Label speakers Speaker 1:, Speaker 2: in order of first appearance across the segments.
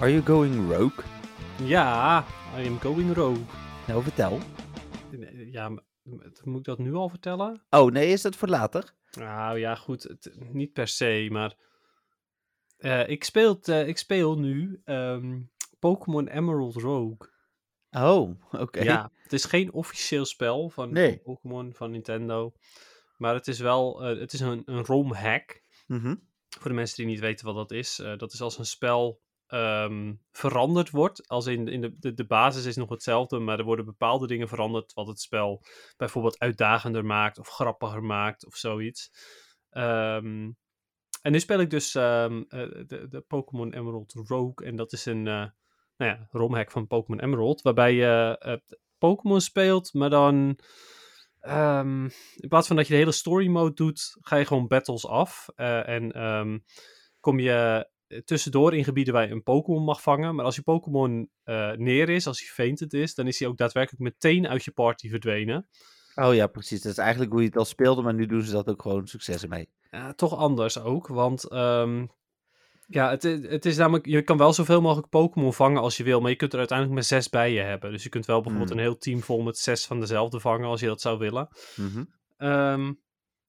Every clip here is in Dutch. Speaker 1: Are you going rogue?
Speaker 2: Ja, I am going rogue.
Speaker 1: Nou, vertel.
Speaker 2: Ja, m- m- moet ik dat nu al vertellen?
Speaker 1: Oh nee, is dat voor later?
Speaker 2: Nou ja, goed, het, niet per se, maar... eh, ik, speel, t- eh, ik speel nu ehm, Pokémon Emerald Rogue.
Speaker 1: Oh, oké.
Speaker 2: Ja, het is geen officieel spel van
Speaker 1: Nee.
Speaker 2: Pokémon, van Nintendo. Maar het is wel eh, het is een, een ROM-hack.
Speaker 1: Mhm.
Speaker 2: Voor de mensen die niet weten wat dat is. eh, dat is als een spel ehm, veranderd wordt. Als in, in de, de, de basis is nog hetzelfde, maar er worden bepaalde dingen veranderd. Wat het spel bijvoorbeeld uitdagender maakt of grappiger maakt of zoiets. Ehm, en nu speel ik dus ehm, eh, de, de Pokémon Emerald Rogue. En dat is een eh nou ja, romhack van Pokémon Emerald. Waarbij je eh, Pokémon speelt, maar dan... ehm, in plaats van dat je de hele story mode doet, ga je gewoon battles af. eh, en ehm, kom je eh, tussendoor in gebieden waar je een Pokémon mag vangen. Maar als je Pokémon eh, neer is, als hij fainted is, dan is hij ook daadwerkelijk meteen uit je party verdwenen.
Speaker 1: Oh ja, precies. Dat is eigenlijk hoe je het al speelde, maar nu doen ze dat ook gewoon succes mee.
Speaker 2: Eh, toch anders ook, want ehm, ja, het, i- het is namelijk, je kan wel zoveel mogelijk Pokémon vangen als je wil, maar je kunt er uiteindelijk maar zes bij je hebben. Dus je kunt wel bijvoorbeeld
Speaker 1: Hmm.
Speaker 2: een heel team vol met zes van dezelfde vangen als je dat zou willen.
Speaker 1: Mhm.
Speaker 2: Ehm,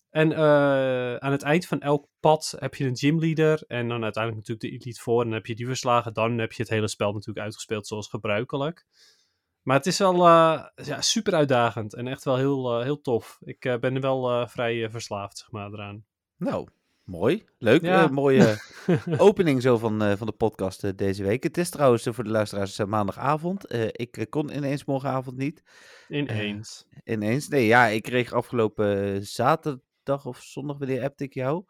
Speaker 2: en eh, aan het eind van elk pad heb je een gymleader. En dan uiteindelijk natuurlijk de elite voor. En dan heb je die verslagen. Dan heb je het hele spel natuurlijk uitgespeeld zoals gebruikelijk. Maar het is wel eh, ja, super uitdagend. En echt wel heel, eh, heel tof. Ik eh, ben er wel eh, vrij eh, verslaafd zeg maar, eraan.
Speaker 1: Nou, mooi. Leuk.
Speaker 2: Ja.
Speaker 1: eh, mooie opening zo van, eh, van de podcast eh, deze week. Het is trouwens eh, voor de luisteraars eh, maandagavond. Eh, ik eh, kon ineens morgenavond niet.
Speaker 2: Ineens.
Speaker 1: Ineens? Nee, ja, ik kreeg afgelopen eh, zaterdag of zondag, wanneer appte ik jou?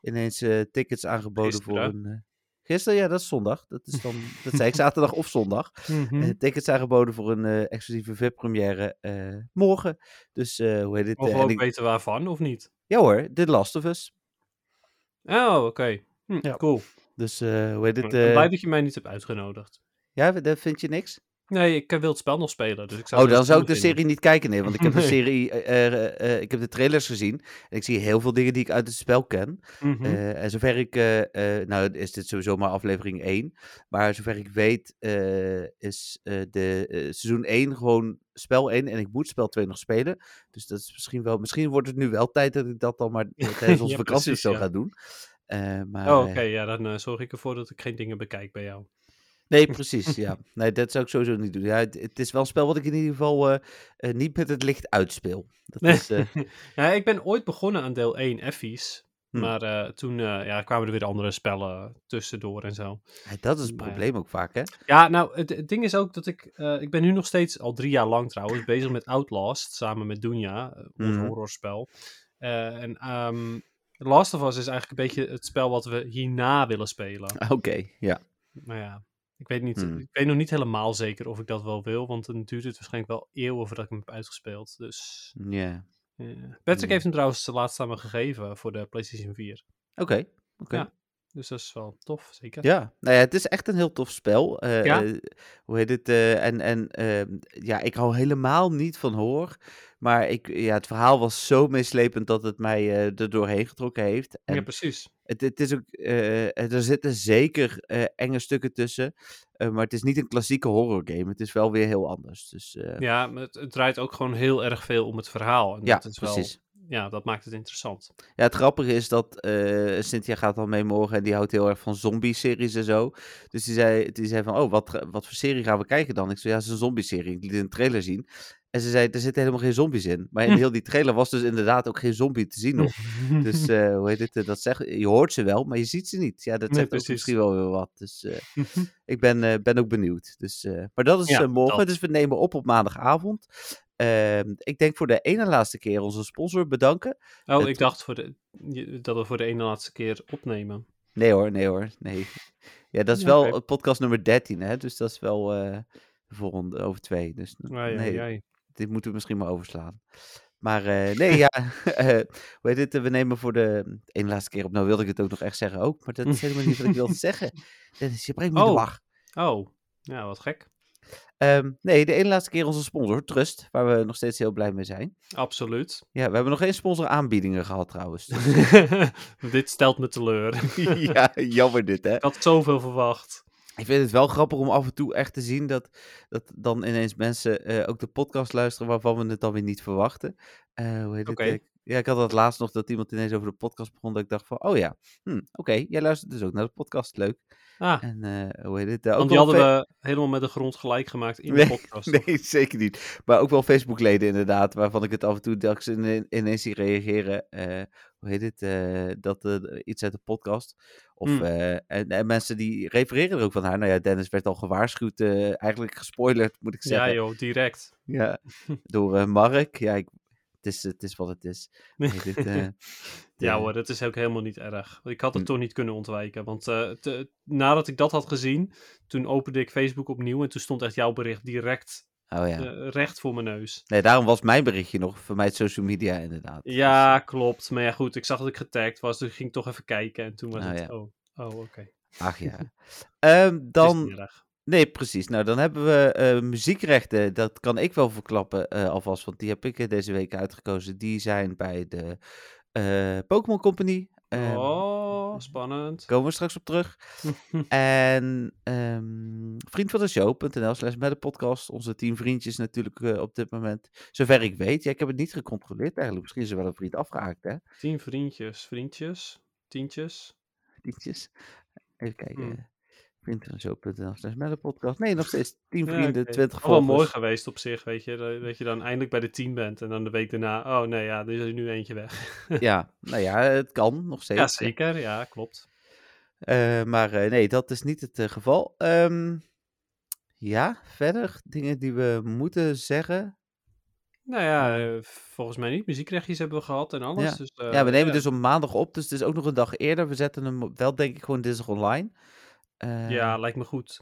Speaker 1: Ineens eh, tickets aangeboden voor
Speaker 2: Gisteren,
Speaker 1: een... eh, gisteren, ja, dat is zondag. Dat is dan, dat zei ik, zaterdag of zondag.
Speaker 2: Mhm.
Speaker 1: Eh, tickets aangeboden voor een eh, exclusieve VIP-première eh, morgen. Dus, eh, hoe heet het? eh,
Speaker 2: Mogen
Speaker 1: en
Speaker 2: we ook
Speaker 1: ik-
Speaker 2: weten waarvan, of niet?
Speaker 1: ja hoor, The Last of Us.
Speaker 2: Oh, oké. Hm,
Speaker 1: Ja.
Speaker 2: Cool.
Speaker 1: Dus, eh, hoe heet
Speaker 2: ik
Speaker 1: het?
Speaker 2: ben
Speaker 1: eh,
Speaker 2: blij dat je mij niet hebt uitgenodigd.
Speaker 1: Ja, dat vind je niks?
Speaker 2: Nee, ik eh, wil het spel nog spelen. Dus ik zou
Speaker 1: Oh,
Speaker 2: het
Speaker 1: dan
Speaker 2: wel
Speaker 1: zou ik de
Speaker 2: cool vinden.
Speaker 1: serie niet kijken, nee. Want ik heb de
Speaker 2: Nee.
Speaker 1: serie... eh, eh, eh, ik heb de trailers gezien. En ik zie heel veel dingen die ik uit het spel ken.
Speaker 2: Mhm.
Speaker 1: Eh, en zover ik, eh, eh, nou is dit sowieso maar aflevering 1, maar zover ik weet eh, is eh, de eh, seizoen 1 gewoon spel 1 en ik moet spel 2 nog spelen. Dus dat is misschien wel, misschien wordt het nu wel tijd dat ik dat dan maar eh, tijdens onze
Speaker 2: Ja,
Speaker 1: vakantie of
Speaker 2: precies,
Speaker 1: zo
Speaker 2: ja.
Speaker 1: ga doen. Eh, maar,
Speaker 2: Oh,
Speaker 1: eh,
Speaker 2: oké. Ja, dan eh, zorg ik ervoor dat ik geen dingen bekijk bij jou.
Speaker 1: Nee, precies, ja. Nee, dat zou ik sowieso niet doen. Ja, het, het is wel een spel wat ik in ieder geval eh, eh, niet met het licht uitspeel. Dat
Speaker 2: Nee.
Speaker 1: is, eh,
Speaker 2: Ja, Nou, ik ben ooit begonnen aan deel 1, Effies.
Speaker 1: Hmm.
Speaker 2: Maar eh, toen eh, ja, kwamen er weer andere spellen tussendoor en zo.
Speaker 1: dat is het
Speaker 2: Maar ja.
Speaker 1: probleem ook vaak, hè?
Speaker 2: Ja, nou, het, het ding is ook dat ik... eh, ik ben nu nog steeds, al drie jaar lang trouwens, bezig met Outlast. Samen met Dunja, eh, ons
Speaker 1: Mhm.
Speaker 2: horrorspel. Eh, en ehm, Last of Us is eigenlijk een beetje het spel wat we hierna willen spelen.
Speaker 1: Oké, ja.
Speaker 2: Maar ja, ik weet, niet,
Speaker 1: Hmm.
Speaker 2: ik weet nog niet helemaal zeker of ik dat wel wil. Want dan duurt het waarschijnlijk wel eeuwen voordat ik hem heb uitgespeeld. Dus...
Speaker 1: Ja.
Speaker 2: Ja. Patrick
Speaker 1: Ja.
Speaker 2: heeft hem trouwens laatst aan me gegeven voor de PlayStation 4.
Speaker 1: Oké, oké.
Speaker 2: Ja. Dus dat is wel tof, zeker.
Speaker 1: Ja, nou ja, het is echt een heel tof spel. Eh,
Speaker 2: Ja.
Speaker 1: eh, hoe heet het? eh, en en ehm, ja, ik hou helemaal niet van hoor. Maar ik, ja, het verhaal was zo meeslepend dat het mij eh, er doorheen getrokken heeft. En
Speaker 2: Ja, precies.
Speaker 1: het, het is ook, eh, er zitten zeker eh, enge stukken tussen. eh, maar het is niet een klassieke horror game. Het is wel weer heel anders. Dus eh,
Speaker 2: Ja, maar het, het draait ook gewoon heel erg veel om het verhaal. En
Speaker 1: ja,
Speaker 2: dat is
Speaker 1: precies.
Speaker 2: Wel, ja, dat maakt het interessant.
Speaker 1: Ja, het grappige is dat eh Cynthia gaat dan mee morgen en die houdt heel erg van zombie-series en zo. Dus die zei, die zei van, oh, wat, ga- wat voor serie gaan we kijken dan? Ik zei, ja, het is een zombie-serie. Ik liet een trailer zien. En ze zei, er zitten helemaal geen zombies in. Maar in
Speaker 2: Hm.
Speaker 1: heel die trailer was dus inderdaad ook geen zombie te zien nog. Dus eh, hoe heet het, eh, dat zeg, je hoort ze wel, maar je ziet ze niet. Ja, dat
Speaker 2: Nee,
Speaker 1: zegt ook
Speaker 2: precies.
Speaker 1: misschien wel weer wat. Dus eh, ik ben, eh, ben ook benieuwd. Dus, eh, maar dat is
Speaker 2: Ja,
Speaker 1: eh, morgen,
Speaker 2: dat.
Speaker 1: dus we nemen op op maandagavond. Ehm, ik denk voor de ene laatste keer onze sponsor bedanken.
Speaker 2: oh,
Speaker 1: het-
Speaker 2: ik dacht voor de, je- dat we voor de ene laatste keer opnemen.
Speaker 1: Nee hoor, nee hoor, nee. Ja, dat is
Speaker 2: Ja,
Speaker 1: wel
Speaker 2: oké.
Speaker 1: eh, podcast nummer 13, hè? Dus dat is wel eh volgende, over twee. Dus n-
Speaker 2: Ai, ai,
Speaker 1: nee,
Speaker 2: ai.
Speaker 1: dit moeten we misschien maar overslaan. Maar eh, nee, ja, eh, hoe heet dit? eh, We nemen voor de één laatste keer op. Nou wilde ik het ook nog echt zeggen ook, maar dat is helemaal niet wat ik wilde zeggen. Dennis, je brengt me in de
Speaker 2: Oh.
Speaker 1: war.
Speaker 2: Oh, ja, wat gek.
Speaker 1: Ehm, nee, de ene laatste keer onze sponsor, Trust, waar we nog steeds heel blij mee zijn.
Speaker 2: Absoluut.
Speaker 1: Ja, we hebben nog geen sponsoraanbiedingen gehad trouwens. Dus-
Speaker 2: Dit stelt me teleur. Ik
Speaker 1: ja, jammer dit hè.
Speaker 2: had zoveel verwacht.
Speaker 1: Ik vind het wel grappig om af en toe echt te zien dat, dat dan ineens mensen eh, ook de podcast luisteren waarvan we het dan weer niet verwachten. Eh, hoe heet
Speaker 2: Oké.
Speaker 1: het? eh, Ja, ik had dat laatst nog dat iemand ineens over de podcast begon. Dat ik dacht van, oh ja, hm, oké, jij luistert dus ook naar de podcast, leuk.
Speaker 2: Ah,
Speaker 1: En eh, hoe heet het? eh, ook
Speaker 2: want die
Speaker 1: wel
Speaker 2: hadden
Speaker 1: fe-
Speaker 2: we helemaal met de grond gelijk gemaakt in de podcast.
Speaker 1: Nee, zeker niet. Maar ook wel Facebookleden inderdaad, waarvan ik het af en toe dat ik ze ine- ineens zie reageren. eh, hoe heet het? eh, dat eh, iets uit de podcast. Of,
Speaker 2: Hmm.
Speaker 1: eh, en, en mensen die refereren er ook van haar. Nou ja, Dennis werd al gewaarschuwd, eh, eigenlijk gespoilerd moet ik zeggen.
Speaker 2: Ja joh, direct.
Speaker 1: Ja, door eh, Mark. Ja, ik, het, is, het is wat het is. Hoe heet het, eh,
Speaker 2: Ja
Speaker 1: de-
Speaker 2: hoor, dat is ook helemaal niet erg. Ik had
Speaker 1: Hm.
Speaker 2: het toch niet kunnen ontwijken. Want eh, te- nadat ik dat had gezien, toen opende ik Facebook opnieuw en toen stond echt jouw bericht direct
Speaker 1: Oh ja.
Speaker 2: eh, recht voor mijn neus.
Speaker 1: Nee, daarom was mijn berichtje nog. Vermijd social media inderdaad. Dus,
Speaker 2: Ja, klopt. Maar ja, goed, ik zag dat ik getagd was, dus ik ging toch even kijken. En toen was
Speaker 1: Nou
Speaker 2: het,
Speaker 1: ja.
Speaker 2: oh, oh oké. Het is
Speaker 1: Dus, ach ja. Ehm, dan
Speaker 2: niet erg.
Speaker 1: Nee, precies. Nou, dan hebben we eh, muziekrechten. Dat kan ik wel verklappen eh, alvast, want die heb ik eh, deze week uitgekozen. Die zijn bij de eh, Pokémon Company. Ehm,
Speaker 2: oh, spannend.
Speaker 1: Komen we straks op terug. en ehm vriend van de show.nl slash met de podcast. Onze tien vriendjes natuurlijk eh, op dit moment. Zover ik weet. Ja, ik heb het niet gecontroleerd eigenlijk. Misschien is er wel een vriend afgehaakt, hè?
Speaker 2: Tien vriendjes, vriendjes, tientjes.
Speaker 1: Vriendjes. Even kijken.
Speaker 2: Hmm.
Speaker 1: Vriend van de show.nl slash met de podcast. Nee, nog steeds tien
Speaker 2: Ja,
Speaker 1: vrienden,
Speaker 2: oké. Oh,
Speaker 1: twintig
Speaker 2: Wel
Speaker 1: volgers.
Speaker 2: mooi geweest op zich, weet je. Dat dat je dan eindelijk bij de tien bent en dan de week daarna, oh nee, ja, er is er nu eentje weg.
Speaker 1: Ja, nou ja, het kan nog steeds.
Speaker 2: Ja, zeker. Ja, klopt.
Speaker 1: Eh, maar eh, nee, dat is niet het eh, geval. Ehm, ja, verder dingen die we moeten zeggen.
Speaker 2: Nou ja, eh, volgens mij niet. Muziekrechtjes hebben we gehad en alles. Dus, eh,
Speaker 1: ja, we nemen dus op maandag op, dus het is ook nog een dag eerder. We zetten hem op- wel, denk ik, gewoon dinsdag online. Eh,
Speaker 2: Ja, lijkt me goed.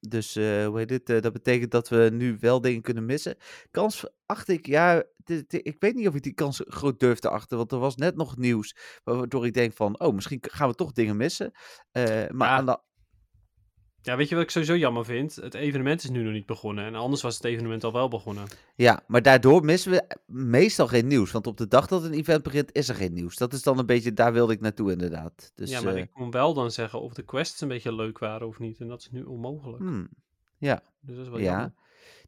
Speaker 1: Dus eh, hoe heet dit? eh, dat betekent dat we nu wel dingen kunnen missen. Kans acht ik, ja, dit- dit- ik weet niet of ik die kans groot durf te achten, want er was net nog nieuws waardoor ik denk van, oh, misschien k- gaan we toch dingen missen. Eh, maar
Speaker 2: Ja.
Speaker 1: aan de
Speaker 2: Ja, weet je wat ik sowieso jammer vind? Het evenement is nu nog niet begonnen. En anders was het evenement al wel begonnen.
Speaker 1: Ja, maar daardoor missen we meestal geen nieuws. Want op de dag dat een event begint, is er geen nieuws. Dat is dan een beetje, daar wilde ik naartoe inderdaad. Dus,
Speaker 2: ja, maar
Speaker 1: eh,
Speaker 2: ik kon wel dan zeggen of de quests een beetje leuk waren of niet. En dat is nu onmogelijk.
Speaker 1: hmm,
Speaker 2: Dus dat is wel
Speaker 1: ja.
Speaker 2: jammer.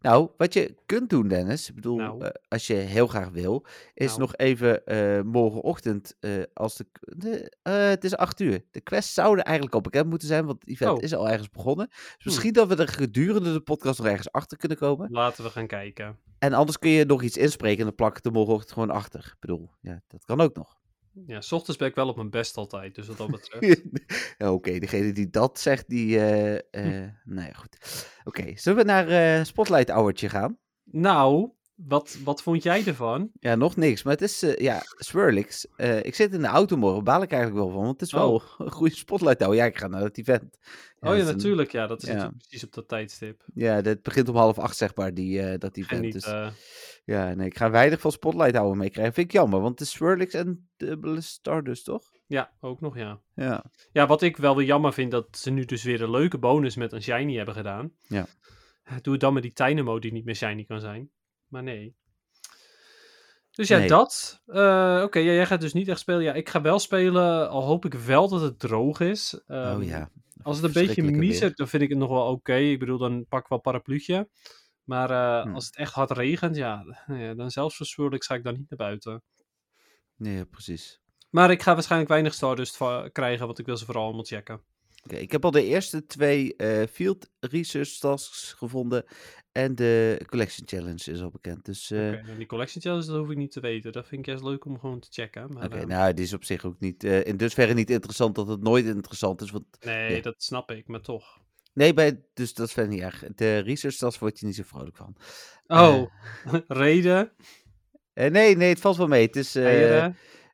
Speaker 1: Nou, wat je kunt doen, Dennis, ik bedoel,
Speaker 2: Nou.
Speaker 1: eh, als je heel graag wil, is
Speaker 2: Nou.
Speaker 1: nog even eh, morgenochtend, eh, als de, de- eh, het is acht uur. De quests zouden eigenlijk al bekend moeten zijn, want het event
Speaker 2: Oh. Hmm.
Speaker 1: is al ergens begonnen. Dus misschien dat we er gedurende de podcast nog ergens achter kunnen komen.
Speaker 2: Laten we gaan kijken.
Speaker 1: En anders kun je nog iets inspreken en dan plak ik het er morgenochtend gewoon achter. Ik bedoel, ja, dat kan ook nog.
Speaker 2: Ja, 's ochtends ben ik wel op mijn best altijd. Dus wat dat betreft.
Speaker 1: Ja, Oké, degene die dat zegt, die... eh
Speaker 2: Hm.
Speaker 1: eh, nou ja, goed. Oké, zullen we naar eh, Spotlight Hourtje gaan?
Speaker 2: nou, wat, wat vond jij ervan?
Speaker 1: Ja, nog niks. Maar het is, eh, ja, Swirlix. Eh, ik zit in de auto morgen, baal ik eigenlijk wel van. Want het is wel een goede Spotlight Hour. Ja, ik ga naar dat event.
Speaker 2: oh ja,
Speaker 1: dat is een-
Speaker 2: natuurlijk. Ja, dat is
Speaker 1: ja.
Speaker 2: natuurlijk precies op dat tijdstip.
Speaker 1: ja, dat begint om half acht, zeg maar, die, eh, dat
Speaker 2: En
Speaker 1: event.
Speaker 2: niet,
Speaker 1: dus
Speaker 2: eh,
Speaker 1: ja, nee, ik ga weinig van Spotlight Hour meekrijgen. Vind ik jammer, want het is Swirlix en Double Stardust, toch?
Speaker 2: ja, ook nog ja.
Speaker 1: Ja.
Speaker 2: Ja, wat ik wel weer jammer vind, dat ze nu dus weer een leuke bonus met een shiny hebben gedaan.
Speaker 1: Ja.
Speaker 2: Doe het dan met die Tynamo die niet meer shiny kan zijn. Maar nee. Dus ja,
Speaker 1: Nee.
Speaker 2: dat. Eh, Oké, ja, jij gaat dus niet echt spelen. Ja, ik ga wel spelen, al hoop ik wel dat het droog is. Ehm,
Speaker 1: oh ja.
Speaker 2: Als het een beetje
Speaker 1: Verschrikkelijke weer.
Speaker 2: miezert, dan vind ik het nog wel oké. Ik bedoel, dan pak ik wel een parapluutje. Maar eh,
Speaker 1: Hm.
Speaker 2: als het echt hard regent, ja, ja dan zelfs verzuurlijk ga ik dan niet naar buiten.
Speaker 1: Nee, precies.
Speaker 2: Maar ik ga waarschijnlijk weinig Stardust va- krijgen, want ik wil ze vooral allemaal checken.
Speaker 1: Oké, ik heb al de eerste twee eh, field research tasks gevonden. En de collection challenge is al bekend. Dus eh,
Speaker 2: Oké,
Speaker 1: oké,
Speaker 2: nou, die collection challenge, dat hoef ik niet te weten. Dat vind ik juist leuk om gewoon te checken. Maar, eh,
Speaker 1: nou, die is op zich ook niet. eh, in dusverre niet interessant dat het nooit interessant is. Want
Speaker 2: nee,
Speaker 1: ja.
Speaker 2: dat snap ik, maar toch.
Speaker 1: nee, bij, dus dat is verder niet erg. De research task word je niet zo vrolijk van. Eh.
Speaker 2: Oh, reden,
Speaker 1: Eh, nee, nee, het valt wel mee. Het is eh
Speaker 2: eieren.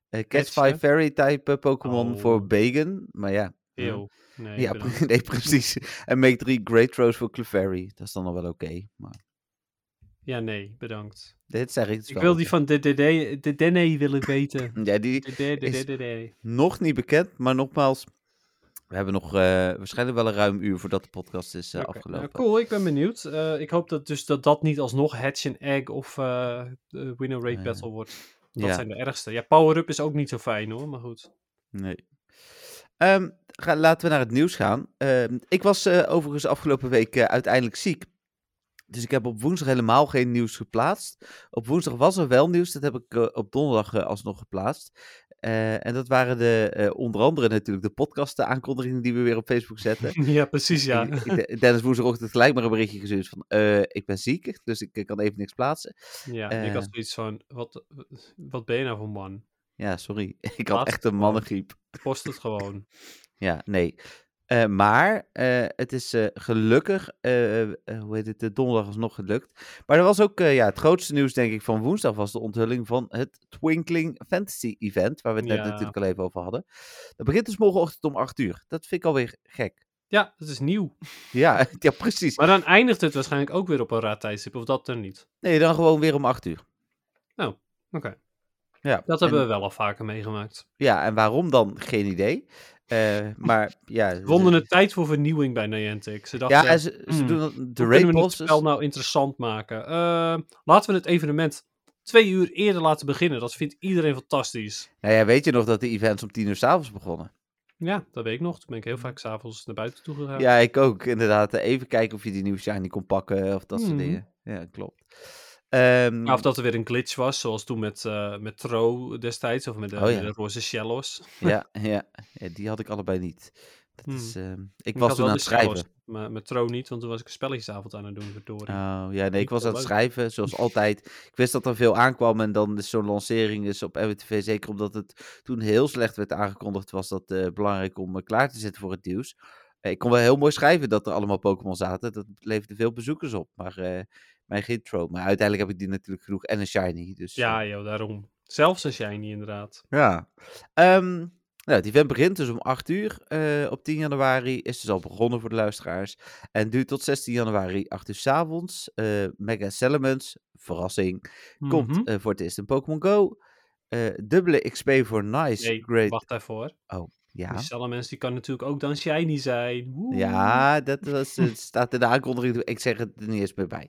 Speaker 1: eh, Catch
Speaker 2: catchen.
Speaker 1: 5 Fairy type eh, Pokémon
Speaker 2: Oh.
Speaker 1: voor Bagan. Maar ja,
Speaker 2: Eeuw. Nee,
Speaker 1: ja,
Speaker 2: bedankt.
Speaker 1: nee, precies. En make 3 Great Throws voor Clefairy. Dat is dan nog wel oké. maar
Speaker 2: ja, nee, bedankt.
Speaker 1: dit zeg ik. het is
Speaker 2: Ik
Speaker 1: wel
Speaker 2: wil die
Speaker 1: oké.
Speaker 2: van de DDD de Dene willen weten.
Speaker 1: Ja, die
Speaker 2: De de- de-
Speaker 1: Is-
Speaker 2: de- de-
Speaker 1: nog niet bekend. Maar nogmaals, we hebben nog eh, waarschijnlijk wel een ruim uur voordat de podcast is eh,
Speaker 2: Oké, nou,
Speaker 1: afgelopen.
Speaker 2: cool, ik ben benieuwd. Eh, ik hoop dat, dus dat dat niet alsnog Hatch and Egg of eh de Winner Rate
Speaker 1: Ja.
Speaker 2: Battle wordt. Dat
Speaker 1: Ja,
Speaker 2: zijn de ergste. Ja, power-up is ook niet zo fijn hoor, maar goed.
Speaker 1: nee. Ehm, ga, laten we naar het nieuws gaan. Ehm, ik was eh, overigens afgelopen week eh, uiteindelijk ziek. Dus ik heb op woensdag helemaal geen nieuws geplaatst. Op woensdag was er wel nieuws. Dat heb ik eh, op donderdag eh, alsnog geplaatst. Eh, en dat waren de, eh, onder andere natuurlijk de podcast, de aankondigingen die we weer op Facebook zetten.
Speaker 2: ja, precies ja.
Speaker 1: Ik- ik- Dennis woensdagochtend gelijk maar een berichtje gestuurd van, eh, ik ben ziek, dus ik eh, kan even niks plaatsen.
Speaker 2: ja
Speaker 1: eh.
Speaker 2: ik had zoiets van, wat, wat ben je nou voor man?
Speaker 1: Ja, sorry, ik had
Speaker 2: Plaats
Speaker 1: echt een mannengriep.
Speaker 2: Post het gewoon.
Speaker 1: Ja, nee. Eh, maar eh, het is eh, gelukkig, eh, eh, hoe heet het, de donderdag is nog gelukt. Maar er was ook, eh, ja, het grootste nieuws denk ik van woensdag was de onthulling van het Twinkling Fantasy Event, waar we het net
Speaker 2: Ja.
Speaker 1: natuurlijk al even over hadden. Dat begint dus morgenochtend om 8 uur. Dat vind ik alweer gek.
Speaker 2: Ja, dat is nieuw.
Speaker 1: Ja, ja precies.
Speaker 2: Maar dan eindigt het waarschijnlijk ook weer op een raar tijdstip, of dat dan niet.
Speaker 1: Nee, dan gewoon weer om 8 uur.
Speaker 2: Oh, oké.
Speaker 1: Ja,
Speaker 2: Dat
Speaker 1: en-
Speaker 2: hebben we wel al vaker meegemaakt.
Speaker 1: Ja, en waarom dan? Geen idee. Eh, maar ja.
Speaker 2: We vonden
Speaker 1: ze-
Speaker 2: het tijd voor vernieuwing bij Niantic. Ze dachten,
Speaker 1: dus- Ja, en ze, ze
Speaker 2: hmm,
Speaker 1: doen dat- de
Speaker 2: Hoe kunnen
Speaker 1: raid
Speaker 2: we het
Speaker 1: bosses.
Speaker 2: spel nou interessant maken? Eh, laten we het evenement twee uur eerder laten beginnen. Dat vindt iedereen fantastisch.
Speaker 1: Nou ja, weet je nog dat de events om tien uur s'avonds begonnen?
Speaker 2: Ja, dat weet ik nog. Toen ben ik heel vaak s'avonds naar buiten toe gegaan.
Speaker 1: Ja, ik ook. Inderdaad, eh, even kijken of je die nieuwe shiny kon pakken of dat soort
Speaker 2: Mhm.
Speaker 1: dingen. Ja, klopt. Ehm,
Speaker 2: Ja, Of dat er weer een glitch was, zoals toen met, eh, met Tro destijds, of met de,
Speaker 1: Oh ja.
Speaker 2: de roze shellos.
Speaker 1: ja, ja, ja, die had ik allebei niet. Dat
Speaker 2: Hmm.
Speaker 1: is, ehm, ik,
Speaker 2: had
Speaker 1: was toen
Speaker 2: wel
Speaker 1: aan
Speaker 2: de
Speaker 1: het schrijven.
Speaker 2: Shellos, maar met Tro niet, want toen was ik een spelletjesavond aan het doen, verdorie.
Speaker 1: Oh, ja, nee, ik
Speaker 2: Niet
Speaker 1: was
Speaker 2: heel
Speaker 1: aan het
Speaker 2: leuk.
Speaker 1: schrijven, zoals altijd. Ik wist dat er veel aankwam en dan is zo'n lancering is op MWTV, zeker omdat het toen heel slecht werd aangekondigd, was dat eh, belangrijk om eh, klaar te zetten voor het nieuws. Eh, ik kon wel heel mooi schrijven dat er allemaal Pokémon zaten, dat leverde veel bezoekers op, maar eh, mijn gintro. Maar uiteindelijk heb ik die natuurlijk genoeg en een shiny, dus...
Speaker 2: Ja, joh, daarom. Zelfs een shiny, inderdaad.
Speaker 1: Ja. Ehm, nou, het event begint dus om 8 uur eh, op 10 januari. Is dus al begonnen voor de luisteraars. En duurt tot 16 januari, 8 uur s'avonds. Eh Mega Salamence, verrassing, komt
Speaker 2: Mhm.
Speaker 1: eh, voor het eerst in Pokémon Go. Eh, dubbele XP voor Nice,
Speaker 2: Nee,
Speaker 1: Great.
Speaker 2: Wacht daarvoor. hoor.
Speaker 1: Ja.
Speaker 2: Die Salamence die kan natuurlijk ook dan shiny zijn. Woe.
Speaker 1: ja, dat was, eh, het staat in de aankondiging. Ik zeg het er niet eens meer bij.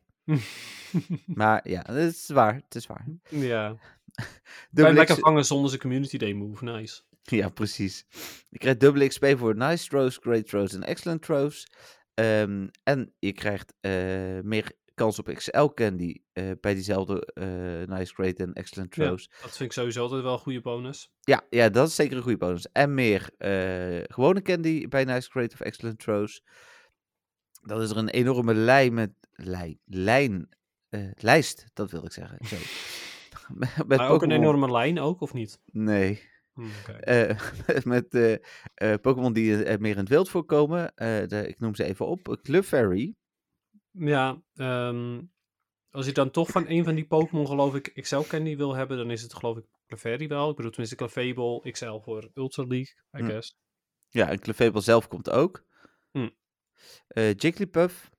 Speaker 1: Maar ja, het is waar. Het is waar.
Speaker 2: ja. Kan je hem
Speaker 1: Dubbele
Speaker 2: lekker
Speaker 1: X-
Speaker 2: vangen zonder zijn community day move. Nice.
Speaker 1: Ja, precies. Je krijgt dubbele XP voor nice throws, great throws en excellent throws. Ehm, en je krijgt eh, meer kans op XL candy eh, bij diezelfde eh, nice, great en excellent
Speaker 2: Ja.
Speaker 1: throws.
Speaker 2: Dat vind ik sowieso altijd wel een goede bonus.
Speaker 1: Ja. Ja, dat is zeker een goede bonus. En meer eh, gewone candy bij nice, great of excellent throws. Dan is er een enorme lijn met... Lijn? lijn eh, lijst, dat wil ik zeggen. Zo. Met
Speaker 2: maar ook een
Speaker 1: Pokémon-
Speaker 2: enorme lijn ook, of niet?
Speaker 1: Nee.
Speaker 2: Hm, oké.
Speaker 1: Eh, met eh, eh, Pokémon die eh, meer in het wild voorkomen. Eh, de- ik noem ze even op. Eh, Clefairy.
Speaker 2: Ja, ehm, als ik dan toch van een van die Pokémon, geloof ik, XL Candy wil hebben, dan is het geloof ik Clefairy wel. Ik bedoel tenminste Clefable, XL voor Ultra League, I
Speaker 1: Hm.
Speaker 2: guess.
Speaker 1: Ja, en Clefable zelf komt ook.
Speaker 2: Hm.
Speaker 1: Eh, Jigglypuff.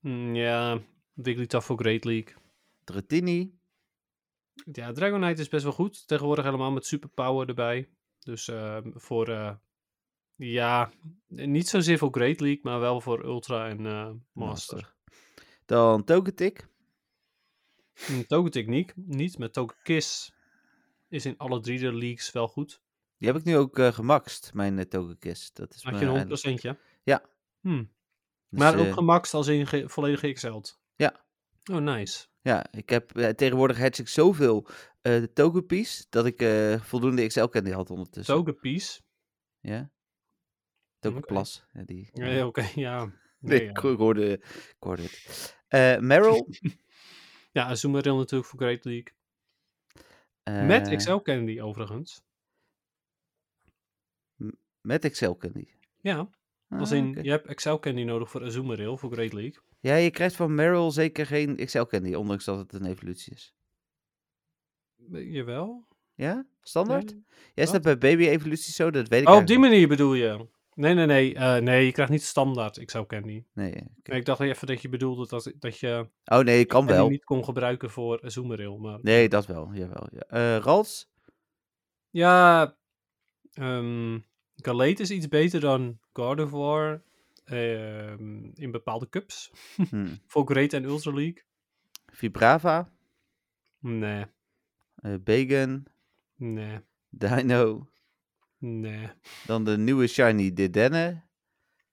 Speaker 2: Hm, ja, Wigglytuff voor Great League.
Speaker 1: Dratini.
Speaker 2: Ja, Dragonite is best wel goed. Tegenwoordig helemaal met superpower erbij. Dus ehm, voor, eh, ja, niet zozeer voor Great League, maar wel voor Ultra en eh, Master.
Speaker 1: Dan Togetic.
Speaker 2: Mm, Togetechniek niet, maar Togekiss is in alle drie de leagues wel goed.
Speaker 1: Die heb ik nu ook eh, gemaxt, mijn eh, Togekiss. Dat is
Speaker 2: Had
Speaker 1: mijn
Speaker 2: je een 100%?
Speaker 1: eind-
Speaker 2: ja?
Speaker 1: Ja.
Speaker 2: Hmm,
Speaker 1: dus,
Speaker 2: Maar ook
Speaker 1: eh,
Speaker 2: gemaxt als in ge volledig geëxceld?
Speaker 1: Ja.
Speaker 2: Oh, nice.
Speaker 1: Ja, ik heb eh, tegenwoordig hatch ik zoveel eh Togepies dat ik eh, voldoende XL-candy had ondertussen.
Speaker 2: Togepiece?
Speaker 1: Ja. Togeplas. Ja, die,
Speaker 2: Nee, Oké, ja. Nee,
Speaker 1: Nee,
Speaker 2: ja.
Speaker 1: ik, ik hoorde, ik hoorde het. Eh, Meryl.
Speaker 2: ja, Azumarill natuurlijk voor Great League.
Speaker 1: eh,
Speaker 2: Met XL Candy overigens.
Speaker 1: Met Excel Candy.
Speaker 2: Ja. Als
Speaker 1: Ah,
Speaker 2: in,
Speaker 1: oké.
Speaker 2: je hebt Excel Candy nodig voor Azumarill, voor Great League.
Speaker 1: Ja, je krijgt van Meryl zeker geen Excel Candy, ondanks dat het een evolutie is.
Speaker 2: Eh, Jawel.
Speaker 1: Ja? Standaard?
Speaker 2: Nee.
Speaker 1: ja, is dat bij baby evolutie zo? Dat weet ik
Speaker 2: Oh, op die
Speaker 1: eigenlijk
Speaker 2: manier bedoel je. Nee, nee, nee. eh, nee, je krijgt niet standaard Ik zou Candy.
Speaker 1: Nee, oké.
Speaker 2: Maar ik dacht even dat je bedoelde dat, dat je
Speaker 1: Oh nee, kan
Speaker 2: Candy
Speaker 1: wel.
Speaker 2: niet kon gebruiken voor Zoomeril. Maar
Speaker 1: Nee, dat wel. Jawel. Ja. Eh, Rals?
Speaker 2: ja, ehm Galate is iets beter dan Gardevoir ehm in bepaalde cups.
Speaker 1: Hm.
Speaker 2: Voor Great en Ultra League.
Speaker 1: Vibrava?
Speaker 2: Nee,
Speaker 1: eh Bacon?
Speaker 2: nee,
Speaker 1: Dino?
Speaker 2: nee.
Speaker 1: Dan de nieuwe Shiny Dedenne?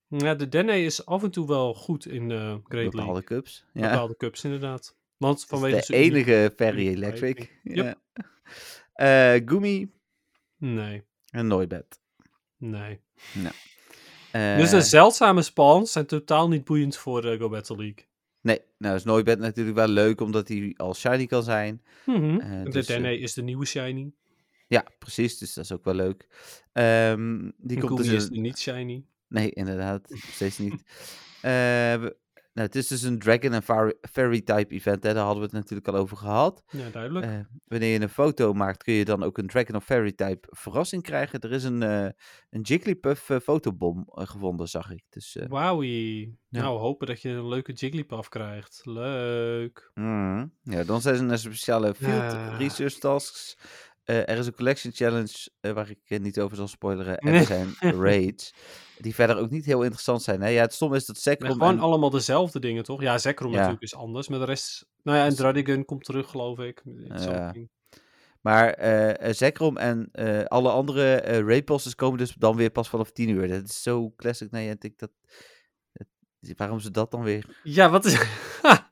Speaker 2: Ja, de Dene is af en toe wel goed in eh Great
Speaker 1: Bepaalde
Speaker 2: League.
Speaker 1: cups. Ja.
Speaker 2: Bepaalde cups, inderdaad. Want
Speaker 1: Dat
Speaker 2: vanwege
Speaker 1: is de
Speaker 2: zijn uniek-
Speaker 1: enige Ferry
Speaker 2: unieke
Speaker 1: Electric.
Speaker 2: rating.
Speaker 1: Ja. Eh, Gumi?
Speaker 2: Nee,
Speaker 1: En Noibat.
Speaker 2: nee.
Speaker 1: Eh,
Speaker 2: Dus de zeldzame spawns zijn totaal niet boeiend voor eh, de Go Battle League.
Speaker 1: Nee, nou is Noibat natuurlijk wel leuk, omdat hij al shiny kan zijn. Eh, dus,
Speaker 2: En Mhm. de
Speaker 1: eh,
Speaker 2: Dene is de nieuwe shiny.
Speaker 1: Ja, precies, dus dat is ook wel leuk. Ehm, die
Speaker 2: Die
Speaker 1: komt
Speaker 2: komt
Speaker 1: dus
Speaker 2: is
Speaker 1: in-
Speaker 2: de niet shiny.
Speaker 1: Nee, inderdaad, nog steeds niet. Eh, we- nou, het is dus een Dragon en Fairy- Fairy type event, hè? daar hadden we het natuurlijk al over gehad.
Speaker 2: Ja, duidelijk.
Speaker 1: Eh, wanneer je een foto maakt, kun je dan ook een Dragon of Fairy type verrassing krijgen. Er is een, eh, een Jigglypuff eh, fotobom eh, gevonden, zag ik. Dus, eh,
Speaker 2: Wauwie.
Speaker 1: ja.
Speaker 2: Nou, hopen dat je een leuke Jigglypuff krijgt. Leuk.
Speaker 1: Mm. Ja, dan zijn er een speciale field
Speaker 2: Ja.
Speaker 1: research tasks. Eh, er is een collection challenge eh, waar ik eh, niet over zal spoileren. En
Speaker 2: Nee.
Speaker 1: er zijn raids. Die verder ook niet heel interessant zijn. Hè? Ja, het stom is dat
Speaker 2: Maar
Speaker 1: Zekrom...
Speaker 2: gewoon
Speaker 1: en-
Speaker 2: allemaal dezelfde dingen, toch? Ja, Zekrom
Speaker 1: Ja.
Speaker 2: natuurlijk is anders. Maar de rest... Nou ja, en
Speaker 1: Dus-
Speaker 2: Dradigan komt terug, geloof ik.
Speaker 1: Ja.
Speaker 2: Something.
Speaker 1: Maar eh eh, Zekrom en eh, alle andere eh raid bosses komen dus dan weer pas vanaf 10 uur. Dat is zo classic Niantic. Dat... dat- Waarom ze dat dan weer...
Speaker 2: Ja, wat is... Ha!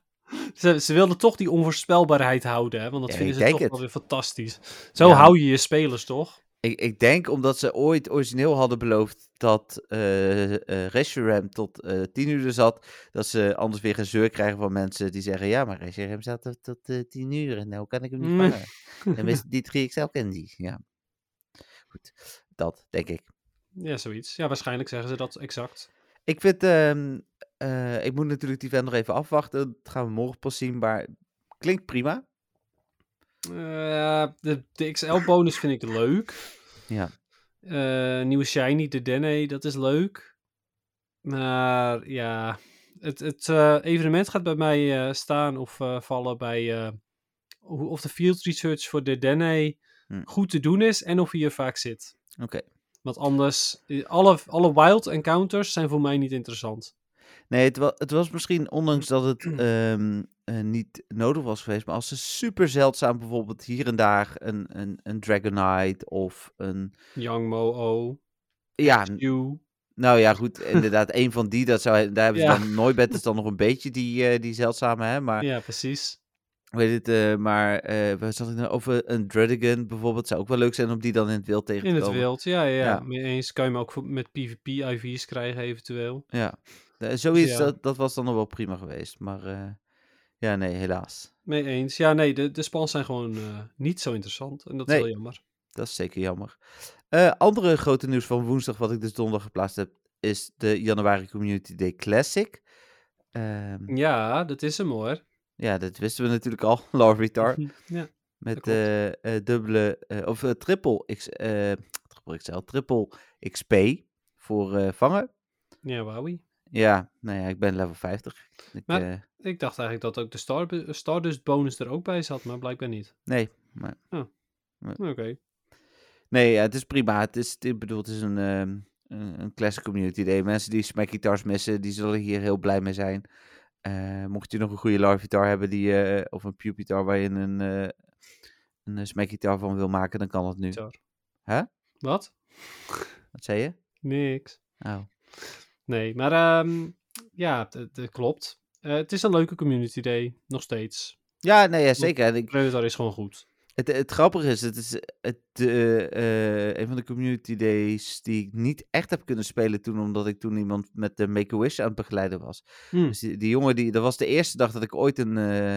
Speaker 2: Ze, ze wilden toch die onvoorspelbaarheid houden, hè? Want dat
Speaker 1: Ja,
Speaker 2: vinden
Speaker 1: ik
Speaker 2: ze
Speaker 1: denk
Speaker 2: toch
Speaker 1: het.
Speaker 2: wel weer fantastisch. Zo
Speaker 1: Ja.
Speaker 2: hou je je spelers, toch?
Speaker 1: Ik, ik denk omdat ze ooit origineel hadden beloofd dat eh eh, Reshiram tot eh 10 uur er zat, dat ze anders weer gezeur krijgen van mensen die zeggen, ja, maar Reshiram zat tot, tot eh, 10 uur en nou kan ik hem niet
Speaker 2: Nee.
Speaker 1: vangen. En is die 3XL candy, ja. Goed, dat denk ik.
Speaker 2: Ja, zoiets. Ja, waarschijnlijk zeggen ze dat exact.
Speaker 1: Ik vind, ehm, eh, ik moet natuurlijk die vent nog even afwachten, dat gaan we morgen pas zien, maar klinkt prima.
Speaker 2: Eh, de, de XL-bonus vind ik leuk.
Speaker 1: Ja.
Speaker 2: Eh, nieuwe Shiny, de Dene, dat is leuk. Maar ja, het, het eh, evenement gaat bij mij eh, staan of eh, vallen bij eh, hoe- of de field research voor de Dene
Speaker 1: Hm.
Speaker 2: goed te doen is en of hij er vaak zit.
Speaker 1: Oké.
Speaker 2: Want anders, eh, alle, alle wild encounters zijn voor mij niet interessant.
Speaker 1: Nee, het, wa- het was misschien, ondanks dat het ehm, eh, niet nodig was geweest, maar als ze super zeldzaam bijvoorbeeld hier en daar een, een, een Dragonite of een...
Speaker 2: Young Mo-O,
Speaker 1: Ja, n-
Speaker 2: You.
Speaker 1: nou ja, goed, inderdaad, een van die, dat zou, daar hebben ze
Speaker 2: Ja.
Speaker 1: dan nooit bij, is dan nog een beetje die, eh, die zeldzame, hè, maar...
Speaker 2: Ja, precies.
Speaker 1: Weet het, eh, maar eh waar zat ik nou over? Een Dredigan bijvoorbeeld, zou ook wel leuk zijn om die dan in het wild tegen te
Speaker 2: In het
Speaker 1: komen.
Speaker 2: wild, ja, ja, ja.
Speaker 1: Ja.
Speaker 2: Mee eens kan je hem ook voor- met PvP-IV's krijgen eventueel.
Speaker 1: Ja, Eh, zoiets,
Speaker 2: Ja.
Speaker 1: Dat, dat was dan nog wel prima geweest, maar eh, ja, nee, helaas.
Speaker 2: Mee eens. Ja, nee, de, de spans zijn gewoon eh, niet zo interessant. En dat is
Speaker 1: Nee.
Speaker 2: wel jammer.
Speaker 1: Dat is zeker jammer. Eh, andere grote nieuws van woensdag, wat ik dus donderdag geplaatst heb, is de januari Community Day Classic. Ehm,
Speaker 2: Ja, dat is hem hoor.
Speaker 1: ja, dat wisten we natuurlijk al, Larvitar.
Speaker 2: Ja.
Speaker 1: Met
Speaker 2: klopt.
Speaker 1: eh, eh, dubbele, eh, of eh, triple, X, eh, triple XL, triple XP voor eh, vangen.
Speaker 2: Ja, wauwie.
Speaker 1: Ja, nou ja, ik ben level 50. Ik,
Speaker 2: Maar-
Speaker 1: eh,
Speaker 2: Ik dacht eigenlijk dat ook de Star Stardust bonus er ook bij zat, maar blijkbaar niet.
Speaker 1: nee, maar-
Speaker 2: Oh.
Speaker 1: Nee.
Speaker 2: Oké.
Speaker 1: nee, ja, het is prima. Het is, ik bedoel, het is een, ehm, een, een classic community day. Mensen die smack guitars missen, die zullen hier heel blij mee zijn. Eh, mocht je nog een goede larvitar hebben, die, eh, of een pupitar waar je een, eh een eh, smackguitar van wil maken, dan kan dat nu.
Speaker 2: Guitar.
Speaker 1: Hè?
Speaker 2: Wat?
Speaker 1: Wat zei je?
Speaker 2: Niks.
Speaker 1: Oh.
Speaker 2: Nee, maar ehm, ja, dat dat klopt. Eh, het is een leuke community day, nog steeds.
Speaker 1: Ja, nee, ja, zeker. En ik,
Speaker 2: Predator is gewoon goed.
Speaker 1: Het, het grappige is, het is het, eh, eh, een van de community days die ik niet echt heb kunnen spelen toen, omdat ik toen iemand met de Make-A-Wish aan het begeleiden was.
Speaker 2: Hm.
Speaker 1: Dus die, die jongen, die, dat was de eerste dag dat ik ooit een, eh,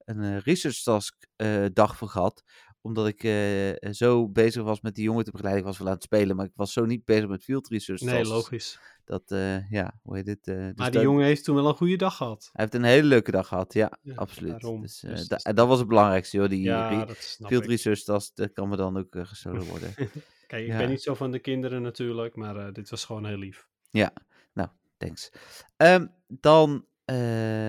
Speaker 1: een eh, research task eh, dag voor had. Omdat ik eh, zo bezig was met die jongen te begeleiden. Ik was wel aan het spelen, maar ik was zo niet bezig met field research
Speaker 2: Nee,
Speaker 1: tasks.
Speaker 2: logisch.
Speaker 1: Dat, eh, ja, hoe heet dit? eh, dus
Speaker 2: Maar die
Speaker 1: dat-
Speaker 2: jongen heeft toen wel een goede dag gehad.
Speaker 1: Hij heeft een hele leuke dag gehad, ja,
Speaker 2: Ja,
Speaker 1: absoluut.
Speaker 2: daarom.
Speaker 1: Dus, eh,
Speaker 2: Dus
Speaker 1: da-
Speaker 2: dat is-
Speaker 1: en dat was het belangrijkste, joh. Die,
Speaker 2: Ja,
Speaker 1: re-
Speaker 2: dat snap
Speaker 1: Field
Speaker 2: ik.
Speaker 1: research, dat, is- dat kan me dan ook eh, gestolen worden.
Speaker 2: Kijk, ik
Speaker 1: Ja.
Speaker 2: ben niet zo van de kinderen natuurlijk, maar eh, dit was gewoon heel lief.
Speaker 1: Thanks. Ehm, dan eh,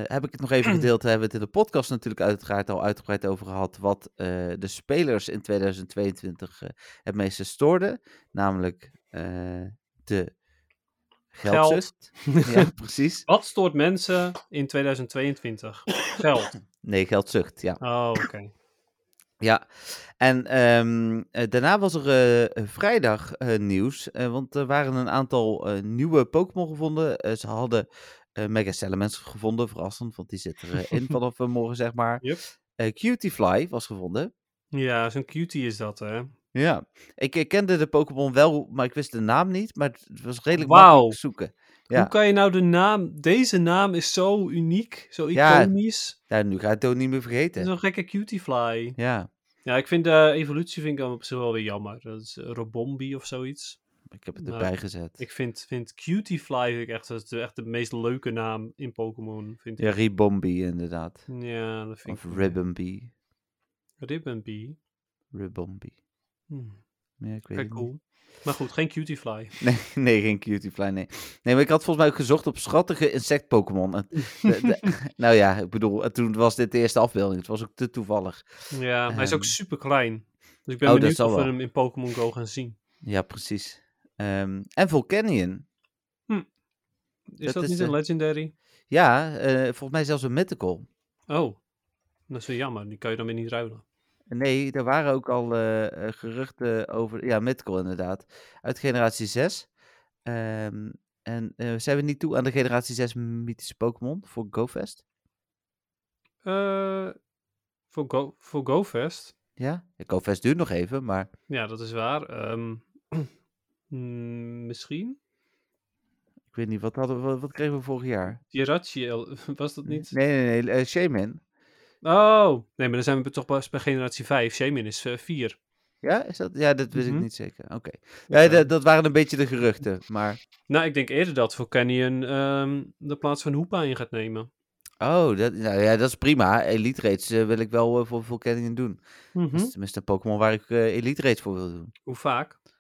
Speaker 1: heb ik het nog even gedeeld. Daar hebben we het in de podcast natuurlijk uiteraard al uitgebreid over gehad. Wat eh, de spelers in 2022 eh, het meeste stoorden. Namelijk eh, de geldzust. Ja, precies.
Speaker 2: Wat stoort mensen in 2022? Geld.
Speaker 1: Nee, geldzucht, ja.
Speaker 2: Oh, oké.
Speaker 1: Ja, en ehm, eh, daarna was er eh, eh, vrijdag eh, nieuws, eh, want er waren een aantal eh, nieuwe Pokémon gevonden. Eh, ze hadden eh Mega Salamence gevonden, verrassend, want die zit erin vanaf eh, morgen, zeg maar.
Speaker 2: Yep.
Speaker 1: Eh, Cutiefly was gevonden.
Speaker 2: Ja, zo'n cutie is dat, hè?
Speaker 1: Ja, ik eh, kende de Pokémon wel, maar ik wist de naam niet, maar het was redelijk
Speaker 2: Wauw.
Speaker 1: makkelijk zoeken. Ja.
Speaker 2: Hoe kan je nou de naam... Deze naam is zo uniek, zo
Speaker 1: Ja.
Speaker 2: iconisch.
Speaker 1: Nou, nu ga ik het ook niet meer
Speaker 2: Het
Speaker 1: vergeten.
Speaker 2: is een gekke cutiefly.
Speaker 1: Ja,
Speaker 2: Ja, ik vind de evolutie vind ik dan op zich wel weer jammer. Dat is eh, Robombi of zoiets.
Speaker 1: ik heb het
Speaker 2: Nou,
Speaker 1: erbij gezet.
Speaker 2: Ik vind, vind Cutiefly vind ik echt, dat is de- echt de meest leuke naam in Pokémon, vind ik.
Speaker 1: Ja, Ribombi inderdaad.
Speaker 2: Ja, dat vind
Speaker 1: Of
Speaker 2: ik...
Speaker 1: Ribbombi.
Speaker 2: Ribbonby.
Speaker 1: Ribombi.
Speaker 2: Hm.
Speaker 1: Ja, ik weet
Speaker 2: Kijk,
Speaker 1: het niet.
Speaker 2: cool. Maar goed, geen Cutiefly.
Speaker 1: Nee, nee, geen Cutiefly, nee. Nee, maar ik had volgens mij ook gezocht op schattige insect-Pokémon. En de- de- nou ja, ik bedoel, en toen was dit de eerste afbeelding. Het was ook te toevallig.
Speaker 2: Ja, maar hij is ook
Speaker 1: Ehm.
Speaker 2: super klein. Dus ik ben
Speaker 1: Oh, dat
Speaker 2: benieuwd
Speaker 1: zal
Speaker 2: of we
Speaker 1: wel.
Speaker 2: hem in Pokémon Go gaan zien.
Speaker 1: Ja, precies. Ehm, en Volcanion.
Speaker 2: Is dat,
Speaker 1: Dat is,
Speaker 2: niet een
Speaker 1: eh,
Speaker 2: Legendary?
Speaker 1: Ja, eh, volgens mij zelfs een Mythical.
Speaker 2: Oh, dat is weer jammer. Die kan je dan weer niet ruilen.
Speaker 1: Nee, er waren ook al eh, eh, geruchten over... Ja, Mythical inderdaad. Uit generatie 6. Ehm, en eh, zijn we niet toe aan de generatie 6 mythische Pokémon voor GoFest?
Speaker 2: Eh, voor, Go, voor GoFest?
Speaker 1: Ja? Ja, GoFest duurt nog even, maar...
Speaker 2: Ja, dat is waar. Ehm, mm, misschien?
Speaker 1: Ik weet niet, wat, hadden we, wat- wat kregen we vorig jaar?
Speaker 2: Jirachi, el- was dat niet?
Speaker 1: Nee, nee, nee. eh, Shaman.
Speaker 2: Oh, nee, maar dan zijn we toch pas bij generatie 5. Shaman is eh, 4.
Speaker 1: Ja, is dat? Ja, dat wist
Speaker 2: Mhm.
Speaker 1: ik niet zeker. Oké. Nee,
Speaker 2: Oké.
Speaker 1: dat, dat waren een beetje de geruchten. Maar.
Speaker 2: Nou, ik denk eerder dat Volcanion ehm de plaats van Hoopa in gaat nemen.
Speaker 1: Oh, dat, nou ja, dat is prima. Elite Raids eh, wil ik wel eh, voor Volcanion doen. Dat
Speaker 2: Mhm.
Speaker 1: is tenminste een Pokémon waar ik eh, Elite Raids voor wil doen.
Speaker 2: Hoe vaak?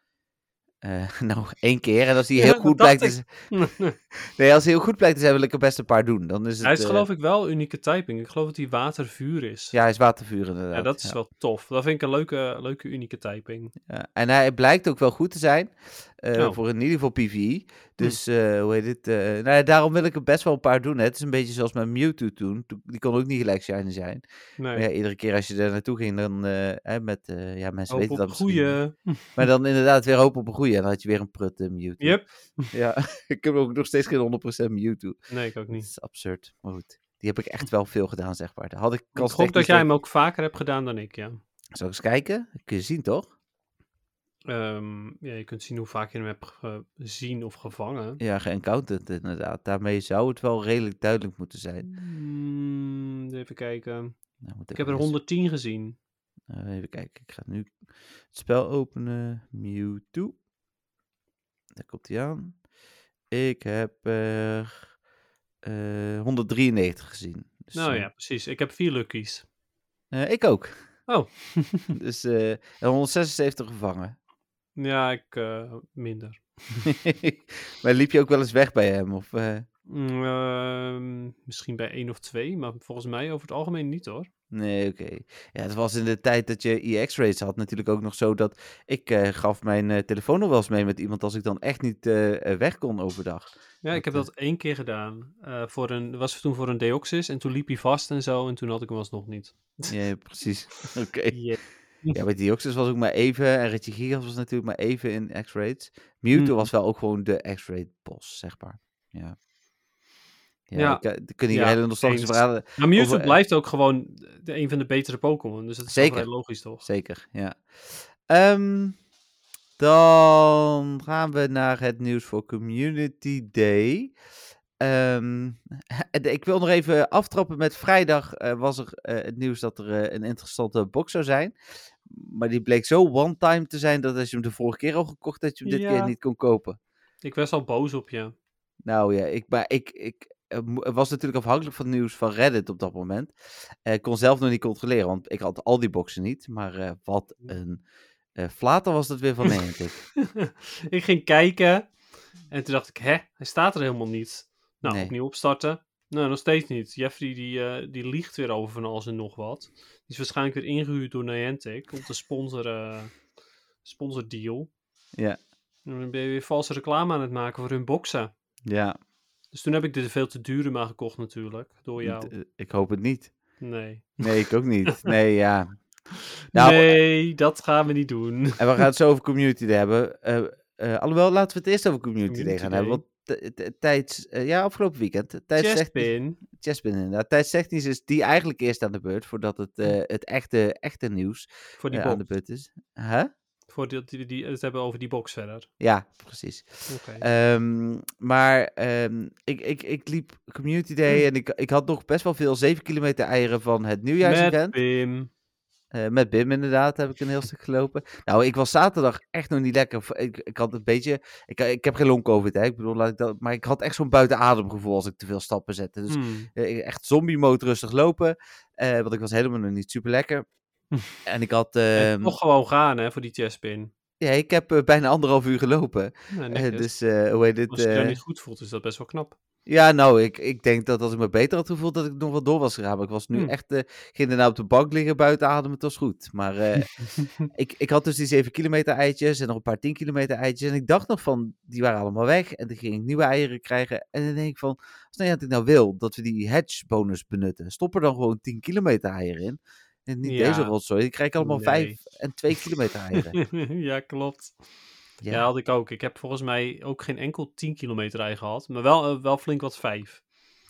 Speaker 1: Eh, nou, één keer. En als die
Speaker 2: Ja,
Speaker 1: heel
Speaker 2: dat
Speaker 1: goed
Speaker 2: dacht
Speaker 1: blijkt te zijn. nee, als die heel goed blijkt te zijn, wil ik er best een paar doen. Dan is het.
Speaker 2: Hij is
Speaker 1: eh,
Speaker 2: geloof ik wel unieke typing. Ik geloof dat hij watervuur is.
Speaker 1: Ja, hij is watervuur inderdaad.
Speaker 2: Ja, dat is wel tof. Dat vind ik een leuke, leuke unieke typing.
Speaker 1: Ja, Eh, en hij blijkt ook wel goed te zijn. eh,
Speaker 2: Oh.
Speaker 1: Voor in ieder geval
Speaker 2: Hm.
Speaker 1: PvE. Dus eh, hoe heet het? eh, nou ja, daarom wil ik er best wel een paar doen. Hè. Het is een beetje zoals met Mewtwo toen. Toen- Die kon ook niet gelijk shiny zijn.
Speaker 2: Nee.
Speaker 1: Maar ja, iedere keer als je daar naartoe ging, dan eh, hè, met. eh, ja, mensen
Speaker 2: Hoop
Speaker 1: weten
Speaker 2: op
Speaker 1: dat
Speaker 2: een
Speaker 1: misschien niet.
Speaker 2: goeie.
Speaker 1: Maar dan inderdaad weer hoop op een goede. En dan had je weer een prut eh, Mewtwo.
Speaker 2: Yep.
Speaker 1: Ja, ik heb ook nog steeds geen 100% Mewtwo.
Speaker 2: Nee, ik ook
Speaker 1: Dat
Speaker 2: niet.
Speaker 1: is absurd. Maar goed. Die heb ik echt wel veel gedaan, zeg maar. Daar had ik
Speaker 2: Ik
Speaker 1: kans
Speaker 2: hoop dat jij hem ook vaker hebt gedaan dan ik, ja.
Speaker 1: Zal ik eens kijken? Kun je zien, toch?
Speaker 2: Ehm, ja. Je kunt zien hoe vaak je hem hebt gezien of gevangen.
Speaker 1: Ja, geëncounterd inderdaad. Daarmee zou het wel redelijk duidelijk moeten zijn.
Speaker 2: Mm, even kijken.
Speaker 1: Nou, moet
Speaker 2: Ik
Speaker 1: even
Speaker 2: heb er
Speaker 1: eerst-
Speaker 2: 110 gezien.
Speaker 1: eh, even kijken, ik ga nu het spel openen. Mewtwo. Daar komt hij aan. Ik heb er eh, 193 gezien. Dus,
Speaker 2: nou
Speaker 1: eh,
Speaker 2: ja, precies. Ik heb vier luckies.
Speaker 1: eh, ik ook.
Speaker 2: Oh.
Speaker 1: dus eh, en 176 gevangen.
Speaker 2: Ja, ik eh, minder.
Speaker 1: maar liep je ook wel eens weg bij hem? Of, eh,
Speaker 2: Mm, ehm, misschien bij één of twee, maar volgens mij over het algemeen niet hoor.
Speaker 1: Nee, oké. Ja, het was in de tijd dat je EX-rates had natuurlijk ook nog zo dat ik eh, gaf mijn eh, telefoon nog wel eens mee met iemand als ik dan echt niet eh, eh, weg kon overdag.
Speaker 2: Ja, ik heb
Speaker 1: Dat,
Speaker 2: dat één keer gedaan. Eh, voor een, was toen voor een Deoxys en toen liep hij vast en zo en toen had ik hem alsnog niet.
Speaker 1: Ja, precies. Oké.
Speaker 2: Ja.
Speaker 1: Ja, bij Deoxys was ook maar even en Reggie Gigas was natuurlijk maar even in X-rates. Mewtwo
Speaker 2: Mhm.
Speaker 1: was wel ook gewoon de X-rate boss, zeg maar. Ja. Ja,
Speaker 2: Ja.
Speaker 1: Ik, eh, ik kan hier
Speaker 2: Ja,
Speaker 1: hele nostalgische
Speaker 2: eens.
Speaker 1: verhalen.
Speaker 2: Maar Mewtwo
Speaker 1: Over, eh,
Speaker 2: blijft ook gewoon de, een van de betere Pokémon, dus dat is wel
Speaker 1: Zeker.
Speaker 2: vrij logisch toch?
Speaker 1: Zeker, ja. Ehm, dan gaan we naar het nieuws voor Community Day. Ehm, ik wil nog even aftrappen met vrijdag eh, was er eh, het nieuws dat er eh, een interessante box zou zijn. Maar die bleek zo one-time te zijn dat als je hem de vorige keer al gekocht, dat je hem dit
Speaker 2: Ja.
Speaker 1: keer niet kon kopen.
Speaker 2: Ik was al boos op je.
Speaker 1: Nou ja, ik, maar ik, ik eh, mo- was natuurlijk afhankelijk van het nieuws van Reddit op dat moment. Eh, Ik kon zelf nog niet controleren, want ik had al die boxen niet. Maar eh, wat een Eh Flater was dat weer van nee, denk ik.
Speaker 2: ik ging kijken en toen dacht ik, hè, hij staat er helemaal niet. Nou,
Speaker 1: Nee.
Speaker 2: opnieuw opstarten. Nou, nog steeds niet. Jeffrey die, eh, die liegt weer over van alles en nog wat. Die is waarschijnlijk weer ingehuurd door Niantic om te sponsoren, sponsordeal.
Speaker 1: Ja.
Speaker 2: En dan ben je weer valse reclame aan het maken voor hun boxen.
Speaker 1: Ja,
Speaker 2: Dus toen heb ik de veel te dure maar gekocht natuurlijk, door jou.
Speaker 1: d- eh, ik hoop het niet.
Speaker 2: Nee.
Speaker 1: Nee, ik ook niet. Nee, ja. Nou,
Speaker 2: nee, dat gaan we niet doen.
Speaker 1: en we gaan het zo over Community Day hebben. Eh, eh, alhoewel, laten we het eerst over Community, Day
Speaker 2: Community
Speaker 1: gaan hebben. Want t- t- tijds... eh, ja, afgelopen weekend. Tijdstechnisch
Speaker 2: Chestpin.
Speaker 1: Chespin inderdaad. Tijdstechnisch is dus, die eigenlijk eerst aan de beurt, voordat het, eh, het echte, echte nieuws
Speaker 2: Voor die
Speaker 1: eh, aan de
Speaker 2: box.
Speaker 1: beurt is. Huh?
Speaker 2: Voor die, die, die- het hebben over die box verder.
Speaker 1: Ja, precies.
Speaker 2: Oké.
Speaker 1: Ehm, maar ehm, ik, ik, ik liep Community
Speaker 2: Hmm.
Speaker 1: Day en ik, ik had nog best wel veel 7 kilometer eieren van het
Speaker 2: Met
Speaker 1: nieuwjaarsevent.
Speaker 2: Pim.
Speaker 1: Eh, met Bim inderdaad heb ik een heel stuk gelopen. Nou, ik was zaterdag echt nog niet lekker. Ik, ik had een beetje... Ik, ik heb geen long covid, hè. Ik bedoel, laat ik dat, maar ik had echt zo'n buitenademgevoel als ik te veel stappen zette. Dus
Speaker 2: Hmm.
Speaker 1: eh, echt zombie mode rustig lopen. eh, want ik was helemaal nog niet super lekker. en ik had...
Speaker 2: En
Speaker 1: ehm,
Speaker 2: toch gewoon gaan, hè, voor die chestpin.
Speaker 1: ja, ik heb eh, bijna anderhalf uur gelopen.
Speaker 2: Ja,
Speaker 1: Eh,
Speaker 2: Nou, netjes.
Speaker 1: dus eh, hoe heet dit?
Speaker 2: Als je dan
Speaker 1: eh,
Speaker 2: niet goed voelt, is dat best wel knap.
Speaker 1: Ja, nou, ik, ik denk dat als ik me beter had gevoeld, dat ik nog wel door was gegaan. Maar ik was nu
Speaker 2: Hmm.
Speaker 1: echt, eh ging daarna op de bank liggen, buiten ademen, het was goed. Maar eh, ik, ik had dus die 7 kilometer eitjes en nog een paar 10 kilometer eitjes. En ik dacht nog van, die waren allemaal weg. En toen ging ik nieuwe eieren krijgen. En dan denk ik van, als nou ja, dat ik nou wil, dat we die hedge bonus benutten. Stop er dan gewoon 10 kilometer eieren in. En niet
Speaker 2: Ja.
Speaker 1: deze rotzooi, die krijg ik allemaal
Speaker 2: Nee.
Speaker 1: 5 en 2 kilometer eieren.
Speaker 2: ja, klopt. Ja.
Speaker 1: ja,
Speaker 2: had ik ook. Ik heb volgens mij ook geen enkel 10 kilometer rij gehad. Maar wel, eh, wel flink wat 5.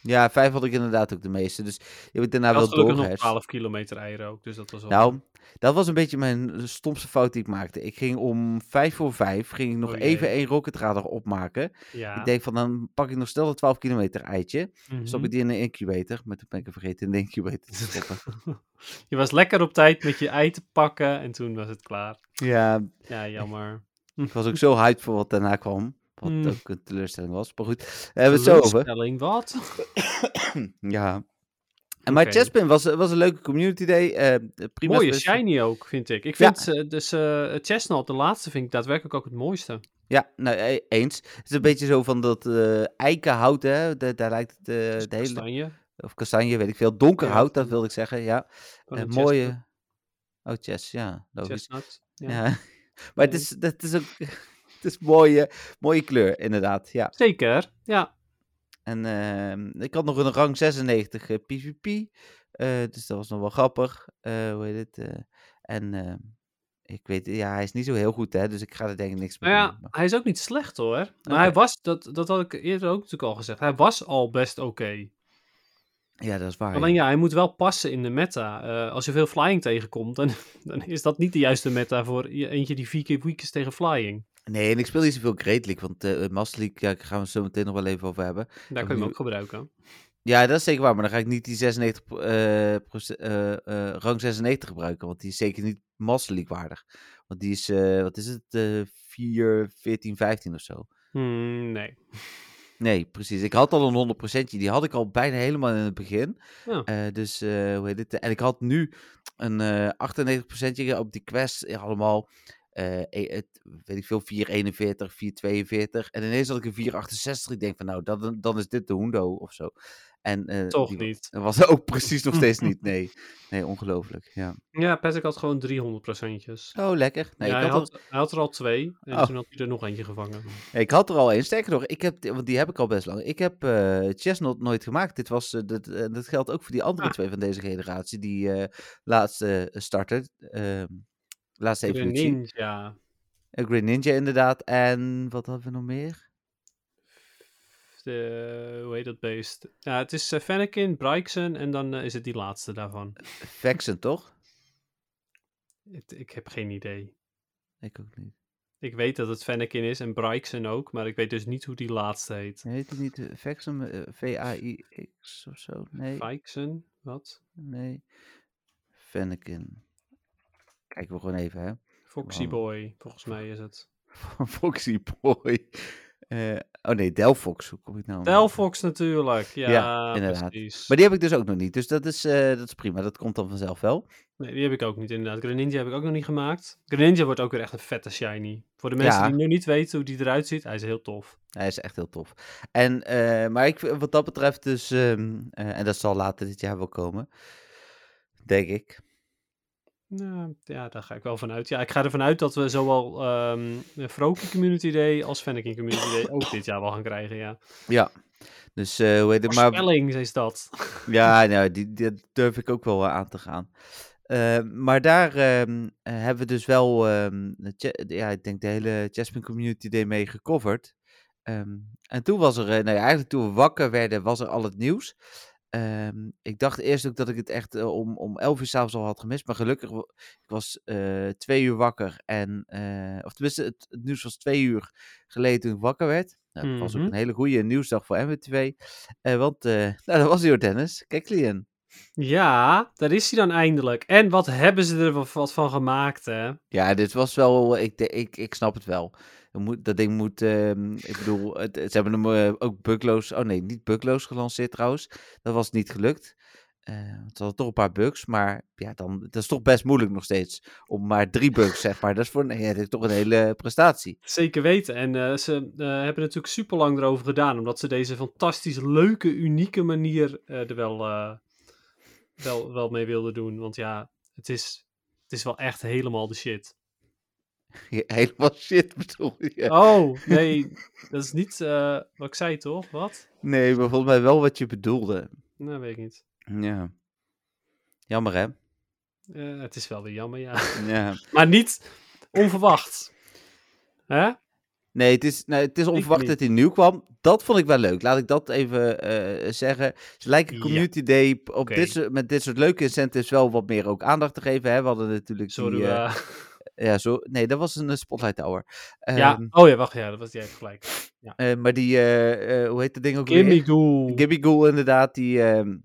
Speaker 1: ja, 5 had ik inderdaad ook de meeste. Dus je bent daarna
Speaker 2: Ik had
Speaker 1: wel
Speaker 2: gelukkig nog
Speaker 1: doorgeherst.
Speaker 2: 12 kilometer eieren ook. Dus dat was wel...
Speaker 1: dus Nou, dat was een beetje mijn stomste fout die ik maakte. Ik ging om vijf voor vijf, ging ik nog
Speaker 2: Oh jee.
Speaker 1: even één rocketradar opmaken.
Speaker 2: ja.
Speaker 1: Ik denk van, dan pak ik nog snel dat 12 kilometer eitje.
Speaker 2: Mhm.
Speaker 1: Stop ik die in een incubator, maar toen ben ik er vergeten in de incubator te stoppen.
Speaker 2: Je was lekker op tijd met je ei te pakken en toen was het klaar.
Speaker 1: ja,
Speaker 2: Ja, jammer.
Speaker 1: ik was ook zo hyped voor wat daarna kwam. Wat
Speaker 2: Mm.
Speaker 1: ook een teleurstelling was, maar goed. Daar hebben we het zo over.
Speaker 2: Teleurstelling, wat?
Speaker 1: Ja. En maar
Speaker 2: Oké.
Speaker 1: Chespin was, was een leuke community day. eh prima
Speaker 2: Mooie
Speaker 1: festival.
Speaker 2: shiny ook, vind ik. Ik
Speaker 1: Ja.
Speaker 2: vind eh, dus eh, Chestnut, de laatste, vind ik daadwerkelijk ook het mooiste.
Speaker 1: Ja, nou, e- eens. Het is een beetje zo van dat eh eikenhout, hè. Daar, daar lijkt het eh,
Speaker 2: Dus
Speaker 1: de hele...
Speaker 2: kastanje.
Speaker 1: Of kastanje, weet ik veel. Donker
Speaker 2: Ja,
Speaker 1: hout, dat wilde ik zeggen, ja.
Speaker 2: van
Speaker 1: Eh,
Speaker 2: een chestnut-
Speaker 1: mooie... Oh, chess, ja, logisch.
Speaker 2: Chestnut.
Speaker 1: Ja.
Speaker 2: Ja.
Speaker 1: Maar het
Speaker 2: Nee.
Speaker 1: is, dat is ook... Het is mooie, mooie kleur, inderdaad, ja.
Speaker 2: Zeker, ja.
Speaker 1: En ehm, ik had nog een rang 96 eh, PvP. eh, dus dat was nog wel grappig. Eh, hoe heet het? eh, en ehm, ik weet... Ja, hij is niet zo heel goed, hè. Dus ik ga er denk ik niks mee
Speaker 2: Nou ja,
Speaker 1: doen. maar-
Speaker 2: hij is ook niet slecht hoor. Maar
Speaker 1: Oké.
Speaker 2: hij was, dat, dat had ik eerder ook natuurlijk al gezegd, hij was al best oké.
Speaker 1: Ah, Ja, dat is waar.
Speaker 2: Alleen ja, hij moet wel passen in de meta. Eh, als je veel flying tegenkomt, dan, dan is dat niet de juiste meta voor je- eentje die vier keer weak is tegen flying.
Speaker 1: Nee, en ik speel niet zoveel Great League, want eh Master League ja, daar gaan we het zo meteen nog wel even over hebben.
Speaker 2: Daar
Speaker 1: Ook
Speaker 2: kun je
Speaker 1: nu-
Speaker 2: hem ook gebruiken.
Speaker 1: Ja, dat is zeker waar. Maar dan ga ik niet die 96, pro- eh, proce- eh, eh, rang 96 gebruiken. Want die is zeker niet Master League waardig. Want die is, eh, wat is het, eh 4, 14, 15 of zo.
Speaker 2: Hmm, nee.
Speaker 1: Nee, precies. Ik had al een 100%. Die had ik al bijna helemaal in het begin.
Speaker 2: Ja.
Speaker 1: Eh, dus eh, hoe heet het? En ik had nu een eh 98% op die quest. eh, Allemaal, eh, eh, het, weet ik veel, 441, 442. En ineens had ik een 468. Ik denk van, nou, dan, dan is dit de Hundo of zo. En, eh,
Speaker 2: Toch
Speaker 1: die-
Speaker 2: niet.
Speaker 1: dat was ook precies nog steeds niet. Nee, nee ongelooflijk. Ja.
Speaker 2: Ja, Patrick had gewoon 300 procentjes.
Speaker 1: Oh, lekker. Nee,
Speaker 2: ja,
Speaker 1: ik,
Speaker 2: hij,
Speaker 1: had
Speaker 2: had, hij had er al twee en
Speaker 1: Oh.
Speaker 2: toen had hij er nog eentje gevangen.
Speaker 1: er, ik had er al één. Sterker nog, ik heb, want die heb ik al best lang. Ik heb eh, Chestnut nooit gemaakt. Dit was, eh, dat, eh, dat geldt ook voor die andere
Speaker 2: Ah.
Speaker 1: twee van deze generatie. Die eh, laatste starter. ehm, laatste
Speaker 2: De
Speaker 1: evolutie. Green
Speaker 2: ninja.
Speaker 1: Ninja. Green Ninja inderdaad. En wat hadden we nog meer?
Speaker 2: De, hoe heet dat beest? Ja, het is eh, Fennekin, Bryxen en dan eh, is het die laatste daarvan.
Speaker 1: Vexen, toch?
Speaker 2: Het- ik heb geen idee.
Speaker 1: Ik ook niet.
Speaker 2: Ik weet dat het Fennekin is en Bryxen ook, maar ik weet dus niet hoe die laatste heet.
Speaker 1: Heet het niet eh, Vexen? eh, V-A-I-X of zo? Nee.
Speaker 2: Bryxen? Wat?
Speaker 1: Nee. Fennekin. Kijken we gewoon even, hè.
Speaker 2: Foxy
Speaker 1: Wow.
Speaker 2: Boy, volgens mij is het.
Speaker 1: Foxy Boy. Eh, oh nee, Delphox, hoe kom ik nou?
Speaker 2: Delphox natuurlijk. Ja,
Speaker 1: Ja, inderdaad.
Speaker 2: precies.
Speaker 1: Maar die heb ik dus ook nog niet, dus dat is, eh, dat is prima. Dat komt dan vanzelf wel.
Speaker 2: Nee, die heb ik ook niet inderdaad. Greninja heb ik ook nog niet gemaakt. Greninja wordt ook weer echt een vette shiny. Voor de mensen
Speaker 1: Ja.
Speaker 2: die nu niet weten hoe die eruit ziet, hij is heel tof.
Speaker 1: Hij is echt heel tof. En, eh, maar ik, vind- wat dat betreft dus, ehm, eh, en dat zal later dit jaar wel komen, denk ik.
Speaker 2: Nou, ja, daar ga ik wel vanuit. Ja, ik ga ervan uit dat we zowel ehm de Froakie Community Day als Fennekin Community Day ook dit jaar wel gaan krijgen, ja.
Speaker 1: Ja, dus eh hoe heet het? Maar,
Speaker 2: Voorspelling is dat.
Speaker 1: ja, nou, die, die durf ik ook wel eh, aan te gaan. Eh, maar daar ehm, eh, hebben we dus wel, ehm, de Ch- ja, ik denk de hele Jasmine Community Day mee gecoverd. Ehm, en toen was er, eh, nou ja, eigenlijk toen we wakker werden, was er al het nieuws. Ehm, ik dacht eerst ook dat ik het echt eh, om, om 11 uur s'avonds al had gemist. Maar gelukkig, wa- ik was eh, twee uur wakker. En, eh, of tenminste, het, het nieuws was twee uur geleden toen ik wakker werd. Nou, dat was ook
Speaker 2: Mhm.
Speaker 1: een hele goede nieuwsdag voor MWTV. Eh, want, eh, nou, dat was hij hoor, Dennis. Kijk, Lien.
Speaker 2: Ja, daar is hij dan eindelijk. En wat hebben ze er wa- wat van gemaakt, hè?
Speaker 1: Ja, dit was wel. Ik, de- ik, ik snap het wel. Er Moet, dat ding moet. ehm, ik bedoel, het, het- ze hebben hem eh, ook bugloos. Oh nee, niet bugloos gelanceerd trouwens. Dat was niet gelukt. Eh het hadden toch een paar bugs. Maar ja, dan, dat is toch best moeilijk nog steeds. Om maar drie bugs, zeg maar. Dat is, voor, een- ja, dat is toch een hele prestatie.
Speaker 2: Zeker weten. En eh, ze eh, hebben natuurlijk super lang erover gedaan, omdat ze deze fantastisch leuke, unieke manier eh, er wel, eh, wel, wel mee wilden doen. Want ja, het is, het is wel echt helemaal de shit.
Speaker 1: Ja, Helemaal shit bedoel je.
Speaker 2: Oh, nee, dat is niet eh, wat ik zei, toch? Wat?
Speaker 1: Nee, maar volgens mij wel wat je bedoelde.
Speaker 2: Nou, weet ik niet.
Speaker 1: Ja. Jammer hè?
Speaker 2: Eh, het is wel weer jammer, ja.
Speaker 1: Ja.
Speaker 2: Maar niet onverwacht. Hè?
Speaker 1: Nee, het is, nou, het is onverwacht
Speaker 2: niet.
Speaker 1: dat hij nieuw kwam. Dat vond ik wel leuk. Laat ik dat even eh, zeggen. Ze lijken
Speaker 2: Ja.
Speaker 1: Community Day op
Speaker 2: Oké.
Speaker 1: dit soort, met dit soort leuke incentives wel wat meer ook aandacht te geven. Hè? We hadden natuurlijk
Speaker 2: Sorry.
Speaker 1: die... eh,
Speaker 2: eh,
Speaker 1: ja, zo, nee, dat was een eh, Spotlight Hour.
Speaker 2: ja.
Speaker 1: Ehm,
Speaker 2: Oh ja, wacht, ja, dat was jij hebt gelijk.
Speaker 1: eh, maar die, eh, eh, hoe heet dat ding ook
Speaker 2: Gimme
Speaker 1: weer?
Speaker 2: Ghoul.
Speaker 1: Gibby Ghoul inderdaad. Die, ehm,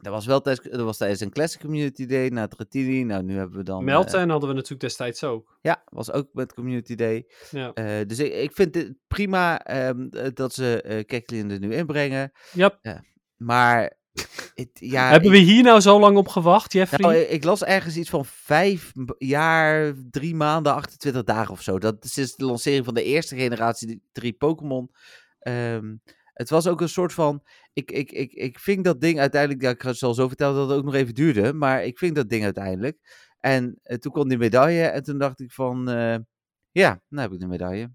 Speaker 1: dat was wel tijdens, dat was tijdens een Classic Community Day. Na Tratini. Nou, nu hebben we dan... eh,
Speaker 2: Melten hadden we natuurlijk destijds ook.
Speaker 1: ja, was ook met Community Day.
Speaker 2: Ja.
Speaker 1: Eh, dus ik, ik vind het prima ehm, eh, dat ze eh Keklin er nu inbrengen.
Speaker 2: Yep.
Speaker 1: Maar het, ja,
Speaker 2: Hebben
Speaker 1: ik,
Speaker 2: we hier nou zo lang op gewacht, Jeffrey?
Speaker 1: nou, ik las ergens iets van vijf m- jaar, drie maanden, 28 dagen of zo. Dat sinds de lancering van de eerste generatie die drie Pokémon. Ehm, het was ook een soort van. Ik, ik, ik, ik ving dat ding uiteindelijk. Ja, ik ga- zal zo vertellen dat het ook nog even duurde. Maar ik ving dat ding uiteindelijk. En eh, toen kwam die medaille. En toen dacht ik van. eh, ja, nou heb ik de medaille.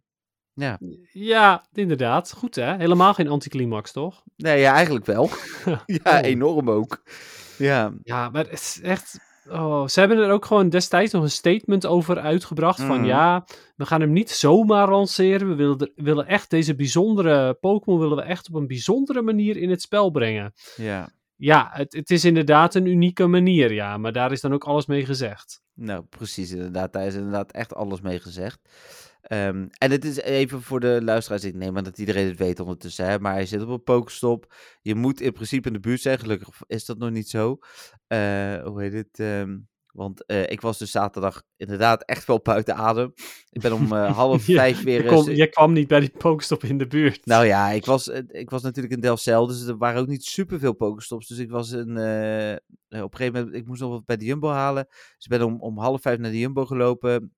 Speaker 2: Ja, inderdaad. Goed hè? Helemaal geen anticlimax, toch?
Speaker 1: Nee, ja, eigenlijk wel. ja,
Speaker 2: Oh.
Speaker 1: enorm ook. Ja.
Speaker 2: Ja, maar het is echt... Oh, ze hebben er ook gewoon destijds nog een statement over uitgebracht. Van
Speaker 1: Mhm.
Speaker 2: ja, we gaan hem niet zomaar lanceren. We willen, er- willen echt deze bijzondere Pokémon... willen we echt op een bijzondere manier in het spel brengen.
Speaker 1: Ja.
Speaker 2: Ja, het, het is inderdaad een unieke manier, ja. Maar daar is dan ook alles mee gezegd.
Speaker 1: Nou, precies inderdaad. Daar is inderdaad echt alles mee gezegd. Ehm, en het is even voor de luisteraars. Ik neem aan dat iedereen het weet ondertussen. Hè? Maar hij zit op een pokestop. Je moet in principe in de buurt zijn. Gelukkig is dat nog niet zo. Eh, hoe heet het? Ehm, want eh, ik was dus zaterdag inderdaad echt wel buiten adem. Ik ben om eh, half
Speaker 2: Ja,
Speaker 1: vijf weer...
Speaker 2: Je,
Speaker 1: eh,
Speaker 2: kon-
Speaker 1: stu-
Speaker 2: je kwam niet bij die Pokestop in de buurt.
Speaker 1: nou ja, ik was, eh, ik was natuurlijk in Delfzijl, dus er waren ook niet superveel pokestops. Dus ik was een, eh, eh, op een gegeven moment, ik moest nog wat bij de Jumbo halen. Dus ik ben om, om half vijf naar de Jumbo gelopen.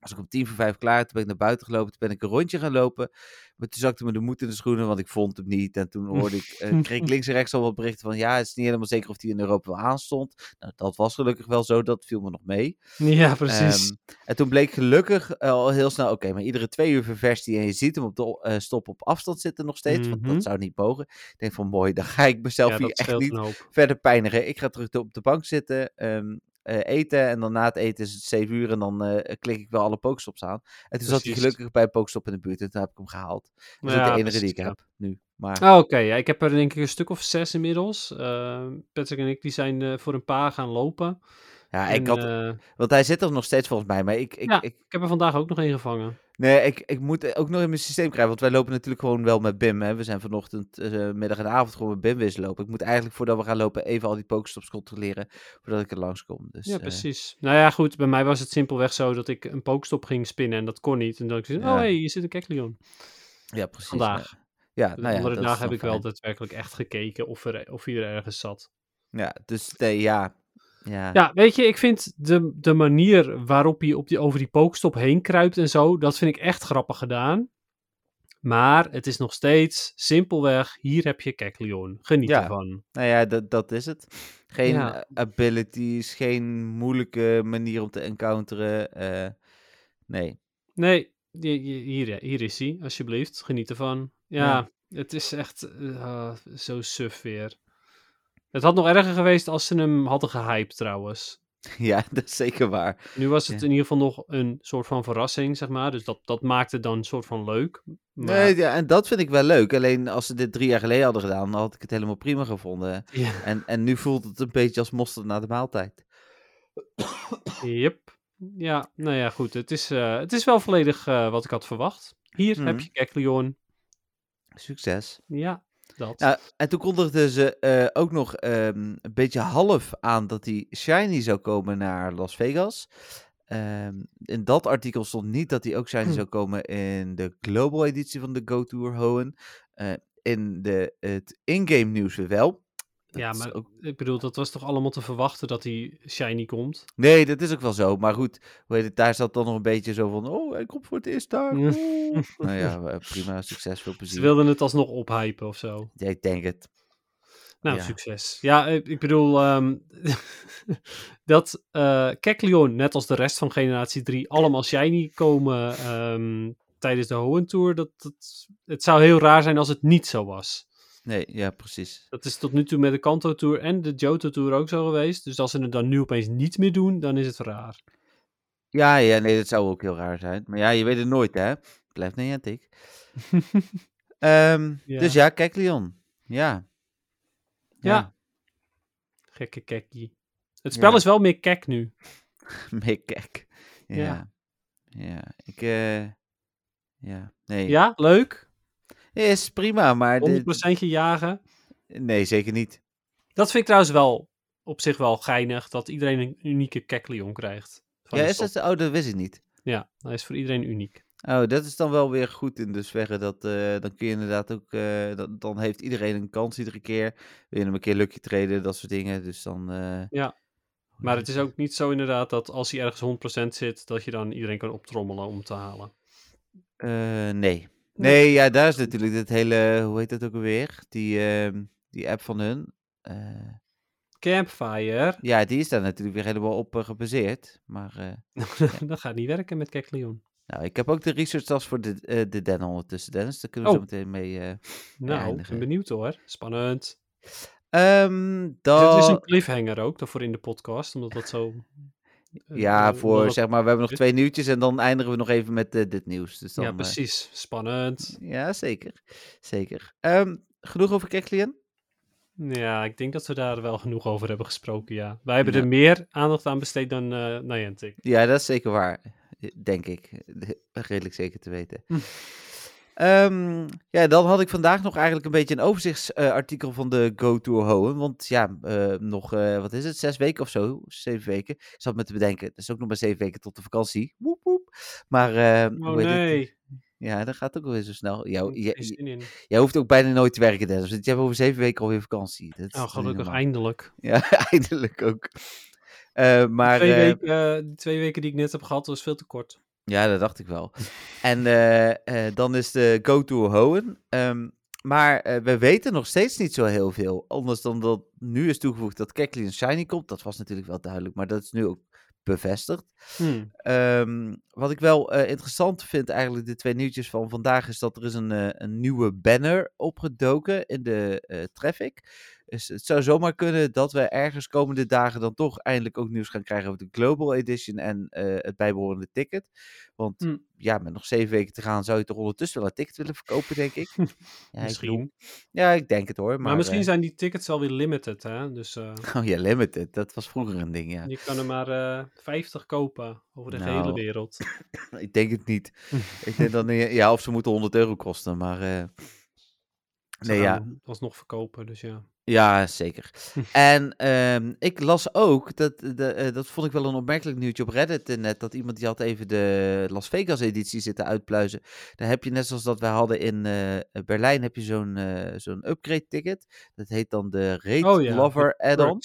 Speaker 1: Was ik om tien voor vijf klaar, toen ben ik naar buiten gelopen, toen ben ik een rondje gaan lopen. Maar toen zakte me de moed in de schoenen, want ik vond hem niet. En toen hoorde ik, eh, kreeg ik links en rechts al wat berichten van, ja, het is niet helemaal zeker of die in Europa wel aanstond. Nou, dat was gelukkig wel zo, dat viel me nog mee.
Speaker 2: Ja, precies.
Speaker 1: Ehm, en toen bleek gelukkig eh, al heel snel, oké, maar iedere twee uur ververst hij en je ziet hem op de o- eh, stop op afstand zitten nog steeds, want
Speaker 2: Mhm.
Speaker 1: dat zou niet mogen. Ik denk van mooi, dan ga ik mezelf
Speaker 2: ja,
Speaker 1: hier
Speaker 2: dat
Speaker 1: echt
Speaker 2: scheelt
Speaker 1: niet
Speaker 2: een hoop.
Speaker 1: verder pijnigen. Ik ga terug op de bank zitten, ehm, eh, eten en dan na het eten is het zeven uur en dan eh, klik ik wel alle pokestops aan. En toen zat hij
Speaker 2: Precies.
Speaker 1: gelukkig bij een pokestop in de buurt en toen heb ik hem gehaald. Dat is ook
Speaker 2: Ja,
Speaker 1: de enige
Speaker 2: precies,
Speaker 1: die ik
Speaker 2: ja.
Speaker 1: heb nu. Maar
Speaker 2: Ah, Oké, ja, ik heb er denk ik een stuk of zes inmiddels. Eh, Patrick en ik die zijn eh, voor een paar gaan lopen.
Speaker 1: ja, ik
Speaker 2: En,
Speaker 1: had,
Speaker 2: eh,
Speaker 1: want hij zit er nog steeds volgens mij, maar ik, ik,
Speaker 2: Ja.
Speaker 1: ik,
Speaker 2: ik heb er vandaag ook nog één gevangen.
Speaker 1: Nee, ik, ik moet ook nog in mijn systeem krijgen. Want wij lopen natuurlijk gewoon wel met BIM. Hè. We zijn vanochtend, eh, middag en avond gewoon met BIM wisselen lopen. Ik moet eigenlijk voordat we gaan lopen even al die pokestops controleren. Voordat ik er langskom. Dus,
Speaker 2: Ja,
Speaker 1: eh,
Speaker 2: precies. Nou ja, goed, bij mij was het simpelweg zo dat ik een pokestop ging spinnen en dat kon niet. En dan dacht ik,
Speaker 1: Ja.
Speaker 2: oh hé, hey, hier zit een Kekleon.
Speaker 1: Ja, precies.
Speaker 2: Vandaag. Dus
Speaker 1: ja. Ja, nou ja,
Speaker 2: andere
Speaker 1: dat is
Speaker 2: dagen heb
Speaker 1: dan
Speaker 2: ik wel
Speaker 1: fijn.
Speaker 2: daadwerkelijk echt gekeken of, er, of iedereen ergens zat.
Speaker 1: Ja, dus nee, ja. Ja,
Speaker 2: Ja, weet je, ik vind de, de manier waarop hij op die, over die pokestop heen kruipt en zo, dat vind ik echt grappig gedaan. Maar het is nog steeds simpelweg, hier heb je Kekleon. Geniet
Speaker 1: Ja.
Speaker 2: ervan.
Speaker 1: nou ja, dat, dat is het. Geen
Speaker 2: Ja.
Speaker 1: eh, abilities, geen moeilijke manier om te encounteren. eh, nee.
Speaker 2: Nee, je- je- hier, hier is hij, alsjeblieft. Geniet ervan. Ja, het is echt eh, zo suf weer. Het had nog erger geweest als ze hem hadden gehyped trouwens.
Speaker 1: Ja, dat is zeker waar.
Speaker 2: Nu was het
Speaker 1: Ja.
Speaker 2: in ieder geval nog een soort van verrassing, zeg maar. Dus dat, dat maakte het dan een soort van leuk. Maar,
Speaker 1: Nee, ja, en dat vind ik wel leuk. Alleen als ze dit drie jaar geleden hadden gedaan, dan had ik het helemaal prima gevonden.
Speaker 2: Ja,
Speaker 1: En, en nu voelt het een beetje als mosterd na de maaltijd.
Speaker 2: yep. ja, nou ja, goed. Het is, eh, het is wel volledig eh, wat ik had verwacht. Hier
Speaker 1: Mhm.
Speaker 2: heb je Kekleon.
Speaker 1: Succes.
Speaker 2: Ja, dat.
Speaker 1: Nou, en toen kondigden ze eh, ook nog ehm, een beetje half aan dat die Shiny zou komen naar Las Vegas. Ehm, in dat artikel stond niet dat die ook Shiny
Speaker 2: Hm.
Speaker 1: zou komen in de global editie van de Go Tour Hoenn. Eh, in de, het in-game nieuws weer wel. Dat
Speaker 2: ja,
Speaker 1: is
Speaker 2: maar
Speaker 1: ook-
Speaker 2: ik bedoel, dat was toch allemaal te verwachten dat die shiny komt?
Speaker 1: Nee, dat is ook wel zo. Maar goed, hoe heet het, daar zat dan nog een beetje zo van... Oh, hij komt voor het eerst daar.
Speaker 2: Mm.
Speaker 1: oeh." nou ja, eh, prima. Succes, veel
Speaker 2: Ze
Speaker 1: plezier.
Speaker 2: wilden het alsnog ophypen of zo.
Speaker 1: Ja, ik denk het.
Speaker 2: Nou,
Speaker 1: Ja.
Speaker 2: succes. Ja, eh, ik bedoel, ehm, dat eh Kekleon, net als de rest van generatie 3, allemaal shiny komen ehm, tijdens de Hoenn Tour. Dat, dat, het zou heel raar zijn als het niet zo was.
Speaker 1: Nee, ja, precies.
Speaker 2: Dat is tot nu toe met de Kanto Tour en de Johto Tour ook zo geweest. Dus als ze het dan nu opeens niet meer doen, dan is het raar.
Speaker 1: Ja, ja, nee, dat zou ook heel raar zijn. Maar ja, je weet het nooit, hè? Blijft Niantic. Ehm
Speaker 2: Ja.
Speaker 1: Dus ja, kijk, Leon. Ja.
Speaker 2: Ja. Gekke kekkie. Het spel
Speaker 1: Ja.
Speaker 2: is wel meer kek nu.
Speaker 1: Meer kijk. Ja.
Speaker 2: Ja.
Speaker 1: ja. Ik, eh, ja. Nee.
Speaker 2: Ja, leuk.
Speaker 1: Is prima, maar...
Speaker 2: 100%
Speaker 1: Dit...
Speaker 2: jagen.
Speaker 1: Nee, zeker niet.
Speaker 2: Dat vind ik trouwens wel op zich wel geinig dat iedereen een unieke Kekleon krijgt. van
Speaker 1: Ja,
Speaker 2: de
Speaker 1: is
Speaker 2: stad.
Speaker 1: dat... Oh, dat wist ik niet.
Speaker 2: Ja, hij is voor iedereen uniek.
Speaker 1: Oh, dat is dan wel weer goed in dusverre. Dat, eh, dan kun je inderdaad ook... eh, dan, dan heeft iedereen een kans iedere keer. Wil je hem een keer lucky traden, dat soort dingen. Dus dan... eh,
Speaker 2: Ja. Maar het is ook niet zo inderdaad dat als hij ergens 100% zit, dat je dan iedereen kan optrommelen om te halen.
Speaker 1: Eh, nee. Nee, ja, daar is natuurlijk dit hele, hoe heet dat ook alweer? Die, ehm, die app van hun. Eh,
Speaker 2: Campfire,
Speaker 1: ja, die is daar natuurlijk weer helemaal op eh, gebaseerd. Maar eh,
Speaker 2: dat gaat niet werken met Kekleon.
Speaker 1: nou, ik heb ook de research tas voor de, eh, de Den ondertussen, Dennis. Daar kunnen we
Speaker 2: Oh.
Speaker 1: zo meteen mee. eh.
Speaker 2: Nou, ik
Speaker 1: eindigen.
Speaker 2: ben benieuwd hoor. Spannend.
Speaker 1: Ehm,
Speaker 2: Dus
Speaker 1: dan...
Speaker 2: het is een cliffhanger ook, daarvoor in de podcast, omdat dat zo... eh,
Speaker 1: Ja,
Speaker 2: eh, omdat
Speaker 1: voor
Speaker 2: dat-
Speaker 1: zeg maar, we hebben nog
Speaker 2: dit-
Speaker 1: twee nieuwtjes en dan eindigen we nog even met eh, dit nieuws. Dus dan,
Speaker 2: Ja,
Speaker 1: eh,
Speaker 2: precies. Spannend.
Speaker 1: ja, zeker. Zeker. Ehm, genoeg over Keklian?
Speaker 2: Ja, ik denk dat we daar wel genoeg over hebben gesproken, ja. Wij hebben
Speaker 1: Ja.
Speaker 2: er meer aandacht aan besteed dan eh Niantic.
Speaker 1: Ja, dat is zeker waar. eh, Denk ik. Redelijk zeker te weten.
Speaker 2: Hm.
Speaker 1: Ehm, ja, dan had ik vandaag nog eigenlijk een beetje een overzichtsartikel van de Go Tour Hoen. Want ja, eh, nog, eh, wat is het, zes weken of zo? Zeven weken. Ik zat me te bedenken, het is ook nog maar zeven weken tot de vakantie. Woep, woep. Maar, eh,
Speaker 2: Oh
Speaker 1: hoe heet het?
Speaker 2: nee,
Speaker 1: Ja, dat gaat ook weer zo snel. Jou,
Speaker 2: Ik
Speaker 1: jij-
Speaker 2: heb geen zin in. Oh,
Speaker 1: jij hoeft ook bijna nooit te werken, Dennis. Want je hebt over zeven weken alweer vakantie. Dat is
Speaker 2: Oh,
Speaker 1: toch niet
Speaker 2: gelukkig,
Speaker 1: normaal?
Speaker 2: eindelijk.
Speaker 1: Ja, eindelijk ook. Eh, maar,
Speaker 2: twee,
Speaker 1: eh,
Speaker 2: weken, eh, die twee weken die ik net heb gehad, was veel te kort.
Speaker 1: Ja, dat dacht ik wel. en eh, eh, dan is de Go Tour Hoenn. Ehm, maar eh, we weten nog steeds niet zo heel veel. Anders dan dat nu is toegevoegd dat Kekley een Shiny komt. Dat was natuurlijk wel duidelijk, maar dat is nu ook bevestigd.
Speaker 2: Hmm.
Speaker 1: Ehm, wat ik wel eh, interessant vind, eigenlijk de twee nieuwtjes van vandaag, is dat er is een, eh, een nieuwe banner opgedoken in de eh, traffic. Dus het zou zomaar kunnen dat we ergens komende dagen dan toch eindelijk ook nieuws gaan krijgen over de Global Edition en eh, het bijbehorende ticket. Want
Speaker 2: Hmm.
Speaker 1: ja, met nog zeven weken te gaan zou je toch ondertussen wel een ticket willen verkopen, denk ik. Ja, ik bedoel-
Speaker 2: Misschien.
Speaker 1: ja, ik denk het hoor. Maar,
Speaker 2: Maar, misschien
Speaker 1: eh,
Speaker 2: zijn die tickets wel weer limited, hè? Dus eh,
Speaker 1: Oh ja, limited. Dat was vroeger een ding, ja.
Speaker 2: je kan er maar eh 50 kopen over de
Speaker 1: Nou.
Speaker 2: hele wereld.
Speaker 1: Ik denk het niet. ik denk dat, ja, of ze moeten 100 euro kosten, maar... eh,
Speaker 2: Ze
Speaker 1: Nee,
Speaker 2: gaan
Speaker 1: ja.
Speaker 2: hem alsnog verkopen, dus ja.
Speaker 1: Ja, zeker. en ehm, ik las ook, dat, de, eh, dat vond ik wel een opmerkelijk nieuwtje op Reddit eh, net, dat iemand die had even de Las Vegas editie zitten uitpluizen. Daar heb je net zoals dat wij hadden in eh, Berlijn, heb je zo'n eh, zo'n upgrade ticket. Dat heet dan de Rate
Speaker 2: Oh ja,
Speaker 1: Lover add-on.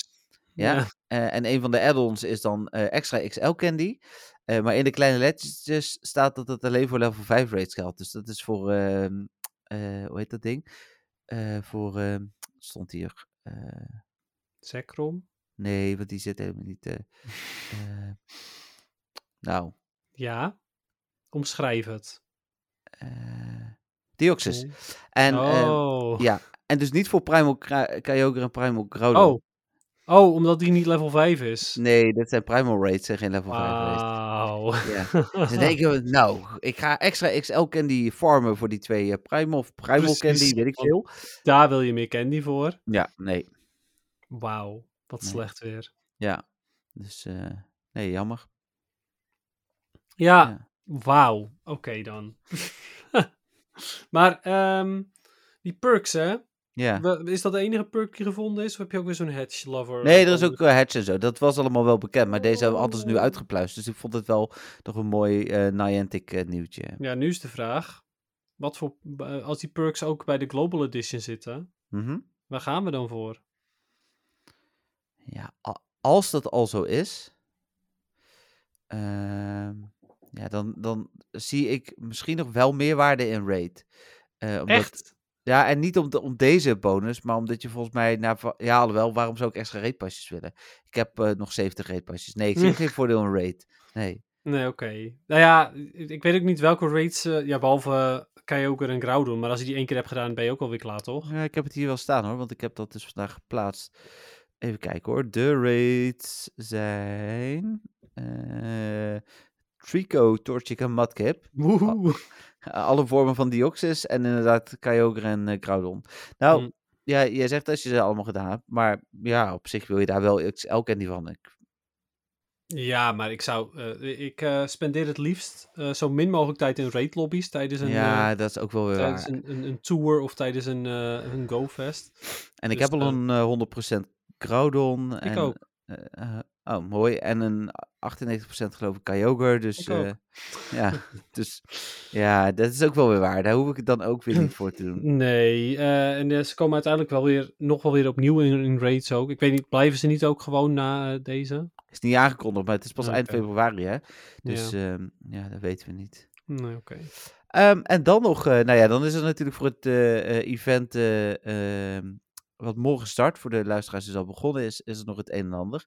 Speaker 1: Ja.
Speaker 2: Ja.
Speaker 1: Eh, en een van de add-ons is dan eh, extra XL candy. Eh, maar in de kleine lettertjes staat dat het alleen voor level 5 rates geldt. Dus dat is voor, ehm, eh, hoe heet dat ding? Eh, voor, ehm, stond hier, eh,
Speaker 2: Zekrom?
Speaker 1: nee, want die zit helemaal niet. eh, eh, nou,
Speaker 2: Ja. Omschrijf het.
Speaker 1: eh Deoxys.
Speaker 2: Cool.
Speaker 1: En, eh,
Speaker 2: oh.
Speaker 1: ja. en dus niet voor Primal Kra- Kyogre en Primal Groudon.
Speaker 2: oh. Oh, omdat die niet level 5 is.
Speaker 1: Nee, dat zijn Primal Raids en geen level 5 rates.
Speaker 2: Wauw.
Speaker 1: Ja. Dus dan denk je, nou, ik ga extra XL candy farmen voor die twee eh, Primal of Primal
Speaker 2: Precies,
Speaker 1: candy, weet ik
Speaker 2: want-
Speaker 1: veel.
Speaker 2: Daar wil je meer candy voor.
Speaker 1: Ja, nee.
Speaker 2: Wauw. Wat
Speaker 1: Nee.
Speaker 2: slecht weer.
Speaker 1: Ja. Dus, eh, nee, jammer.
Speaker 2: Ja,
Speaker 1: Ja.
Speaker 2: wauw. Oké dan. maar ehm, die perks, hè?
Speaker 1: Ja.
Speaker 2: Wa- Is dat de enige perk die gevonden is? Of heb je ook weer zo'n hedge lover?
Speaker 1: Nee, er is ook eh, Hatch en zo. Dat was allemaal wel bekend, maar deze hadden ze nu
Speaker 2: Oh.
Speaker 1: uitgepluist. Dus ik vond het wel nog een mooi eh Niantic eh, nieuwtje.
Speaker 2: Ja, nu is de vraag. Wat voor... eh, Als die perks ook bij de Global Edition zitten,
Speaker 1: Mhm.
Speaker 2: waar gaan we dan voor?
Speaker 1: Ja, a- als dat al zo is, ehm, ja, dan, dan zie ik misschien nog wel meerwaarde in Raid. Eh, omdat-
Speaker 2: Echt?
Speaker 1: Ja, en niet om, de, om deze bonus, maar omdat je volgens mij... Na, va- ja, alhoewel, waarom zou ik extra raidpasjes willen? Ik heb eh, nog 70 raidpasjes. Nee, ik zie geen voordeel in raid. Nee.
Speaker 2: Nee, oké. Nou ja, ik ik weet ook niet welke raids... eh, ja, behalve eh, Kyogre en Groudon. Maar als je die één keer hebt gedaan, ben je ook alweer klaar, toch?
Speaker 1: Oh, Ja, ik heb het hier wel staan hoor, want ik heb dat dus vandaag geplaatst. Even kijken hoor. De raids zijn... eh, Trico, Torchic en Mudkip.
Speaker 2: Woehoe.
Speaker 1: Uh, alle vormen van Dioxys en inderdaad Kyogre en eh, Groudon. Nou,
Speaker 2: Mm.
Speaker 1: ja, jij zegt dat je ze allemaal gedaan hebt, maar ja, op zich wil je daar wel XL candy van. Ik,
Speaker 2: Ja, maar ik zou... eh, ik eh, spendeer het liefst eh, zo min mogelijk tijd in raid lobby's tijdens een... eh,
Speaker 1: ja, dat is ook wel weer
Speaker 2: tijdens
Speaker 1: waar.
Speaker 2: een, een, een tour of tijdens een, eh een GoFest.
Speaker 1: En ik
Speaker 2: dus,
Speaker 1: heb al
Speaker 2: eh,
Speaker 1: een eh, 100% Groudon.
Speaker 2: Ik
Speaker 1: en,
Speaker 2: ook.
Speaker 1: eh, eh, oh, mooi. En een 98% geloof ik Kyogre, dus
Speaker 2: Ik ook.
Speaker 1: eh, ja, dus ja, dat is ook wel weer waar. Daar hoef ik het dan ook weer niet voor te doen.
Speaker 2: Nee, eh, en eh, ze komen uiteindelijk wel weer, nog wel weer opnieuw in, in raids ook. Ik weet niet, blijven ze niet ook gewoon na eh, deze?
Speaker 1: Is niet aangekondigd, maar het is pas eind
Speaker 2: Oké.
Speaker 1: februari, hè? Dus
Speaker 2: ja.
Speaker 1: ehm, ja, dat weten we niet.
Speaker 2: Nee, oké.
Speaker 1: Ehm, en dan nog, eh, nou ja, dan is er natuurlijk voor het eh, eh, event eh, ehm, wat morgen start, voor de luisteraars dus al begonnen is, is er nog het een en ander.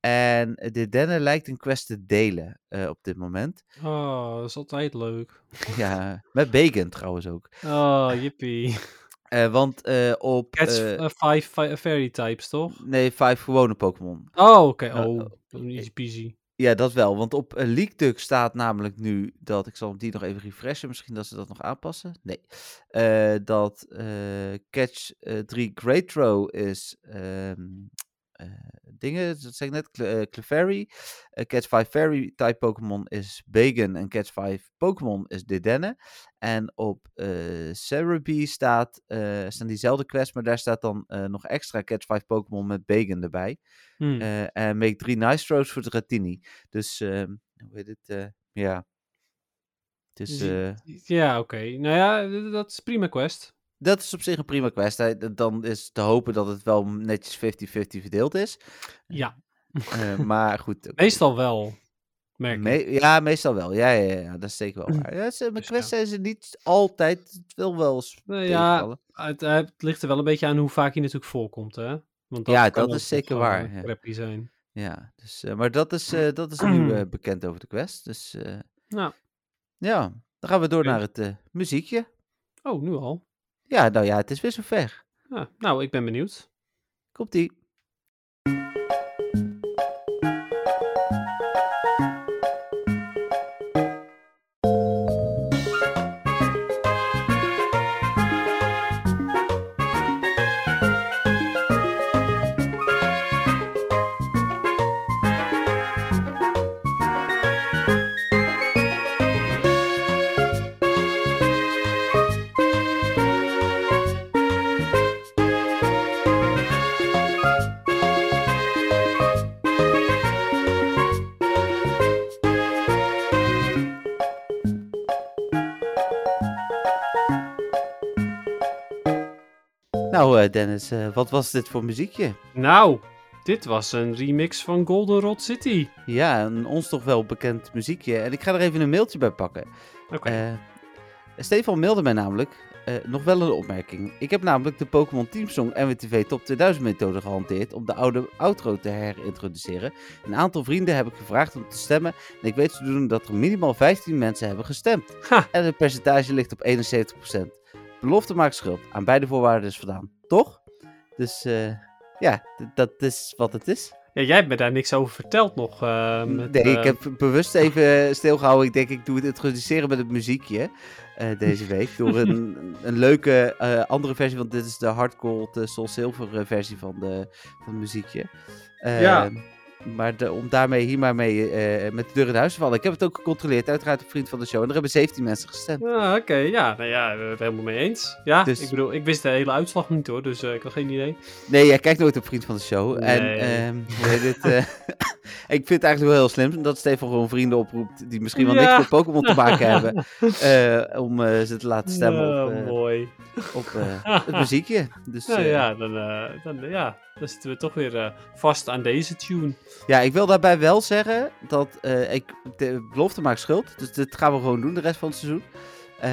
Speaker 1: En de Denne lijkt een quest te delen eh, op dit moment.
Speaker 2: Oh, dat is altijd leuk.
Speaker 1: ja, met Bacon trouwens ook.
Speaker 2: Oh, jippie.
Speaker 1: Eh, want eh, op...
Speaker 2: Cats
Speaker 1: eh,
Speaker 2: eh, five, fi- fairy types, toch?
Speaker 1: nee, vijf gewone Pokémon.
Speaker 2: Oh, oké.
Speaker 1: eh,
Speaker 2: Oh, dan easy peasy.
Speaker 1: Ja, dat wel. Want op eh, LeakDuck staat namelijk nu dat... Ik zal die nog even refreshen. Misschien dat ze dat nog aanpassen. Nee. Eh, dat eh, Catch eh, 3 Great Row is... ehm, eh, dingen, dat zei ik net, Cle eh, Clefairy. Eh, Catch 5 Fairy type Pokémon is Bagon. En Catch 5 Pokémon is Dedenne. En op eh Cerebi staat, eh, staan diezelfde quests, maar daar staat dan eh, nog extra Catch 5 Pokémon met Bagon erbij.
Speaker 2: Hmm.
Speaker 1: Eh, en make drie nice throws voor de Ratini. Dus, ehm, hoe heet het? eh, ja. Dus,
Speaker 2: Die-
Speaker 1: eh,
Speaker 2: ja, oké. Nou ja, d- dat is prima quest.
Speaker 1: dat is op zich een prima quest. Hè. D- Dan is te hopen dat het wel netjes 50-50 verdeeld is.
Speaker 2: Ja,
Speaker 1: Eh, maar goed. oké.
Speaker 2: meestal wel. Merk ik. Eh,
Speaker 1: Me- ja, meestal wel. Ja, ja, ja, ja, dat is zeker wel waar. Ja, ze, mijn
Speaker 2: Dus
Speaker 1: quests
Speaker 2: ja.
Speaker 1: zijn ze niet altijd. Het wil wel eens
Speaker 2: Nou ja,
Speaker 1: tegenvallen.
Speaker 2: Het, eh, het ligt er wel een beetje aan hoe vaak hij natuurlijk voorkomt, hè? Want
Speaker 1: Ja,
Speaker 2: kan
Speaker 1: dat
Speaker 2: ook
Speaker 1: is
Speaker 2: nog
Speaker 1: zeker
Speaker 2: gewoon,
Speaker 1: waar,
Speaker 2: eh,
Speaker 1: ja.
Speaker 2: crappy zijn.
Speaker 1: Ja, dus, eh, maar dat is, eh, dat is nu eh, bekend over de quest. Dus eh,
Speaker 2: Nou,
Speaker 1: ja, dan gaan we door
Speaker 2: Oké.
Speaker 1: naar het eh, muziekje.
Speaker 2: oh, nu al.
Speaker 1: Ja, nou ja, het is weer zover.
Speaker 2: Ja, nou, ik ben benieuwd.
Speaker 1: Komt-ie. Nou eh, Dennis, eh, wat was dit voor muziekje?
Speaker 2: Nou, dit was een remix van Golden Rod City.
Speaker 1: Ja, een ons toch wel bekend muziekje. En ik ga er even een mailtje bij pakken.
Speaker 2: Oké.
Speaker 1: Eh, Stefan mailde mij namelijk eh, nog wel een opmerking. Ik heb namelijk de Pokémon Teamsong NWTV Top 2000 methode gehanteerd om de oude outro te herintroduceren. Een aantal vrienden heb ik gevraagd om te stemmen en ik weet zodoende dat er minimaal 15 mensen hebben gestemd.
Speaker 2: Ha.
Speaker 1: En het percentage ligt op 71%. Belofte maakt schuld. Aan beide voorwaarden is voldaan. Toch? Dus eh, ja, d- dat is wat het is.
Speaker 2: Ja, jij hebt me daar niks over verteld nog. eh, met,
Speaker 1: nee,
Speaker 2: eh,
Speaker 1: ik heb bewust even eh, stilgehouden. Ik denk, ik doe het introduceren met het muziekje eh, deze week. Door een, een leuke eh, andere versie, want dit is de Hard Gold eh, Soul Silver eh, versie van, de, van het muziekje. Eh,
Speaker 2: Ja.
Speaker 1: Maar de- om daarmee hier maar mee eh, met de deur in huis te vallen. Ik heb het ook gecontroleerd, uiteraard op Vriend van de Show. En er hebben 17 mensen gestemd.
Speaker 2: Ah, Oké, ja, nou ja, we zijn het helemaal mee eens. Ja,
Speaker 1: Dus-
Speaker 2: ik bedoel, ik wist de hele uitslag niet hoor, dus eh, ik had geen idee.
Speaker 1: Nee, jij kijkt nooit op Vriend van de Show. En
Speaker 2: Nee.
Speaker 1: ehm, hoe heet het? eh, ik vind het eigenlijk wel heel slim dat Stefan gewoon vrienden oproept die misschien wel niks
Speaker 2: Ja.
Speaker 1: met Pokémon te maken hebben. eh, om eh, ze te laten stemmen op,
Speaker 2: Ja,
Speaker 1: eh,
Speaker 2: Nou, mooi.
Speaker 1: op eh, het muziekje. Dus,
Speaker 2: Nou
Speaker 1: eh, ja.
Speaker 2: ja, dan, eh, dan, eh, ja, dan zitten we toch weer eh, vast aan deze tune.
Speaker 1: ik wil daarbij wel zeggen dat eh, ik de belofte maakt schuld. Dus dit gaan we gewoon doen de rest van het seizoen. Eh,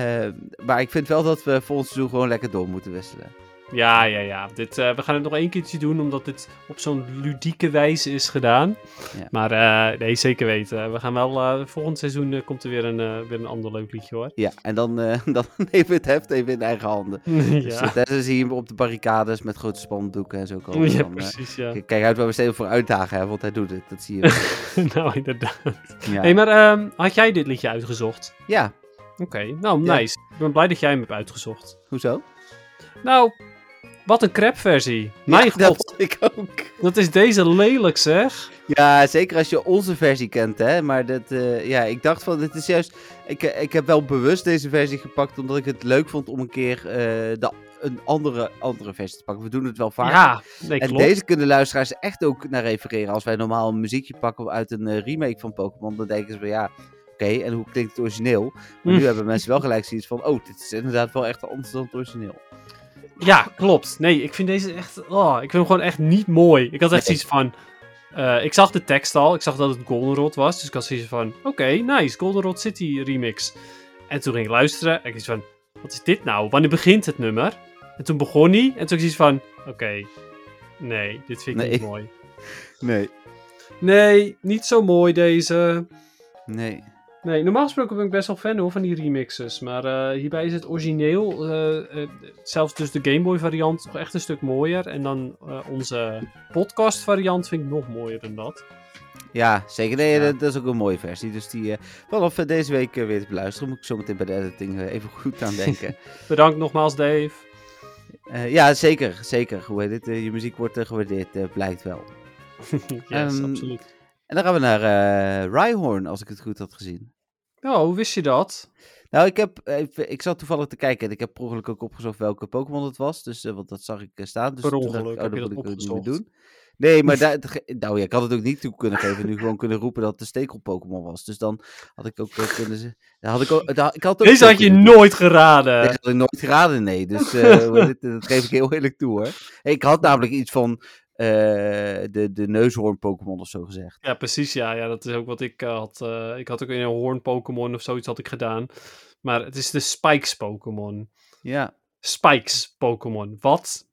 Speaker 1: maar ik vind wel dat we volgend seizoen gewoon lekker door moeten wisselen.
Speaker 2: Ja, ja, ja. Dit, eh, we gaan het nog één keertje doen, omdat dit op zo'n ludieke wijze is gedaan.
Speaker 1: Ja.
Speaker 2: Maar eh, nee, zeker weten. We gaan wel, eh, volgend seizoen eh, komt er weer een, eh, weer een ander leuk liedje hoor.
Speaker 1: Ja, en dan, eh, dan nemen we het heft even in eigen handen. Dus
Speaker 2: ja.
Speaker 1: eh, daar zie je hem op de barricades met grote spandoeken en zo komen.
Speaker 2: ja,
Speaker 1: Dan, eh,
Speaker 2: precies, ja.
Speaker 1: k- kijk uit waar we steeds voor uitdagen, hè, want hij doet het. Dat zie je. wel.
Speaker 2: nou, inderdaad.
Speaker 1: Ja,
Speaker 2: hey, maar ehm, had jij dit liedje uitgezocht?
Speaker 1: ja.
Speaker 2: Oké, nou,
Speaker 1: Ja.
Speaker 2: nice. Ik ben blij dat jij hem hebt uitgezocht.
Speaker 1: hoezo?
Speaker 2: Nou, wat een crap versie. Mijn
Speaker 1: Ja,
Speaker 2: god,
Speaker 1: dat
Speaker 2: dat...
Speaker 1: vond ik ook.
Speaker 2: is deze lelijk zeg.
Speaker 1: Ja, zeker als je onze versie kent, hè. Maar dat, eh, ja, ik dacht van, dit is juist... Ik, eh, ik heb wel bewust deze versie gepakt, omdat ik het leuk vond om een keer eh, de, een andere, andere versie te pakken. We doen het wel vaak.
Speaker 2: Ja, nee,
Speaker 1: en
Speaker 2: klopt.
Speaker 1: deze kunnen luisteraars echt ook naar refereren. Als wij normaal een muziekje pakken uit een eh, remake van Pokémon, dan denken ze van, ja... Oké, en hoe klinkt het origineel? Maar
Speaker 2: Mm.
Speaker 1: nu hebben mensen wel gelijk zoiets van... Oh, dit is inderdaad wel echt anders dan het origineel.
Speaker 2: Ja, klopt. Nee, ik vind deze echt... Oh, ik vind hem gewoon echt niet mooi. Ik had echt
Speaker 1: Nee.
Speaker 2: zoiets van... eh, ik zag de tekst al. Ik zag dat het Goldenrod was. Dus ik had zoiets van... Oké, nice. Goldenrod City remix. En toen ging ik luisteren. En ik zoiets van... Wat is dit nou? Wanneer begint het nummer? En toen begon hij. En toen had ik zoiets van... Oké. nee, dit vind ik
Speaker 1: Nee.
Speaker 2: niet mooi.
Speaker 1: Nee.
Speaker 2: Nee, niet zo mooi deze.
Speaker 1: Nee.
Speaker 2: Nee, normaal gesproken ben ik best wel fan hoor, van die remixes. Maar eh, hierbij is het origineel, eh, eh, zelfs dus de Game Boy variant, nog echt een stuk mooier. En dan eh, onze podcast variant vind ik nog mooier dan dat.
Speaker 1: Ja, zeker. Nee,
Speaker 2: Ja.
Speaker 1: Dat, dat is ook een mooie versie. Dus die eh, vanaf eh, deze week eh, weer te beluisteren. Moet ik zo meteen bij de editing eh, even goed aan denken.
Speaker 2: Bedankt nogmaals Dave.
Speaker 1: Eh, ja, zeker. Zeker. Hoe heet het? Eh, je muziek wordt eh, gewaardeerd, eh, blijkt wel.
Speaker 2: yes,
Speaker 1: Ehm,
Speaker 2: absoluut.
Speaker 1: En dan gaan we naar eh Rhyhorn, als ik het goed had gezien.
Speaker 2: Nou, hoe wist je dat?
Speaker 1: Nou, ik, heb, even- ik zat toevallig te kijken en ik heb per ongeluk ook opgezocht welke Pokémon het was. Dus, eh, want dat zag ik eh, staan. Dus
Speaker 2: Per
Speaker 1: toen dacht ik,
Speaker 2: ongeluk
Speaker 1: oh,
Speaker 2: heb je
Speaker 1: dat
Speaker 2: dat
Speaker 1: moet ik ook niet meer
Speaker 2: opgezocht.
Speaker 1: doen. Nee, maar daar, dat ge- nou, ja, ik had het ook niet toe kunnen geven. Nu gewoon kunnen roepen dat het de stekel Pokémon was. Dus dan had ik ook eh, kunnen... ze- dan Had ik, ook, daar- ik had ook
Speaker 2: Deze
Speaker 1: zo
Speaker 2: had je
Speaker 1: kunnen doen.
Speaker 2: nooit geraden.
Speaker 1: Dat had ik nooit geraden, nee. Dus eh, hoe heet het, dat geef ik heel eerlijk toe, hoor. Ik had namelijk iets van eh, de, de neushoorn-Pokémon of zo gezegd.
Speaker 2: Ja, precies. Ja, ja, dat is ook wat ik eh, had. eh, ik had ook in een hoorn-Pokémon of zoiets had ik gedaan. Maar het is de Spikes-Pokémon.
Speaker 1: Ja.
Speaker 2: Spikes Pokémon. Wat?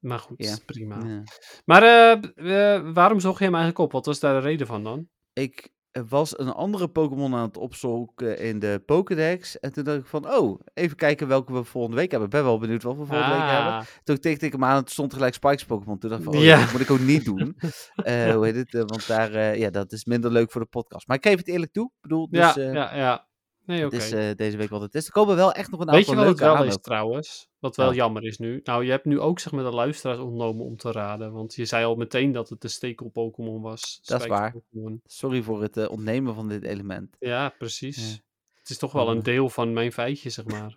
Speaker 2: Maar goed,
Speaker 1: Ja.
Speaker 2: prima.
Speaker 1: ja.
Speaker 2: Maar eh, eh, waarom zocht je hem eigenlijk op? Wat was daar de reden van dan?
Speaker 1: Ik eh, was een andere Pokémon aan het opzoeken in de Pokédex. En toen dacht ik van, oh, even kijken welke we volgende week hebben. Ik ben wel benieuwd wat we volgende week hebben.
Speaker 2: Ah,
Speaker 1: Toen tikte ik hem aan en toen stond gelijk Spikes Pokémon. Toen dacht ik van, oh,
Speaker 2: Ja.
Speaker 1: dat moet ik ook niet doen. Eh, hoe heet het? Eh, want daar, eh, ja, dat is minder leuk voor de podcast. Maar ik geef het eerlijk toe. Ik bedoel, dus...
Speaker 2: ja,
Speaker 1: eh,
Speaker 2: ja, ja. Nee,
Speaker 1: Het
Speaker 2: oké.
Speaker 1: is eh, deze week wat het is. Er komen wel echt nog een
Speaker 2: Weet je
Speaker 1: aantal
Speaker 2: wat het
Speaker 1: leuke
Speaker 2: wel
Speaker 1: aan.
Speaker 2: is
Speaker 1: ook.
Speaker 2: trouwens? Wat wel
Speaker 1: Nou.
Speaker 2: jammer is nu. Nou, je hebt nu ook zeg maar de luisteraars ontnomen om te raden. Want je zei al meteen dat het de stekel Pokémon was.
Speaker 1: Dat is
Speaker 2: Spikes
Speaker 1: waar.
Speaker 2: Pokémon.
Speaker 1: Sorry voor het eh, ontnemen van dit element.
Speaker 2: Ja, precies.
Speaker 1: Ja.
Speaker 2: Het is toch wel
Speaker 1: Ja.
Speaker 2: een deel van mijn feitje, zeg maar.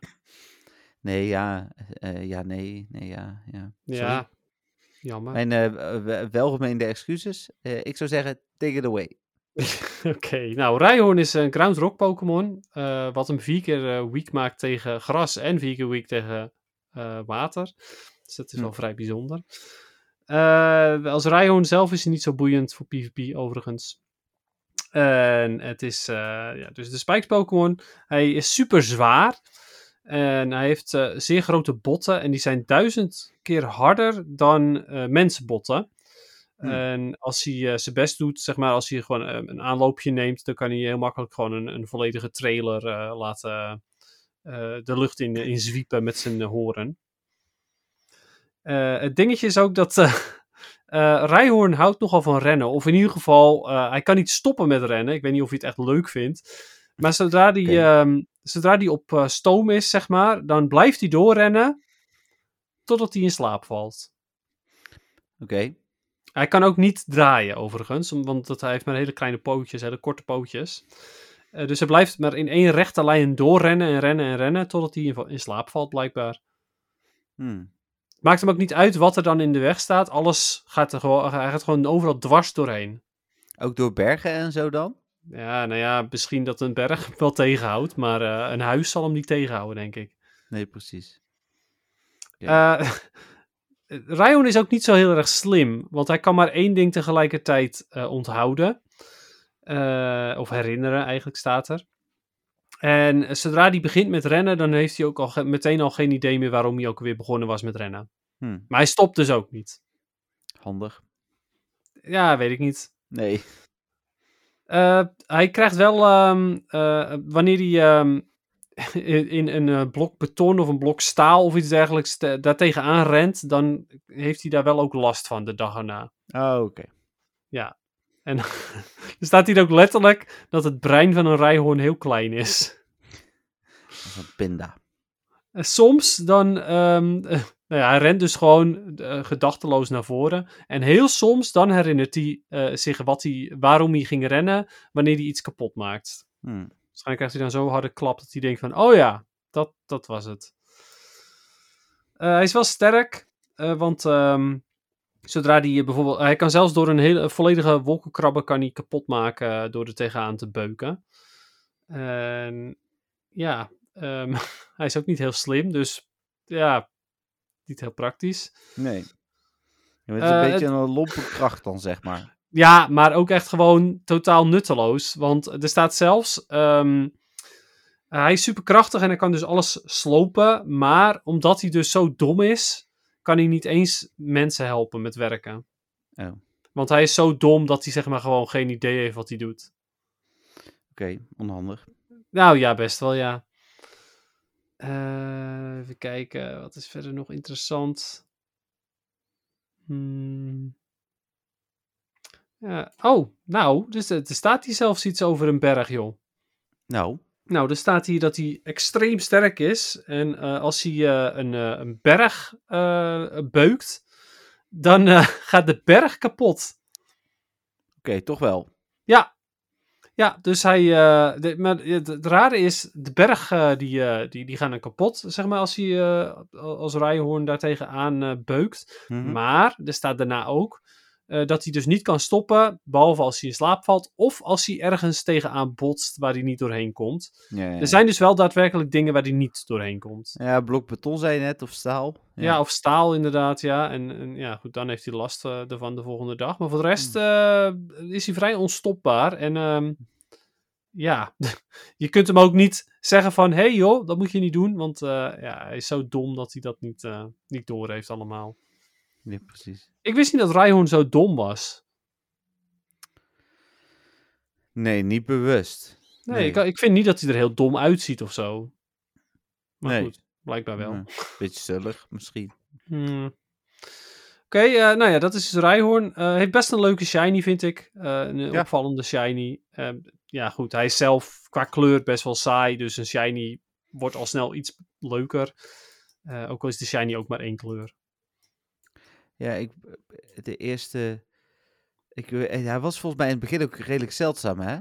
Speaker 1: Nee, ja. eh, ja, nee. Nee, ja. ja. Sorry.
Speaker 2: ja, jammer.
Speaker 1: Mijn eh, we- welgemeende excuses. Eh, ik zou zeggen, take it away.
Speaker 2: Oké, nou Rhyhorn is een ground rock Pokémon. eh, wat hem vier keer eh, weak maakt tegen gras en vier keer weak tegen eh, eh, water. Dus dat is wel
Speaker 1: Hm.
Speaker 2: vrij bijzonder. Eh, als Raihoon zelf is hij niet zo boeiend voor PvP overigens. En het is eh, ja, dus de Spikes Pokémon. Hij is super zwaar. En hij heeft eh, zeer grote botten. En die zijn duizend keer harder dan eh, mensenbotten.
Speaker 1: Hmm.
Speaker 2: En als hij eh, zijn best doet, zeg maar, als hij gewoon eh, een aanloopje neemt, dan kan hij heel makkelijk gewoon een, een volledige trailer eh, laten eh, de lucht in, in zwiepen met zijn eh, horen. Eh, het dingetje is ook dat eh eh, Rijhoorn houdt nogal van rennen. Of in ieder geval, eh, hij kan niet stoppen met rennen. Ik weet niet of hij het echt leuk vindt. Maar zodra die,
Speaker 1: Oké.
Speaker 2: ehm, zodra die op eh, stoom is, zeg maar, dan blijft hij doorrennen totdat hij in slaap valt.
Speaker 1: Oké.
Speaker 2: Hij kan ook niet draaien, overigens, om- want dat, hij heeft maar hele kleine pootjes, hele korte pootjes. Eh, dus hij blijft maar in één rechte lijn doorrennen en rennen en rennen, totdat hij in, va- in slaap valt, blijkbaar.
Speaker 1: Hmm.
Speaker 2: Maakt hem ook niet uit wat er dan in de weg staat. Alles gaat er gewoon, hij gaat gewoon overal dwars doorheen.
Speaker 1: Ook door bergen en zo dan?
Speaker 2: Ja, nou ja, misschien dat een berg hem wel tegenhoudt, maar eh, een huis zal hem niet tegenhouden, denk ik.
Speaker 1: Nee, precies. Ja.
Speaker 2: Eh Ryan is ook niet zo heel erg slim, want hij kan maar één ding tegelijkertijd eh, onthouden. Eh, of herinneren, eigenlijk staat er. En eh, zodra hij begint met rennen, dan heeft hij ook al ge- meteen al geen idee meer waarom hij ook weer begonnen was met rennen.
Speaker 1: Hmm.
Speaker 2: Maar hij stopt dus ook niet.
Speaker 1: Handig.
Speaker 2: Ja, weet ik niet.
Speaker 1: Nee.
Speaker 2: Eh, hij krijgt wel, ehm, eh, wanneer hij ehm, in, in een eh, blok beton of een blok staal of iets dergelijks te- daartegen aanrent, dan heeft hij daar wel ook last van de dag erna.
Speaker 1: Oh, oké.
Speaker 2: En dan staat hier ook letterlijk dat het brein van een rijhoorn heel klein is.
Speaker 1: Dat is een pinda.
Speaker 2: En soms dan, ehm, eh, nou ja, hij rent dus gewoon eh, gedachteloos naar voren. En heel soms dan herinnert hij eh, zich wat hij, waarom hij ging rennen wanneer hij iets kapot maakt.
Speaker 1: Hmm.
Speaker 2: Waarschijnlijk krijgt hij dan zo'n harde klap dat hij denkt van... Oh ja, dat, dat was het. Eh, hij is wel sterk, eh, want ehm, zodra hij eh, bijvoorbeeld... Hij kan zelfs door een hele een volledige wolkenkrabber kan hij kapot maken eh, door er tegenaan te beuken. En ja, ehm, hij is ook niet heel slim, dus ja, niet heel praktisch.
Speaker 1: Nee. Ja, maar het is een
Speaker 2: Eh,
Speaker 1: beetje een lompe kracht dan, zeg maar.
Speaker 2: Ja, maar ook echt gewoon totaal nutteloos. Want er staat zelfs. ehm, hij is superkrachtig en hij kan dus alles slopen. Maar omdat hij dus zo dom is, kan hij niet eens mensen helpen met werken.
Speaker 1: Oh.
Speaker 2: Want hij is zo dom dat hij zeg maar gewoon geen idee heeft wat hij doet.
Speaker 1: Oké, onhandig.
Speaker 2: Nou ja, best wel ja. Eh, even kijken, wat is verder nog interessant? Hmm. Ja, oh, nou, dus er, er staat hier zelfs iets over een berg, joh.
Speaker 1: Nou,
Speaker 2: Nou, er staat hier dat hij extreem sterk is. En eh, als hij eh, een, eh, een berg eh, beukt, dan eh, gaat de berg kapot.
Speaker 1: oké, toch wel.
Speaker 2: Ja, dus hij. eh, de- maar het, het rare is, de berg eh, die, eh, die, die gaan dan kapot, zeg maar, als hij eh, als Rijhoorn daartegen aan eh, beukt.
Speaker 1: Mhm.
Speaker 2: Maar er staat daarna ook eh, dat hij dus niet kan stoppen, behalve als hij in slaap valt of als hij ergens tegenaan botst waar hij niet doorheen komt.
Speaker 1: Ja, ja,
Speaker 2: Er zijn dus wel daadwerkelijk dingen waar hij niet doorheen komt.
Speaker 1: ja. Ja, blok beton zei je net, of staal.
Speaker 2: Ja, of staal inderdaad, ja. En, en ja, goed, dan heeft hij last eh, ervan de volgende dag. Maar voor de
Speaker 1: Hmm.
Speaker 2: rest eh, is hij vrij onstopbaar. En ehm, ja, je kunt hem ook niet zeggen van... Hé hey joh, dat moet je niet doen. Want eh, ja, hij is zo dom dat hij dat niet, eh niet doorheeft allemaal.
Speaker 1: Nee, precies.
Speaker 2: Ik wist niet dat Rijhoorn zo dom was.
Speaker 1: Nee, niet bewust.
Speaker 2: Nee,
Speaker 1: Nee.
Speaker 2: Ik, ik vind niet dat hij er heel dom uitziet of zo. Maar
Speaker 1: Nee.
Speaker 2: goed, blijkbaar wel.
Speaker 1: Ja. Beetje zullig, misschien.
Speaker 2: Hmm. Oké, eh, nou ja, dat is dus Rijhoorn. Eh, heeft best een leuke shiny, vind ik. Eh, een
Speaker 1: Ja.
Speaker 2: opvallende shiny. Eh, ja, goed, hij is zelf qua kleur best wel saai. Dus een shiny wordt al snel iets leuker. Eh, ook al is de shiny ook maar één kleur.
Speaker 1: Ja, ik, eh, de eerste... Ik, eh, hij was volgens mij in het begin ook redelijk zeldzaam, hè?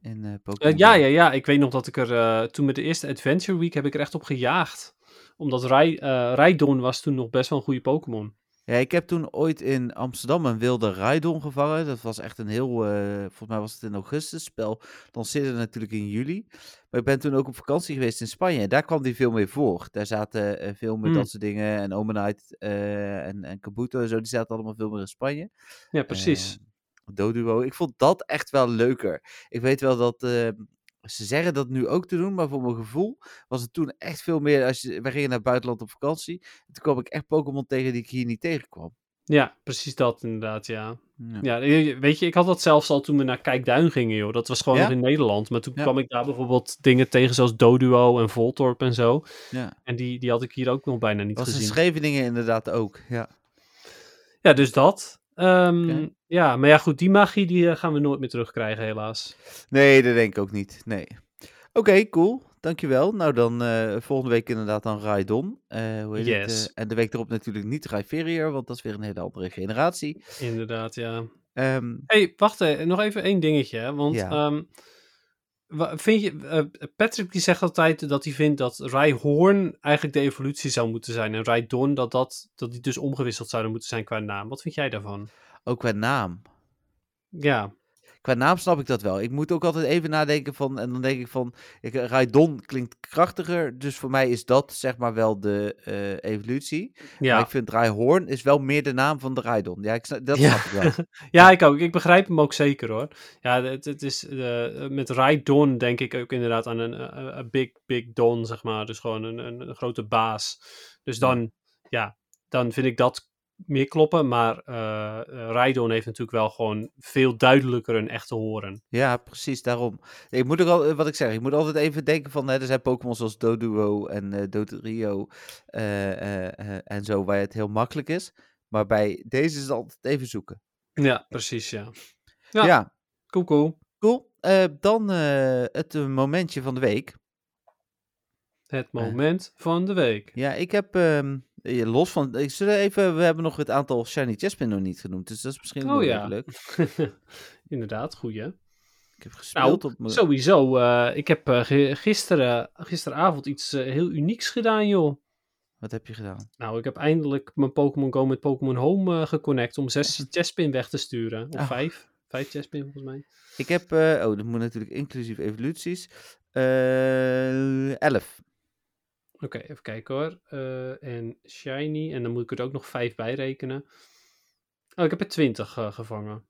Speaker 1: In eh
Speaker 2: Eh,
Speaker 1: Pokémon.
Speaker 2: ja, ja, ja. Ik weet nog dat ik er eh, toen met de eerste Adventure Week heb ik er echt op gejaagd. Omdat Rij, eh, Rhydon was toen nog best wel een goede Pokémon.
Speaker 1: Ja, ik heb toen ooit in Amsterdam een wilde Raidon gevangen. Dat was echt een heel, eh, volgens mij was het in augustus spel. Dan zit het natuurlijk in juli. Maar ik ben toen ook op vakantie geweest in Spanje. En daar kwam die veel meer voor. Daar zaten eh, veel meer
Speaker 2: Hmm.
Speaker 1: dat soort dingen. En Omenite eh, en, en Kabuto en zo. Die zaten allemaal veel meer in Spanje.
Speaker 2: Ja, precies.
Speaker 1: Eh, Doduo. Ik vond dat echt wel leuker. Ik weet wel dat eh, ze zeggen dat nu ook te doen, maar voor mijn gevoel was het toen echt veel meer. Als je, wij gingen naar het buitenland op vakantie. Toen kwam ik echt Pokémon tegen die ik hier niet tegenkwam.
Speaker 2: Ja, precies dat inderdaad, ja.
Speaker 1: Ja.
Speaker 2: Ja, je- weet je, ik had dat zelfs al toen we naar Kijkduin gingen, joh. Dat was gewoon
Speaker 1: Ja?
Speaker 2: nog in Nederland. Maar toen
Speaker 1: Ja.
Speaker 2: kwam ik daar bijvoorbeeld dingen tegen zoals Doduo en Voltorb en zo.
Speaker 1: Ja.
Speaker 2: En die, die had ik hier ook nog bijna niet
Speaker 1: Was in
Speaker 2: gezien.
Speaker 1: Scheveningen inderdaad ook. Ja.
Speaker 2: Ja, dus dat. Ehm,
Speaker 1: Oké.
Speaker 2: Ja, maar ja, goed, die magie die eh, gaan we nooit meer terugkrijgen, helaas.
Speaker 1: Nee, dat denk ik ook niet. Nee. Oké, cool. Dankjewel. Nou, dan eh, volgende week inderdaad dan Raidon. Eh, hoe heet het?
Speaker 2: Yes.
Speaker 1: eh, en de week erop natuurlijk niet Raiferior, want dat is weer een hele andere generatie.
Speaker 2: Inderdaad, ja.
Speaker 1: Ehm,
Speaker 2: hey, wacht even, nog even één dingetje, hè, want
Speaker 1: Ja.
Speaker 2: ehm, wa- vind je, eh, Patrick die zegt altijd dat hij vindt dat Rijhoorn eigenlijk de evolutie zou moeten zijn en Rijdon dat, dat, dat die dus omgewisseld zouden moeten zijn qua naam. Wat vind jij daarvan?
Speaker 1: ook qua naam.
Speaker 2: Ja,
Speaker 1: Qua naam snap ik dat wel. Ik moet ook altijd even nadenken van, en dan denk ik van, ik, Raidon klinkt krachtiger, dus voor mij is dat zeg maar wel de eh, evolutie. Maar
Speaker 2: ja.
Speaker 1: ik vind Raihorn is wel meer de naam van de Raidon. Ja, ik, snap- dat
Speaker 2: Ja.
Speaker 1: snap ik wel.
Speaker 2: ja, ik ook. Ik begrijp hem ook zeker hoor. Ja, het, het is eh, met Raidon denk ik ook inderdaad aan een eh, eh, big, big don, zeg maar. Dus gewoon een, een, een grote baas. Dus dan, ja. dan vind ik dat meer kloppen. Maar eh eh, Raidon heeft natuurlijk wel gewoon veel duidelijker een echte horen.
Speaker 1: Ja, precies, daarom. Ik moet ook al, eh, wat ik zeg, ik moet altijd even denken van, hè, er zijn Pokémon zoals Doduo en eh Dotrio eh, eh, eh, en zo, waar het heel makkelijk is. Maar bij deze is het altijd even zoeken.
Speaker 2: Ja, precies, ja.
Speaker 1: Ja,
Speaker 2: Ja. Cool, cool.
Speaker 1: cool. Eh, dan eh, het eh, momentje van de week.
Speaker 2: Het moment van de week.
Speaker 1: Ja, ik heb, ehm, eh, los van, ik zul even, we hebben nog het aantal Shiny Chespin nog niet genoemd, dus dat is misschien
Speaker 2: Oh,
Speaker 1: wel
Speaker 2: ja.
Speaker 1: leuk.
Speaker 2: inderdaad, goeie.
Speaker 1: Ik
Speaker 2: Nou,
Speaker 1: heb gespeeld op mijn...
Speaker 2: Sowieso, eh, ik heb eh, ge- gisteren, gisteravond iets eh, heel unieks gedaan, joh.
Speaker 1: Wat heb je gedaan?
Speaker 2: Nou, ik heb eindelijk mijn Pokémon Go met Pokémon Home eh, geconnect om zes chestpin weg te sturen. Of
Speaker 1: Ah.
Speaker 2: vijf. Vijf chestpin volgens mij.
Speaker 1: Ik heb, eh, oh, dat moet natuurlijk inclusief evoluties, Eh, 11.
Speaker 2: Oké, even kijken hoor. Eh, en Shiny. En dan moet ik er ook nog vijf bij rekenen. Oh, ik heb er twintig gevangen.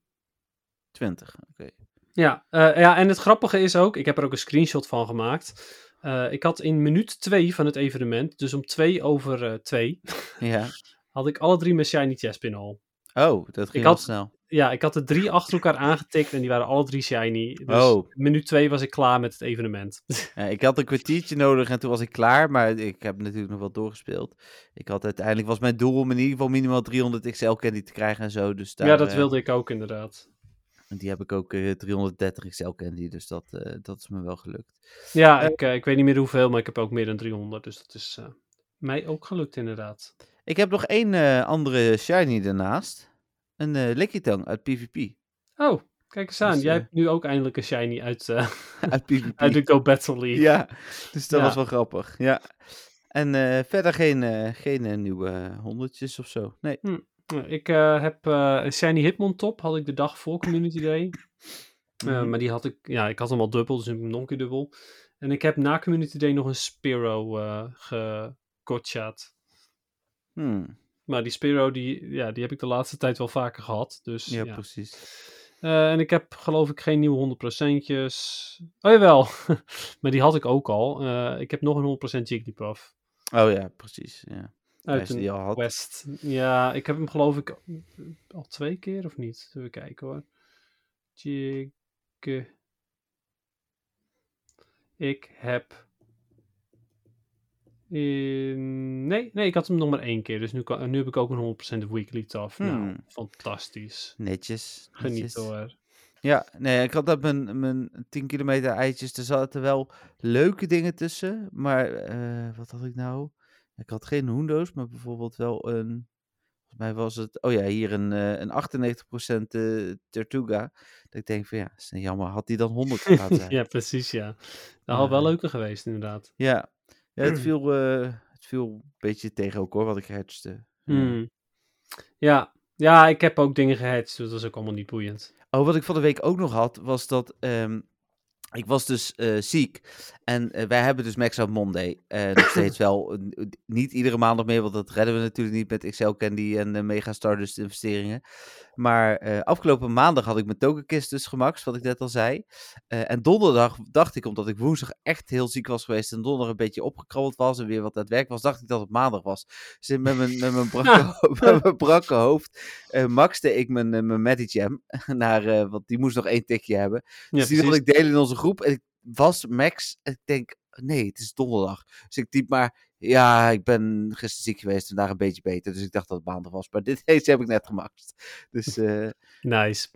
Speaker 1: 20, oké.
Speaker 2: Ja, eh, ja, en het grappige is ook, ik heb er ook een screenshot van gemaakt. Eh, ik had in minuut 2 van het evenement, dus om 2 over 2,
Speaker 1: Ja.
Speaker 2: had ik alle drie mijn Shiny Chespin al.
Speaker 1: Oh, dat ging
Speaker 2: had-
Speaker 1: heel snel.
Speaker 2: Ja, ik had er drie achter elkaar aangetikt en die waren alle drie Shiny. Dus
Speaker 1: Oh.
Speaker 2: minuut 2 was ik klaar met het evenement.
Speaker 1: Ja, ik had een kwartiertje nodig en toen was ik klaar, maar ik heb natuurlijk nog wel doorgespeeld. Ik had uiteindelijk, was mijn doel om in ieder geval minimaal 300 XL candy te krijgen en zo. Dus daar,
Speaker 2: ja, dat
Speaker 1: eh,
Speaker 2: wilde ik ook inderdaad.
Speaker 1: Die heb ik ook eh, 330 XL candy, dus dat, eh, dat is me wel gelukt.
Speaker 2: Ja,
Speaker 1: eh,
Speaker 2: ik, eh, ik weet niet meer hoeveel, maar ik heb ook meer dan 300. Dus dat is eh, mij ook gelukt inderdaad.
Speaker 1: Ik heb nog één eh, andere shiny daarnaast. Een eh Lickitung uit PvP.
Speaker 2: Oh, kijk eens aan.
Speaker 1: Dus,
Speaker 2: Jij
Speaker 1: eh,
Speaker 2: hebt nu ook eindelijk een shiny uit, eh,
Speaker 1: Uit PvP.
Speaker 2: uit de Go Battle League.
Speaker 1: Ja, dus dat
Speaker 2: Ja.
Speaker 1: was wel grappig. Ja. En eh, verder geen, eh, geen eh, nieuwe honderdjes of zo. Nee.
Speaker 2: Ik eh, heb eh, een shiny Hitmontop, had ik de dag voor Community Day. Eh,
Speaker 1: Mhm.
Speaker 2: maar die had ik, ja, ik had hem al dubbel, dus ik heb hem nog een keer dubbel. En ik heb na Community Day nog een Spiro eh gegotchaat.
Speaker 1: Hmm.
Speaker 2: Maar die Spiro, die, ja, die heb ik de laatste tijd wel vaker gehad. Dus,
Speaker 1: Ja,
Speaker 2: ja.
Speaker 1: precies.
Speaker 2: Eh, en ik heb geloof ik geen nieuwe 100%'tjes. Oh jawel, maar die had ik ook al. Eh, ik heb nog een 100% Jigglypuff.
Speaker 1: Oh ja, precies. Ja.
Speaker 2: Uit
Speaker 1: Als je
Speaker 2: een
Speaker 1: die al had.
Speaker 2: Quest. Ja, ik heb hem geloof ik al twee keer of niet? Even kijken hoor. Jig. Ik heb. in- Nee, nee, ik had hem nog maar één keer. Dus nu, kan, nu heb ik ook een 100% weekly taf. Nou,
Speaker 1: Hmm.
Speaker 2: fantastisch.
Speaker 1: Netjes. netjes.
Speaker 2: Geniet hoor.
Speaker 1: Ja, nee, ik had dat mijn, mijn 10 kilometer eitjes. Er zaten wel leuke dingen tussen. Maar eh, wat had ik nou? Ik had geen hoendo's, maar bijvoorbeeld wel een. Volgens mij was het. Oh ja, hier een, eh, een 98% eh, Tortuga. Dat ik denk van ja, is nou jammer. Had die dan 100 gehad? zijn?
Speaker 2: Ja, precies, ja. Dat had
Speaker 1: Ja.
Speaker 2: wel leuker geweest, inderdaad.
Speaker 1: ja. Ja, het viel, eh, het viel een beetje tegen ook hoor, wat ik hertste. Ja.
Speaker 2: Hmm. Ja. ja, ik heb ook dingen gehatcht, dus dat is ook allemaal niet boeiend.
Speaker 1: Oh, wat ik van de week ook nog had, was dat ehm, ik was dus eh, ziek. En eh, wij hebben dus Max Out Monday. Eh, nog steeds wel, eh, n- niet iedere maandag meer, want dat redden we natuurlijk niet met Excel Candy en eh, Mega Stardust investeringen. Maar eh, afgelopen maandag had ik mijn tokenkist dus gemaakt, wat ik net al zei. Eh, en donderdag dacht ik, omdat ik woensdag echt heel ziek was geweest en donderdag een beetje opgekrabbeld was en weer wat aan het werk was, dacht ik dat het maandag was. Dus ik met mijn, met mijn, brakke, ho- met mijn brakke hoofd eh, maxte ik mijn, eh, mijn Magic Jam naar, eh, want die moest nog één tikje hebben.
Speaker 2: Ja,
Speaker 1: dus die wilde
Speaker 2: precies.
Speaker 1: ik delen in onze groep. En ik was Max. En ik denk, nee, het is donderdag. Dus ik typ maar, ja, ik ben gisteren ziek geweest. Vandaag een beetje beter. Dus ik dacht dat het maandag was. Maar dit deze heb ik net gemaxt. Dus eh
Speaker 2: Nice.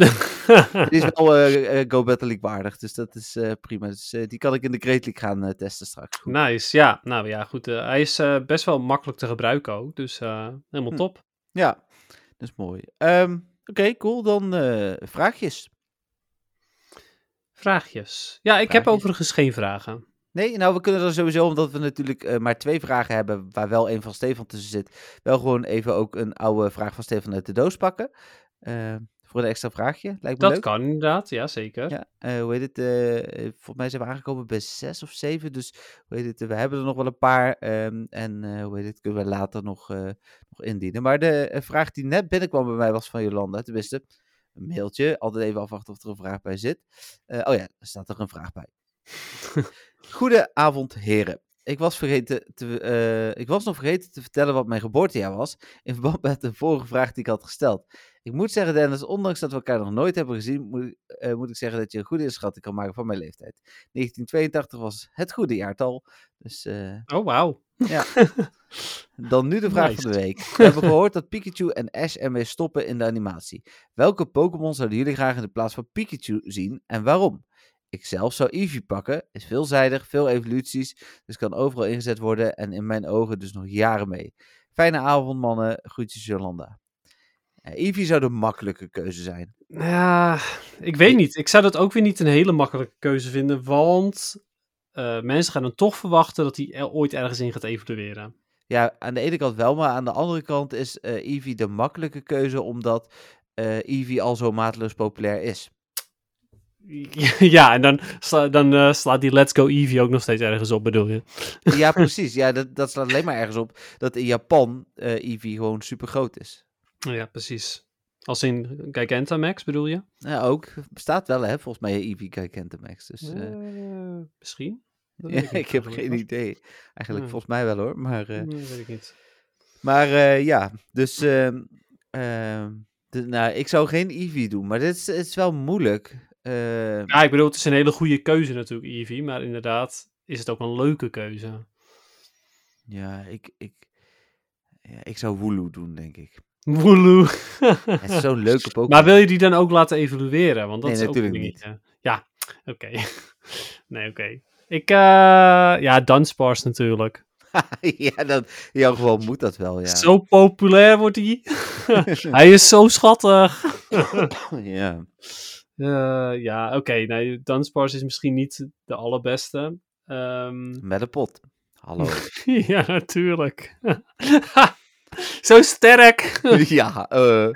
Speaker 1: het is wel eh, eh, Go Battle League waardig. Dus dat is eh, prima. Dus eh, die kan ik in de Great League gaan eh, testen straks. Goed.
Speaker 2: nice, ja. Nou ja, goed. eh, hij is eh, best wel makkelijk te gebruiken ook, dus eh, helemaal
Speaker 1: Hm.
Speaker 2: top.
Speaker 1: Ja, dat is mooi. Ehm, Oké, cool. Dan eh, vraagjes.
Speaker 2: Vraagjes. Ja, ik heb
Speaker 1: Vraagjes.
Speaker 2: overigens geen vragen.
Speaker 1: Nee, nou, we kunnen er sowieso, omdat we natuurlijk eh, maar twee vragen hebben, waar wel één van Stefan tussen zit, wel gewoon even ook een oude vraag van Stefan uit de doos pakken. Eh, voor een extra vraagje. Lijkt me
Speaker 2: Dat
Speaker 1: leuk.
Speaker 2: kan inderdaad, ja zeker.
Speaker 1: Ja, eh, hoe heet het? eh, eh, volgens mij zijn we aangekomen bij zes of zeven. Dus hoe heet het? eh, we hebben er nog wel een paar. ehm, en eh, hoe heet het? Kunnen we later nog, eh, nog indienen. Maar de eh, vraag die net binnenkwam bij mij was van Jolanda. Tenminste, een mailtje. Altijd even afwachten of er een vraag bij zit. Eh, oh ja, er staat er een vraag bij. Goedenavond, heren. Ik was, vergeten te, eh, ik was nog vergeten te vertellen wat mijn geboortejaar was. In verband met de vorige vraag die ik had gesteld. Ik moet zeggen, Dennis, ondanks dat we elkaar nog nooit hebben gezien, moet, ik- eh, moet ik zeggen dat je een goede inschatting kan maken van mijn leeftijd. 1982 was het goede jaartal. Dus eh,
Speaker 2: Oh, wauw.
Speaker 1: dan nu de vraag van de
Speaker 2: Nice.
Speaker 1: week. We hebben gehoord dat Pikachu en Ash ermee stoppen in de animatie. Welke Pokémon zouden jullie graag in de plaats van Pikachu zien en waarom? Ik zelf zou Eevee pakken. Is veelzijdig, veel evoluties, dus kan overal ingezet worden en in mijn ogen dus nog jaren mee. Fijne avond, mannen. Groetjes, Jolanda. Eh, Eevee zou de makkelijke keuze zijn.
Speaker 2: Ja, ik weet niet. Ik zou dat ook weer niet een hele makkelijke keuze vinden, want eh, mensen gaan dan toch verwachten dat hij er ooit ergens in gaat evolueren.
Speaker 1: Ja, aan de ene kant wel, maar aan de andere kant is eh Eevee de makkelijke keuze, omdat eh Eevee al zo mateloos populair is.
Speaker 2: Ja, en dan, sla- dan eh, slaat die Let's Go Eevee ook nog steeds ergens op, bedoel je?
Speaker 1: Ja, precies. Ja, dat, dat slaat alleen maar ergens op dat in Japan eh Eevee gewoon super groot is.
Speaker 2: Ja, precies. Als in Gigantamax, bedoel je?
Speaker 1: Ja, ook. Bestaat wel, hè, volgens mij Eevee Gigantamax. Dus, eh,
Speaker 2: Eh, misschien. Dat Hmm.
Speaker 1: ja, ik,
Speaker 2: weet niet
Speaker 1: heb
Speaker 2: eigenlijk.
Speaker 1: geen idee. Eigenlijk
Speaker 2: Ja.
Speaker 1: volgens mij wel, hoor. Maar, eh,
Speaker 2: Nee, weet ik niet.
Speaker 1: maar eh, ja, dus... ehm, ehm, de- nou, ik zou geen Eevee doen, maar dit is, het is wel moeilijk. Eh,
Speaker 2: Ja, ik bedoel, het is een hele goede keuze natuurlijk, Eevee. Maar inderdaad is het ook een leuke keuze.
Speaker 1: Ja, ik, ik, ja, ik zou Wooloo doen, denk ik.
Speaker 2: Woeloe.
Speaker 1: Het is zo'n leuke Pokémon.
Speaker 2: maar wil je die dan ook laten evolueren? Want dat
Speaker 1: Nee,
Speaker 2: is ook
Speaker 1: natuurlijk
Speaker 2: een
Speaker 1: niet.
Speaker 2: dingetje. Ja, oké. nee, oké. Ik, eh ja, Dunsparce natuurlijk.
Speaker 1: ja, dan, in jouw geval moet dat wel, ja.
Speaker 2: Zo populair wordt hij. hij is zo schattig.
Speaker 1: ja.
Speaker 2: Eh, ja, oké. nee, Dunsparce is misschien niet de allerbeste. Ehm
Speaker 1: Met een pot. Hallo.
Speaker 2: Ja, natuurlijk. Zo sterk. Eh,
Speaker 1: ja, eh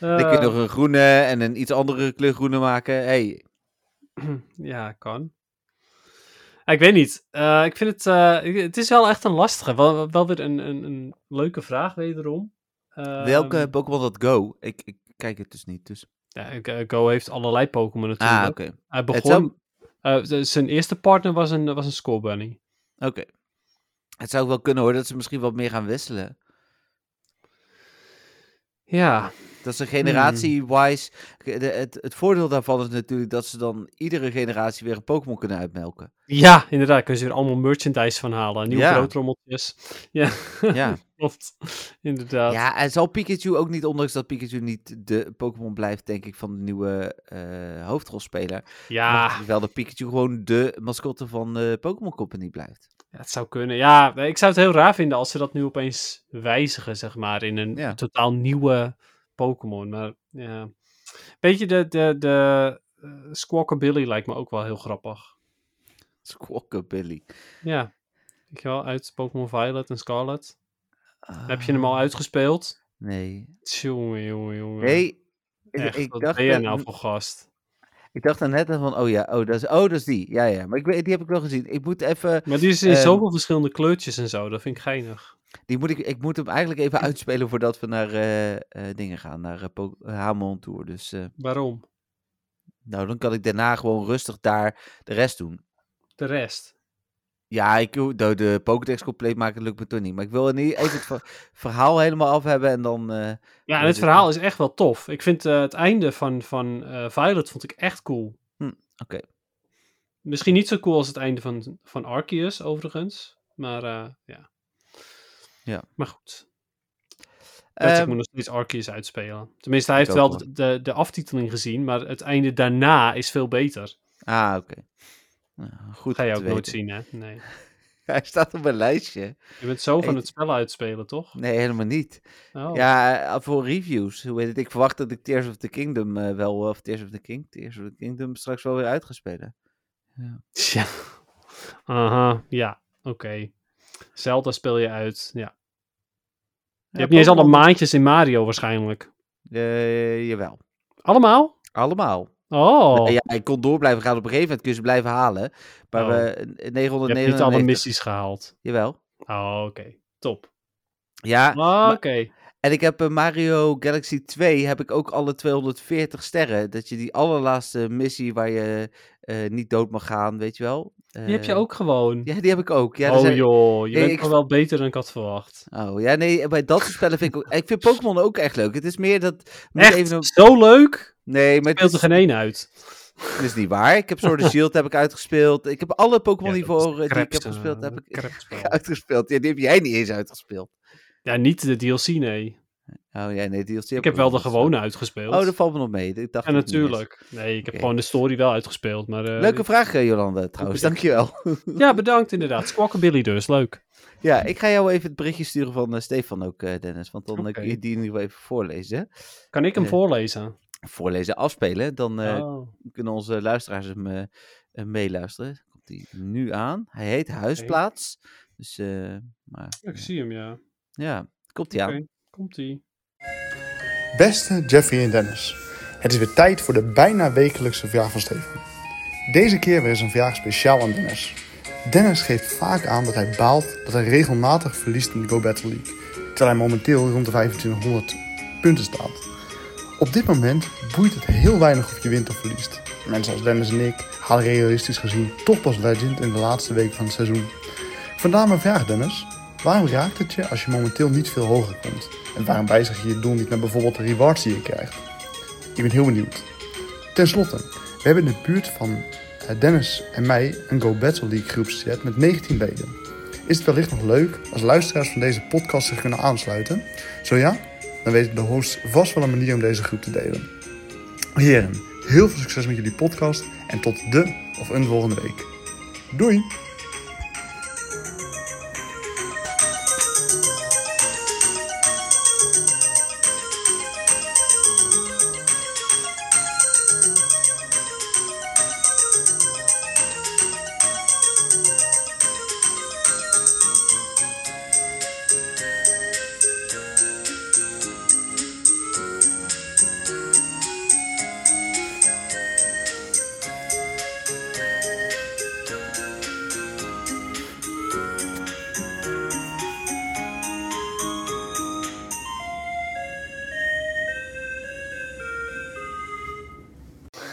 Speaker 1: dan kun je nog een groene en een iets andere kleur groene maken. hey,
Speaker 2: Ja, kan. Ah, Ik weet niet. Eh, ik vind het. eh, ik- het is wel echt een lastige. Wel, wel weer een, een, een leuke vraag, wederom. Ehm,
Speaker 1: welke Pokémon dat Go? Ik, ik kijk het dus niet, dus...
Speaker 2: ja, ik- eh, Go heeft allerlei Pokémon natuurlijk.
Speaker 1: Ah, oké.
Speaker 2: Hij
Speaker 1: Het
Speaker 2: begon.
Speaker 1: zou,
Speaker 2: eh, z- zijn eerste partner was een, was een Skull Bunny.
Speaker 1: oké. het zou ook wel kunnen, hoor, dat ze misschien wat meer gaan wisselen.
Speaker 2: Ja.
Speaker 1: Dat
Speaker 2: Hmm.
Speaker 1: ze generatie-wise... ge- de- Het, het voordeel daarvan is natuurlijk dat ze dan iedere generatie weer een Pokémon kunnen uitmelken.
Speaker 2: Ja, inderdaad. Daar kunnen ze weer allemaal merchandise van halen. Nieuwe
Speaker 1: Ja.
Speaker 2: broodrommeltjes. Ja,
Speaker 1: Ja.
Speaker 2: klopt. Inderdaad.
Speaker 1: Ja, en zal Pikachu ook niet, ondanks dat Pikachu niet de Pokémon blijft, denk ik, van de nieuwe eh, hoofdrolspeler.
Speaker 2: ja.
Speaker 1: mag- Wel dat Pikachu gewoon de mascotte van de Pokémon Company blijft.
Speaker 2: Ja, het zou kunnen. Ja, nee, ik zou het heel raar vinden als ze dat nu opeens wijzigen, zeg maar, in een
Speaker 1: Ja.
Speaker 2: totaal nieuwe Pokémon. Maar ja. Beetje de, de, de eh, Squawkabilly lijkt me ook wel heel grappig.
Speaker 1: Squawkabilly.
Speaker 2: Ja. Weet je wel, uit Pokémon Violet en Scarlet.
Speaker 1: Billy. Ah.
Speaker 2: Heb je hem al uitgespeeld?
Speaker 1: Nee.
Speaker 2: Tjonge, jonge, jonge.
Speaker 1: Nee. Ik,
Speaker 2: Echt,
Speaker 1: ik
Speaker 2: wat
Speaker 1: dacht
Speaker 2: ben jij
Speaker 1: dan-
Speaker 2: nou voor gast?
Speaker 1: ik dacht dan net van, oh ja, oh dat, is, oh, dat is die. Ja, ja. Maar ik weet, die heb ik wel gezien. Ik moet even,
Speaker 2: Maar die is in
Speaker 1: Ehm,
Speaker 2: zoveel verschillende kleurtjes en zo, dat vind ik geinig.
Speaker 1: die moet ik, ik moet hem eigenlijk even uitspelen voordat we naar eh, eh, dingen gaan, naar eh, Po- Hamon Tour. Dus eh,
Speaker 2: Waarom?
Speaker 1: nou, dan kan ik daarna gewoon rustig daar de rest doen.
Speaker 2: De rest.
Speaker 1: Ja, ik, doe- de, de Pokédex compleet maken lukt me toch niet. Maar ik wil in ieder- even het ver- verhaal helemaal af hebben en dan... eh,
Speaker 2: Ja, en
Speaker 1: Dat
Speaker 2: het
Speaker 1: is-
Speaker 2: verhaal is echt wel tof. Ik vind eh, het einde van, van eh, Violet vond ik echt cool.
Speaker 1: Hm, oké.
Speaker 2: Misschien niet zo cool als het einde van, van Arceus, overigens. Maar eh, ja.
Speaker 1: Ja.
Speaker 2: Maar goed. Patrick
Speaker 1: ehm,
Speaker 2: moet nog steeds Arceus uitspelen. Tenminste, hij
Speaker 1: Ik
Speaker 2: heeft wel
Speaker 1: ook,
Speaker 2: de, de, de aftiteling gezien, maar het einde daarna is veel beter.
Speaker 1: Ah, oké. Nou, goed
Speaker 2: Ga
Speaker 1: om
Speaker 2: je
Speaker 1: te
Speaker 2: ook nooit
Speaker 1: weten.
Speaker 2: zien, hè? Nee.
Speaker 1: Hij staat op mijn lijstje.
Speaker 2: Je bent zo van
Speaker 1: Hey.
Speaker 2: het spel uitspelen, toch?
Speaker 1: Nee, helemaal niet.
Speaker 2: Oh.
Speaker 1: Ja, eh, voor reviews. Hoe heet het? Ik verwacht dat ik Tears of the Kingdom eh, wel, of Tears of the King, Tears of the Kingdom straks wel weer uit ga spelen.
Speaker 2: Tja. Aha, ja, oké. Zelda speel je uit, ja. Je hebt niet eens alle maandjes in Mario waarschijnlijk.
Speaker 1: Eh, jawel.
Speaker 2: Allemaal?
Speaker 1: Allemaal.
Speaker 2: Oh,
Speaker 1: Nou Ja, ik kon door blijven gaan. Op een gegeven moment kun je ze blijven halen. Maar
Speaker 2: Oh.
Speaker 1: we, eh,
Speaker 2: je
Speaker 1: 999...
Speaker 2: hebt niet alle missies gehaald.
Speaker 1: Jawel.
Speaker 2: Oh, oké. Top.
Speaker 1: Ja,
Speaker 2: Ah, oké.
Speaker 1: en ik heb eh, Mario Galaxy 2 heb ik ook alle 240 sterren. Dat je die allerlaatste missie waar je eh, niet dood mag gaan, weet je wel.
Speaker 2: Die heb je
Speaker 1: Eh,
Speaker 2: ook gewoon.
Speaker 1: Ja, die heb ik ook. Ja, daar
Speaker 2: oh
Speaker 1: zijn-
Speaker 2: joh, je
Speaker 1: Nee,
Speaker 2: bent
Speaker 1: ik-
Speaker 2: toch wel beter dan ik had verwacht.
Speaker 1: Oh ja, nee, bij dat soort spellen vind ik ook. Ik vind Pokémon ook echt leuk. Het is meer dat. moet
Speaker 2: Echt
Speaker 1: even op-
Speaker 2: zo leuk?
Speaker 1: Nee, maar het
Speaker 2: Speelt er
Speaker 1: is,
Speaker 2: geen één uit.
Speaker 1: het is niet waar. Ik heb Sword and Shield heb ik uitgespeeld. Ik heb alle Pokémon
Speaker 2: Ja,
Speaker 1: die
Speaker 2: dat is
Speaker 1: voor eh, die ik heb
Speaker 2: crapste-
Speaker 1: gespeeld, heb ik
Speaker 2: crapspel.
Speaker 1: uitgespeeld. Ja, die heb jij niet eens uitgespeeld.
Speaker 2: Ja, niet de DLC, nee.
Speaker 1: Oh ja, nee, DLC.
Speaker 2: Ik heb wel de
Speaker 1: uitgespeeld.
Speaker 2: gewone uitgespeeld.
Speaker 1: Oh, dat valt me nog mee. Ik dacht
Speaker 2: Ja,
Speaker 1: dat het niet eens.
Speaker 2: natuurlijk. Nee, ik heb
Speaker 1: Oké.
Speaker 2: gewoon de story wel uitgespeeld. Maar, eh,
Speaker 1: Leuke vraag, eh, Jolanda, trouwens. Dankjewel.
Speaker 2: Ja, bedankt inderdaad. Squawkabilly dus, leuk.
Speaker 1: ja, ik ga jou even het berichtje sturen van eh, Stefan ook, eh, Dennis. Want dan eh, kun
Speaker 2: Oké.
Speaker 1: je die in ieder geval even voorlezen.
Speaker 2: Kan ik hem
Speaker 1: Eh,
Speaker 2: voorlezen?
Speaker 1: Voorlezen, afspelen. Dan eh,
Speaker 2: Oh,
Speaker 1: kunnen onze luisteraars hem eh, eh, meeluisteren. Komt hij nu aan. Hij heet Huisplaats. Dus, eh, maar,
Speaker 2: ik zie hem, ja.
Speaker 1: ja, komt hij aan.
Speaker 2: Oké, Komt-ie.
Speaker 3: Beste Jeffrey en Dennis, het is weer tijd voor de bijna wekelijkse vraag van Steven. Deze keer weer is een vraag speciaal aan Dennis. Dennis geeft vaak aan dat hij baalt dat hij regelmatig verliest in de Go Battle League, terwijl hij momenteel rond de 2500 punten staat. Op dit moment boeit het heel weinig of je wint of verliest. Mensen als Dennis en ik halen realistisch gezien toch pas Legend in de laatste week van het seizoen. Vandaar mijn vraag, Dennis. Waarom raakt het je als je momenteel niet veel hoger komt? En waarom wijzig je je doel niet naar bijvoorbeeld de rewards die je krijgt? Ik ben heel benieuwd. Ten slotte, we hebben in de buurt van eh, Dennis en mij een Go Battle League groep gezet met 19 leden. Is het wellicht nog leuk als luisteraars van deze podcast zich kunnen aansluiten? Zo ja, dan weten de hosts vast wel een manier om deze groep te delen. Heren, heel veel succes met jullie podcast en tot de of een volgende week. Doei!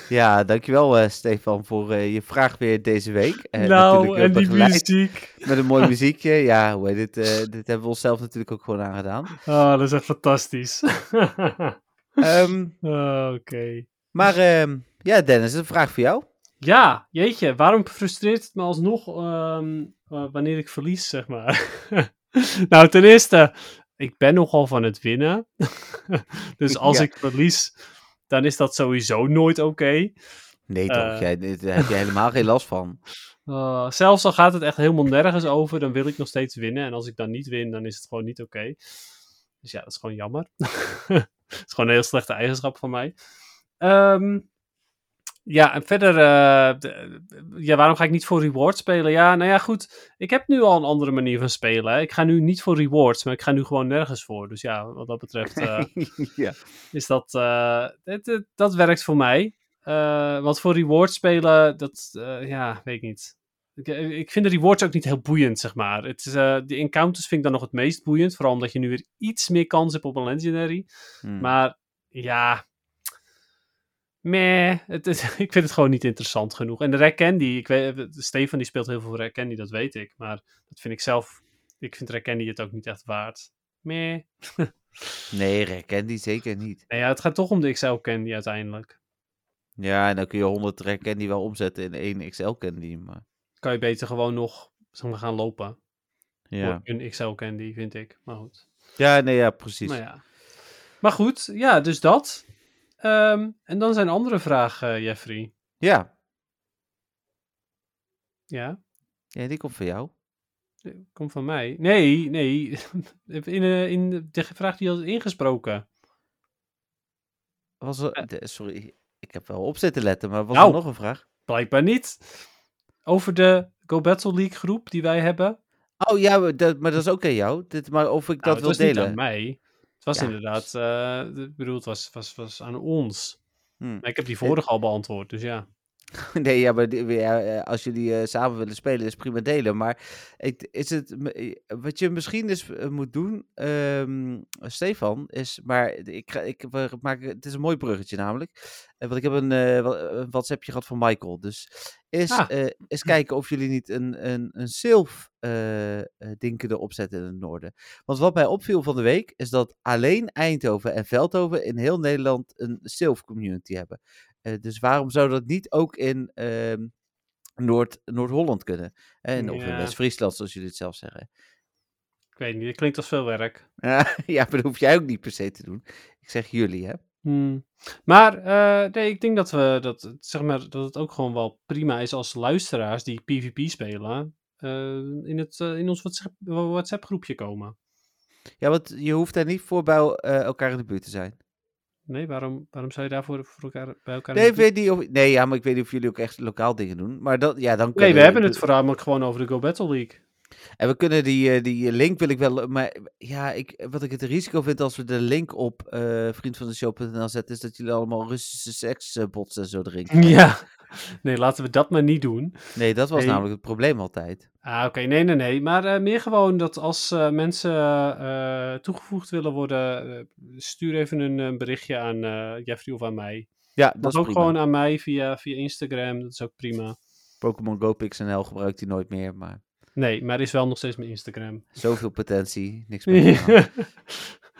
Speaker 1: Ja, dankjewel eh, Stefan voor eh, je vraag weer deze week. Eh, natuurlijk weer begeleid
Speaker 2: Nou, muziek.
Speaker 1: Met een mooi muziekje. Ja, hoe heet het? eh, dit hebben we onszelf natuurlijk ook gewoon aangedaan.
Speaker 2: Ah, dat is echt fantastisch.
Speaker 1: Ehm,
Speaker 2: Ah, oké.
Speaker 1: maar ehm, ja, Dennis, een vraag voor jou.
Speaker 2: Ja, jeetje, waarom frustreert het me alsnog ehm, eh, wanneer ik verlies, zeg maar? nou, ten eerste, ik ben nogal van het winnen. dus als
Speaker 1: Ja.
Speaker 2: ik verlies, dan is dat sowieso nooit oké.
Speaker 1: Nee
Speaker 2: Eh.
Speaker 1: toch, jij, dit- daar heb je helemaal geen last van.
Speaker 2: Eh, zelfs al gaat het echt helemaal nergens over, dan wil ik nog steeds winnen. En als ik dan niet win, dan is het gewoon niet oké. Dus ja, dat is gewoon jammer. Het is gewoon een heel slechte eigenschap van mij. Ehm, Ja, en verder, eh, de- ja, waarom ga ik niet voor rewards spelen? Ja, nou ja, goed. Ik heb nu al een andere manier van spelen. hè. Ik ga nu niet voor rewards, maar ik ga nu gewoon nergens voor. Dus ja, wat dat betreft eh,
Speaker 1: ja.
Speaker 2: is dat, eh, het- het- dat werkt voor mij. Eh, want voor rewards spelen, dat, eh, ja, weet ik niet. Ik, eh, ik vind de rewards ook niet heel boeiend, zeg maar. Het is, eh, die encounters vind ik dan nog het meest boeiend. Vooral omdat je nu weer iets meer kans hebt op een legendary.
Speaker 1: Hmm.
Speaker 2: Maar ja. Meh, het is, ik vind het gewoon niet interessant genoeg. En de Red Candy, ik weet, Stefan die speelt heel veel Red Candy, dat weet ik. Maar dat vind ik zelf, ik vind Red Candy het ook niet echt waard. Meh.
Speaker 1: Nee, Rare Candy zeker niet.
Speaker 2: Nou ja, het gaat toch om de XL Candy uiteindelijk.
Speaker 1: Ja, en dan kun je 100 Rare Candy wel omzetten in één XL Candy. Maar...
Speaker 2: Kan je beter gewoon nog zeg maar, gaan lopen.
Speaker 1: Ja.
Speaker 2: Voor een XL Candy, vind ik. Maar goed.
Speaker 1: ja, nee, ja, precies.
Speaker 2: Nou ja. Maar goed, ja, dus dat. Ehm, en dan zijn andere vragen, eh, Jeffrey.
Speaker 1: ja.
Speaker 2: Ja.
Speaker 1: ja, die komt van jou.
Speaker 2: Komt van mij. Nee, nee. In, eh, in de- de vraag die je had ingesproken.
Speaker 1: Was er, de- sorry, ik heb wel op zitten letten, maar was
Speaker 2: Eh. Nou.
Speaker 1: er nog een vraag?
Speaker 2: Blijkbaar niet. Over de Go Battle League groep die wij hebben. Nou,
Speaker 1: Oh ja, maar dat, maar dat is ook aan jou. Dit, maar of ik dat
Speaker 2: het
Speaker 1: wil
Speaker 2: was niet
Speaker 1: delen.
Speaker 2: aan mij. Het was
Speaker 1: Ja.
Speaker 2: inderdaad, eh, ik bedoel, het was, was, was aan ons.
Speaker 1: Hmm.
Speaker 2: Maar ik heb die vorige al beantwoord, dus ja.
Speaker 1: Nee, ja, maar die- ja, eh, als jullie eh, samen willen spelen, is prima delen. Maar ik, is het, m- eh, wat je misschien dus eh, moet doen, ehm, Stefan, is, maar ik, ga- ik we maken, het is een mooi bruggetje namelijk. Eh, Want ik heb een, eh, wa- een WhatsAppje gehad van Michael. Dus is,
Speaker 2: Ah.
Speaker 1: eh, eens kijken of jullie niet een, een, een Sylph eh, eh, ding kunnen opzetten in het noorden. Want wat mij opviel van de week, is dat alleen Eindhoven en Veldhoven in heel Nederland een Sylph community hebben. Eh, dus waarom zou dat niet ook in ehm, Noord- Noord-Holland kunnen? En, Of in
Speaker 2: Ja.
Speaker 1: West-Friesland, zoals jullie het zelf zeggen.
Speaker 2: Ik weet niet, dat klinkt als veel werk.
Speaker 1: ja, maar dat hoef jij ook niet per se te doen. Ik zeg jullie, hè?
Speaker 2: Hmm. Maar eh, nee, ik denk dat, we, dat, het- zeg maar, dat het ook gewoon wel prima is als luisteraars die PvP spelen... eh, in, het, eh, in ons WhatsApp- WhatsApp-groepje komen.
Speaker 1: Ja, want je hoeft daar niet voor bij el- eh, elkaar in de buurt te zijn.
Speaker 2: Nee, waarom, waarom zou je daarvoor voor elkaar, bij elkaar...
Speaker 1: Nee, ik
Speaker 2: we,
Speaker 1: weet niet of, nee, ja, maar ik weet niet of jullie ook echt lokaal dingen doen. Maar dat, ja, dan
Speaker 2: nee,
Speaker 1: kunnen
Speaker 2: we hebben het
Speaker 1: de-
Speaker 2: voornamelijk gewoon over de Go Battle League.
Speaker 1: En we kunnen die, eh, die link wil ik wel. Maar ja, ik, wat ik het risico vind als we de link op eh vriendvandeshow.nl zetten, is dat jullie allemaal Russische seksbots en zo drinken.
Speaker 2: Ja. Nee, laten we dat maar niet doen.
Speaker 1: Nee, dat was
Speaker 2: Nee.
Speaker 1: namelijk het probleem altijd.
Speaker 2: Ah, oké. Nee, nee, nee. Maar eh, meer gewoon dat als eh, mensen eh, toegevoegd willen worden, eh, stuur even een, eh, berichtje aan eh, Jeffrey of aan mij.
Speaker 1: Ja,
Speaker 2: Dat
Speaker 1: dat
Speaker 2: ook
Speaker 1: is prima.
Speaker 2: gewoon eh, aan mij via, via Instagram. Dat is ook prima.
Speaker 1: Pokémon Go PXNL gebruikt hij nooit meer, maar
Speaker 2: Nee, maar er is wel nog steeds mijn Instagram.
Speaker 1: zoveel potentie, niks meer. gedaan.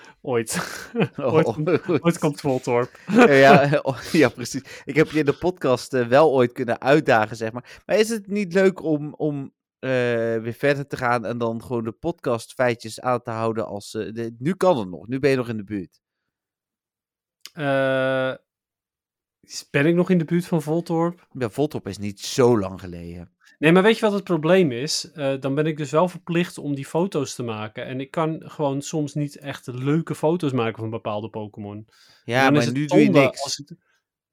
Speaker 2: Ooit.
Speaker 1: Oh,
Speaker 2: Ooit,
Speaker 1: goed.
Speaker 2: komt- ooit komt Voltorp.
Speaker 1: ja, oh, ja, precies. Ik heb je in de podcast eh, wel ooit kunnen uitdagen, zeg maar. Maar is het niet leuk om, om eh, weer verder te gaan en dan gewoon de podcast feitjes aan te houden als... eh, de- nu kan het nog, nu ben je nog in de buurt.
Speaker 2: Eh, ben ik nog in de buurt van Voltorp?
Speaker 1: Ja, Voltop is niet zo lang geleden.
Speaker 2: Nee, maar weet je wat het probleem is? Eh, dan ben ik dus wel verplicht om die foto's te maken. En ik kan gewoon soms niet echt leuke foto's maken van bepaalde Pokémon. En
Speaker 1: Ja,
Speaker 2: dan is
Speaker 1: maar
Speaker 2: het
Speaker 1: nu doe je
Speaker 2: zonde
Speaker 1: niks.
Speaker 2: als ik-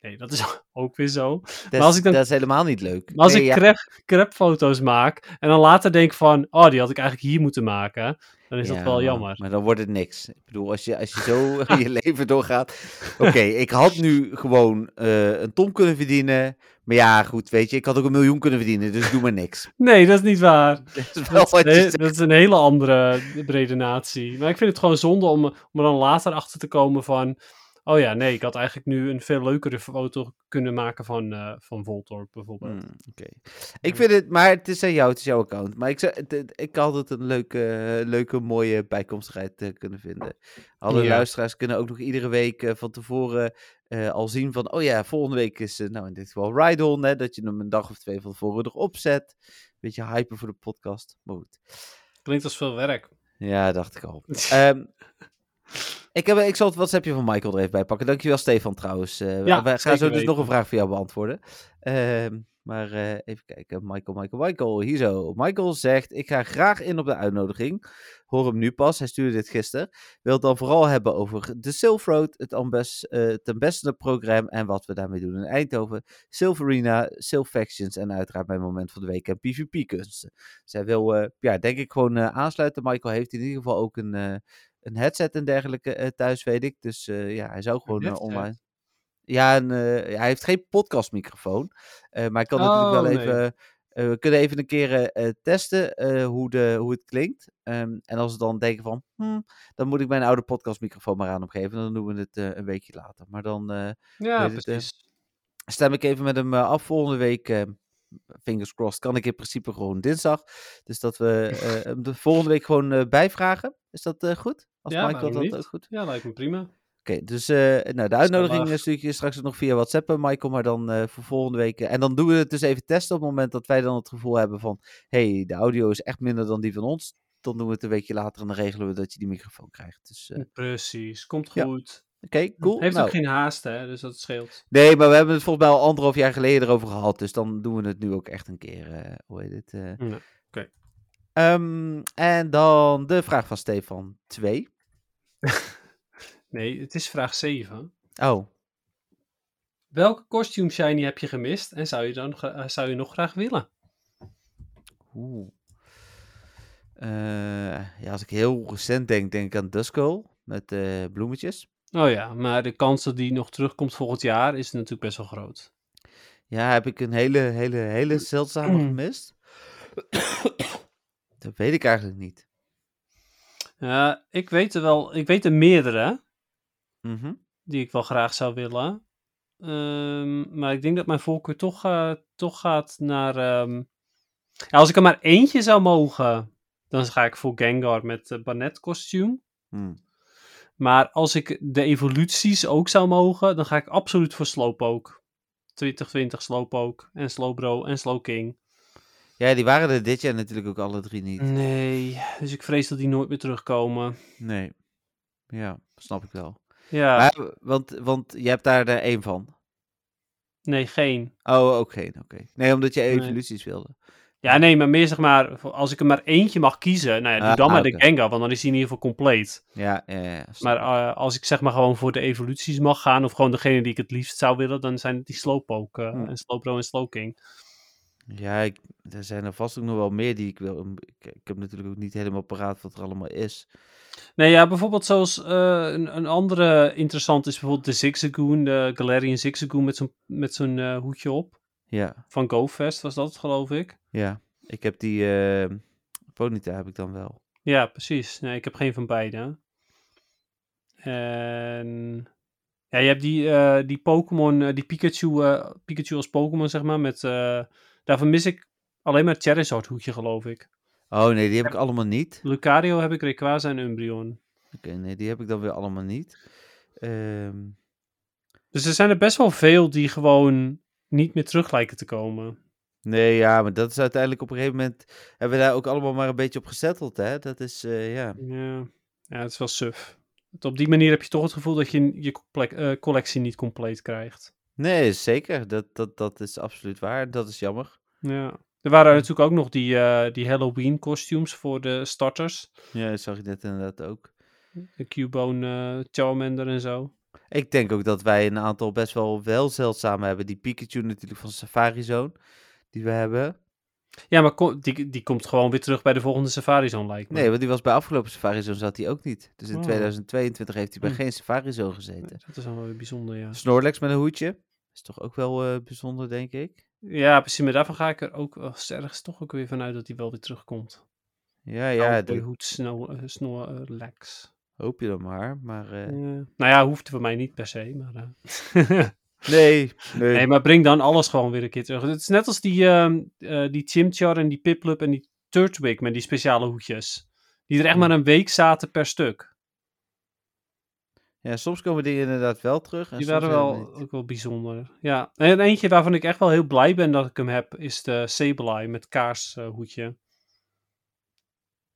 Speaker 2: Nee, dat is ook weer zo.
Speaker 1: dat,
Speaker 2: als
Speaker 1: is,
Speaker 2: ik dan-
Speaker 1: dat is helemaal niet leuk.
Speaker 2: Maar als
Speaker 1: Nee,
Speaker 2: ik
Speaker 1: ja.
Speaker 2: crap, crapfoto's maak en dan later denk van... Oh, die had ik eigenlijk hier moeten maken. Dan is dat
Speaker 1: Ja,
Speaker 2: wel
Speaker 1: maar-
Speaker 2: jammer.
Speaker 1: Maar dan wordt het niks. Ik bedoel, als je, als je zo je leven doorgaat. Oké, ik had nu gewoon eh, een ton kunnen verdienen. Maar ja, goed, weet je, ik had ook een miljoen kunnen verdienen. Dus doe maar niks.
Speaker 2: Nee, dat is niet waar.
Speaker 1: Dat is wel
Speaker 2: Dat,
Speaker 1: wat je
Speaker 2: nee,
Speaker 1: zegt.
Speaker 2: dat is een hele andere redenatie. Maar ik vind het gewoon zonde om, om er dan later achter te komen van... Oh ja, nee, ik had eigenlijk nu een veel leukere foto kunnen maken van, eh van Voltorp bijvoorbeeld.
Speaker 1: Hmm, oké. Ik vind het, maar het is aan jou, het is jouw account. Maar ik, zou, het- het- ik had het een leuke, leuke mooie bijkomstigheid eh, kunnen vinden. Alle
Speaker 2: Ja.
Speaker 1: luisteraars kunnen ook nog iedere week eh, van tevoren eh, al zien van, oh ja, volgende week is, eh, nou in dit geval Ride-On, hè, dat je hem een dag of twee van tevoren erop zet. Beetje hypen voor de podcast, maar goed.
Speaker 2: Klinkt als veel werk.
Speaker 1: Ja, dacht ik al. Ehm, ik, heb, ik zal het WhatsAppje van Michael er even bij pakken. Dankjewel Stefan trouwens. Eh,
Speaker 2: Ja,
Speaker 1: wij gaan zo
Speaker 2: zeker
Speaker 1: dus nog
Speaker 2: weten.
Speaker 1: een vraag voor jou beantwoorden. Ehm, Maar eh, even kijken. Michael, Michael, Michael. Hier zo. Michael zegt: Ik ga graag in op de uitnodiging. Hoor hem nu pas. Hij stuurde dit gisteren. Wil het dan vooral hebben over de Silk Road, het ambes, eh, ten beste programma en wat we daarmee doen in Eindhoven. Silverina, Silk Factions en uiteraard mijn moment van de week en PvP-kunsten. Zij wil, eh, ja, denk ik, gewoon eh, aansluiten. Michael heeft in ieder geval ook een, eh, een headset en dergelijke eh, thuis, weet ik. Dus eh, ja, hij zou gewoon eh,
Speaker 2: headset?
Speaker 1: online. Ja, en, eh, hij heeft geen podcastmicrofoon. Eh, maar ik kan natuurlijk
Speaker 2: Oh,
Speaker 1: wel
Speaker 2: nee.
Speaker 1: even. eh, we kunnen even een keer eh, eh, testen eh, hoe, de, hoe het klinkt. Ehm, en als we dan denken van, hmm, dan moet ik mijn oude podcastmicrofoon maar aan opgeven. Dan doen we het eh, een weekje later. Maar dan eh,
Speaker 2: Ja,
Speaker 1: Weet het, eh,
Speaker 2: precies.
Speaker 1: stem ik even met hem eh, af volgende week. eh, fingers crossed, kan ik in principe gewoon dinsdag. Dus dat we eh, hem de volgende week gewoon eh, bijvragen. Is dat eh, goed? Als
Speaker 2: Ja,
Speaker 1: Michael
Speaker 2: waarom
Speaker 1: dat
Speaker 2: niet?
Speaker 1: ook goed
Speaker 2: Ja, lijkt me prima.
Speaker 1: Oké, dus eh, nou, de uitnodiging
Speaker 2: Schandalig.
Speaker 1: eh, stuur ik je straks nog via WhatsApp, eh, Michael, maar dan eh, voor volgende week. eh, en dan doen we het dus even testen op het moment dat wij dan het gevoel hebben van, hey, de audio is echt minder dan die van ons. Dan doen we het een weekje later en dan regelen we dat je die microfoon krijgt. Dus eh, oké,
Speaker 2: Precies, komt
Speaker 1: Ja.
Speaker 2: goed.
Speaker 1: cool.
Speaker 2: Heeft
Speaker 1: Nou,
Speaker 2: ook geen haast, hè, dus dat scheelt.
Speaker 1: Nee, maar we hebben het volgens mij al anderhalf jaar geleden erover gehad, dus dan doen we het nu ook echt een keer, eh, hoe heet het? eh.
Speaker 2: Ja, oké.
Speaker 1: Ehm, en dan de vraag van Stefan 2.
Speaker 2: Nee, het is vraag 7.
Speaker 1: Oh,
Speaker 2: Welke costume shiny heb je gemist en zou je, dan, gra- eh, zou je nog graag willen?
Speaker 1: Oeh. Eh, ja, als ik heel recent denk, denk ik aan Duskull met eh, bloemetjes.
Speaker 2: Oh ja, maar de kans dat die nog terugkomt volgend jaar is natuurlijk best wel groot.
Speaker 1: Ja, heb ik een hele, hele, hele zeldzame gemist? Dat weet ik eigenlijk niet.
Speaker 2: Eh, ik weet er wel, ik weet er meerdere
Speaker 1: Mhm.
Speaker 2: die ik wel graag zou willen. Ehm, maar ik denk dat mijn voorkeur toch, eh, toch gaat naar. ehm, Ja, als ik er maar eentje zou mogen, dan ga ik voor Gengar met eh Barnet kostuum.
Speaker 1: Hm.
Speaker 2: Maar als ik de evoluties ook zou mogen, dan ga ik absoluut voor Slowpoke. 2020 Slowpoke en Slowbro en Slowking.
Speaker 1: Ja, die waren er dit jaar natuurlijk ook alle drie niet.
Speaker 2: Mm. Nee, dus ik vrees dat die nooit meer terugkomen.
Speaker 1: Nee. Ja, snap ik wel.
Speaker 2: Ja,
Speaker 1: Maar, want, want je hebt daar er één van.
Speaker 2: nee, geen.
Speaker 1: Oh, ook geen. Oké. Nee, omdat je
Speaker 2: Nee.
Speaker 1: evoluties wilde.
Speaker 2: Ja, nee, maar meer zeg maar, voor- als ik er maar eentje mag kiezen, nou ja, doe
Speaker 1: Ah,
Speaker 2: dan maar
Speaker 1: oké.
Speaker 2: de Gengar, want dan is die in ieder geval compleet.
Speaker 1: Ja, ja, ja. snap
Speaker 2: Maar
Speaker 1: ik.
Speaker 2: eh, als ik zeg maar gewoon voor de evoluties mag gaan, of gewoon degene die ik het liefst zou willen, dan zijn het die Slowpoke eh,
Speaker 1: Hm.
Speaker 2: en Slowbro en Slowking.
Speaker 1: Ja, ik, er zijn er vast ook nog wel meer die ik wil. Ik, ik heb natuurlijk ook niet helemaal paraat wat er allemaal is.
Speaker 2: Nee, ja, bijvoorbeeld zoals eh, een, een andere interessant is bijvoorbeeld de Zigzagoon, de Galarian Zigzagoon met zo'n met zo'n eh, hoedje op.
Speaker 1: Ja,
Speaker 2: Van GoFest was dat, geloof ik.
Speaker 1: ja. Ik heb die eh Ponyta heb ik dan wel.
Speaker 2: Ja, precies. Nee, ik heb geen van beide. En... Ja, je hebt die, eh, die Pokémon, eh, die Pikachu, eh, Pikachu als Pokémon, zeg maar, met... eh, daarvan mis ik alleen maar het Charizard hoedje, geloof ik.
Speaker 1: Oh nee, die heb ik allemaal niet.
Speaker 2: Lucario heb ik, Rayquaza en Umbreon.
Speaker 1: Oké, nee, die heb ik dan weer allemaal niet. Ehm,
Speaker 2: Dus er zijn er best wel veel die gewoon niet meer terug lijken te komen.
Speaker 1: nee, ja, maar dat is uiteindelijk op een gegeven moment. Hebben we daar ook allemaal maar een beetje op gezetteld, hè? Dat is, eh, ja.
Speaker 2: Ja, ja het is wel suf. Want op die manier heb je toch het gevoel dat je je comple- eh, collectie niet compleet krijgt.
Speaker 1: Nee, zeker. Dat, dat, dat is absoluut waar. Dat is jammer.
Speaker 2: Ja. Er waren natuurlijk ook nog die, eh, die Halloween costumes voor de starters.
Speaker 1: Ja, dat zag ik net inderdaad ook.
Speaker 2: De Cubone eh, Charmander en zo.
Speaker 1: Ik denk ook dat wij een aantal best wel wel zeldzame hebben. Die Pikachu natuurlijk van Safari Zone, die we hebben.
Speaker 2: Ja, maar ko- die, die komt gewoon weer terug bij de volgende Safari Zone lijkt me.
Speaker 1: Nee, want die was bij afgelopen Safari Zone zat hij ook niet. Dus in
Speaker 2: Hm. Oh.
Speaker 1: 2022 heeft hij bij
Speaker 2: Hm.
Speaker 1: geen Safari Zone gezeten.
Speaker 2: Dat is wel weer bijzonder, ja.
Speaker 1: Snorlax met een hoedje. Is toch ook wel eh, bijzonder, denk ik.
Speaker 2: Ja, precies. Maar daarvan ga ik er ook eh, ergens toch ook weer vanuit dat die wel weer terugkomt.
Speaker 1: Ja, ja,
Speaker 2: Cowboy
Speaker 1: dat
Speaker 2: Hoed Snow, eh, Snorlax.
Speaker 1: hoop je dan maar. Maar eh,
Speaker 2: Ja. Nou ja, hoeft voor mij niet per se, maar... eh.
Speaker 1: nee, nee.
Speaker 2: Nee, maar breng dan alles gewoon weer een keer terug. Het is net als die, ehm eh, die Chimchar en die Piplup en die Turtwig met die speciale hoedjes. Die er echt maar een week zaten per stuk.
Speaker 1: Ja, soms komen dingen inderdaad wel terug. En
Speaker 2: Die
Speaker 1: soms
Speaker 2: waren
Speaker 1: helemaal
Speaker 2: wel
Speaker 1: niet.
Speaker 2: ook wel bijzonder. Ja, en eentje waarvan ik echt wel heel blij ben dat ik hem heb, is de Sableye met eh, kaarshoedje.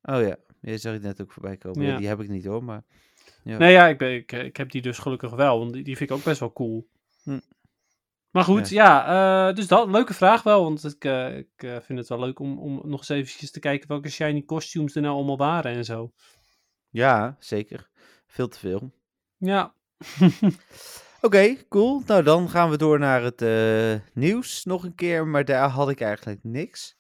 Speaker 1: Oh ja, je zag ik net ook voorbij komen. Ja,
Speaker 2: Ja.
Speaker 1: die heb ik niet hoor, maar... Ja.
Speaker 2: Nou Nee, ja, ik, ben, ik, ik heb die dus gelukkig wel, want die, die vind ik ook best wel cool.
Speaker 1: Hm.
Speaker 2: Maar goed, ja, eh, dus dat, leuke vraag wel. Want ik, eh, ik eh, vind het wel leuk om, om nog eens eventjes te kijken welke shiny costumes er nou allemaal waren en zo.
Speaker 1: Ja, zeker. Veel te veel.
Speaker 2: Ja,
Speaker 1: Oké, cool. Nou, dan gaan we door naar het eh, nieuws nog een keer. Maar daar had ik eigenlijk niks.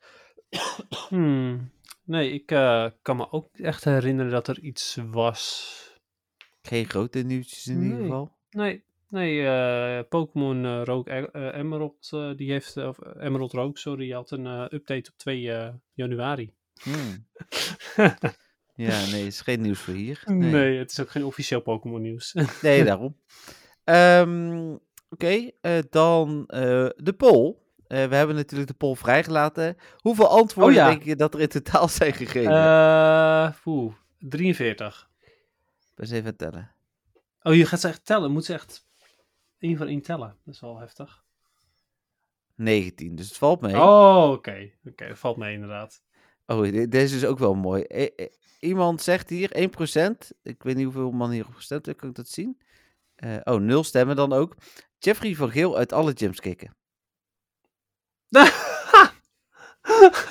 Speaker 2: hmm. nee, ik eh, kan me ook echt herinneren dat er iets was.
Speaker 1: Geen grote nieuwtjes in ieder
Speaker 2: Nee.
Speaker 1: geval.
Speaker 2: Nee, nee eh, Pokémon eh, Rook eh, eh, Emerald, eh, die heeft, of eh, Emerald Rook, sorry, die had een eh, update op 2 eh, januari.
Speaker 1: Hmm. Ja, nee, is geen nieuws voor hier.
Speaker 2: nee. het is ook geen officieel Pokémon nieuws.
Speaker 1: Nee, daarom. Ehm, Oké, eh, dan eh, de poll. Eh, we hebben natuurlijk de poll vrijgelaten. Hoeveel antwoorden
Speaker 2: Oh ja.
Speaker 1: denk je dat er in totaal zijn gegeven?
Speaker 2: Eh, poeh, 43.
Speaker 1: Eens even tellen.
Speaker 2: Oh, je gaat ze echt tellen. Moet ze echt één voor één tellen. Dat is wel heftig.
Speaker 1: 19, dus het valt mee. Oh,
Speaker 2: Oh, oké. Oké, dat valt mee inderdaad.
Speaker 1: de- deze is ook wel mooi. E- e- iemand zegt hier 1%. Ik weet niet hoeveel man hierop gestemd heeft, kan ik dat zien? Eh, oh, nul stemmen dan ook. Jeffrey van Geel uit alle gyms kicken.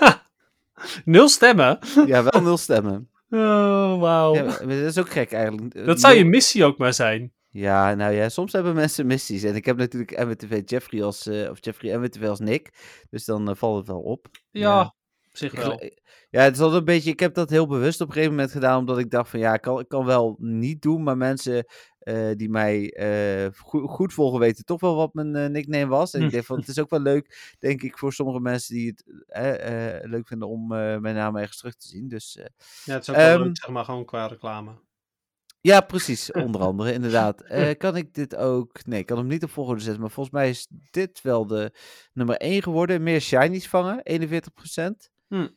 Speaker 2: Nul stemmen?
Speaker 1: Ja, wel nul stemmen.
Speaker 2: Oh, wauw.
Speaker 1: Ja, maar- maar dat is ook gek eigenlijk. Eh,
Speaker 2: dat zou je
Speaker 1: nul-
Speaker 2: missie ook maar zijn.
Speaker 1: Ja, nou ja, soms hebben mensen missies. En ik heb natuurlijk MWTV Jeffrey als, eh, of Jeffrey MWTV als Nick. Dus dan eh, valt het wel op.
Speaker 2: Ja,
Speaker 1: Ja.
Speaker 2: op zich
Speaker 1: Ik
Speaker 2: wel.
Speaker 1: gel- Ja, het is altijd een beetje, ik heb dat heel bewust op een gegeven moment gedaan, omdat ik dacht van ja, ik kan, ik kan wel niet doen, maar mensen eh, die mij eh, goe- goed volgen weten toch wel wat mijn eh, nickname was. En ik denk van het is ook wel leuk, denk ik, voor sommige mensen die het eh, eh, leuk vinden om eh, mijn naam ergens terug te zien. Dus eh,
Speaker 2: Ja, het is ook wel
Speaker 1: Ehm,
Speaker 2: leuk, zeg maar, gewoon qua reclame.
Speaker 1: Ja, precies. Onder andere, inderdaad. Eh, kan ik dit ook... Nee, ik kan hem niet op volgorde zetten. Maar volgens mij is dit wel de nummer 1 geworden. Meer shinies vangen, 41 procent.
Speaker 2: Hm. ja,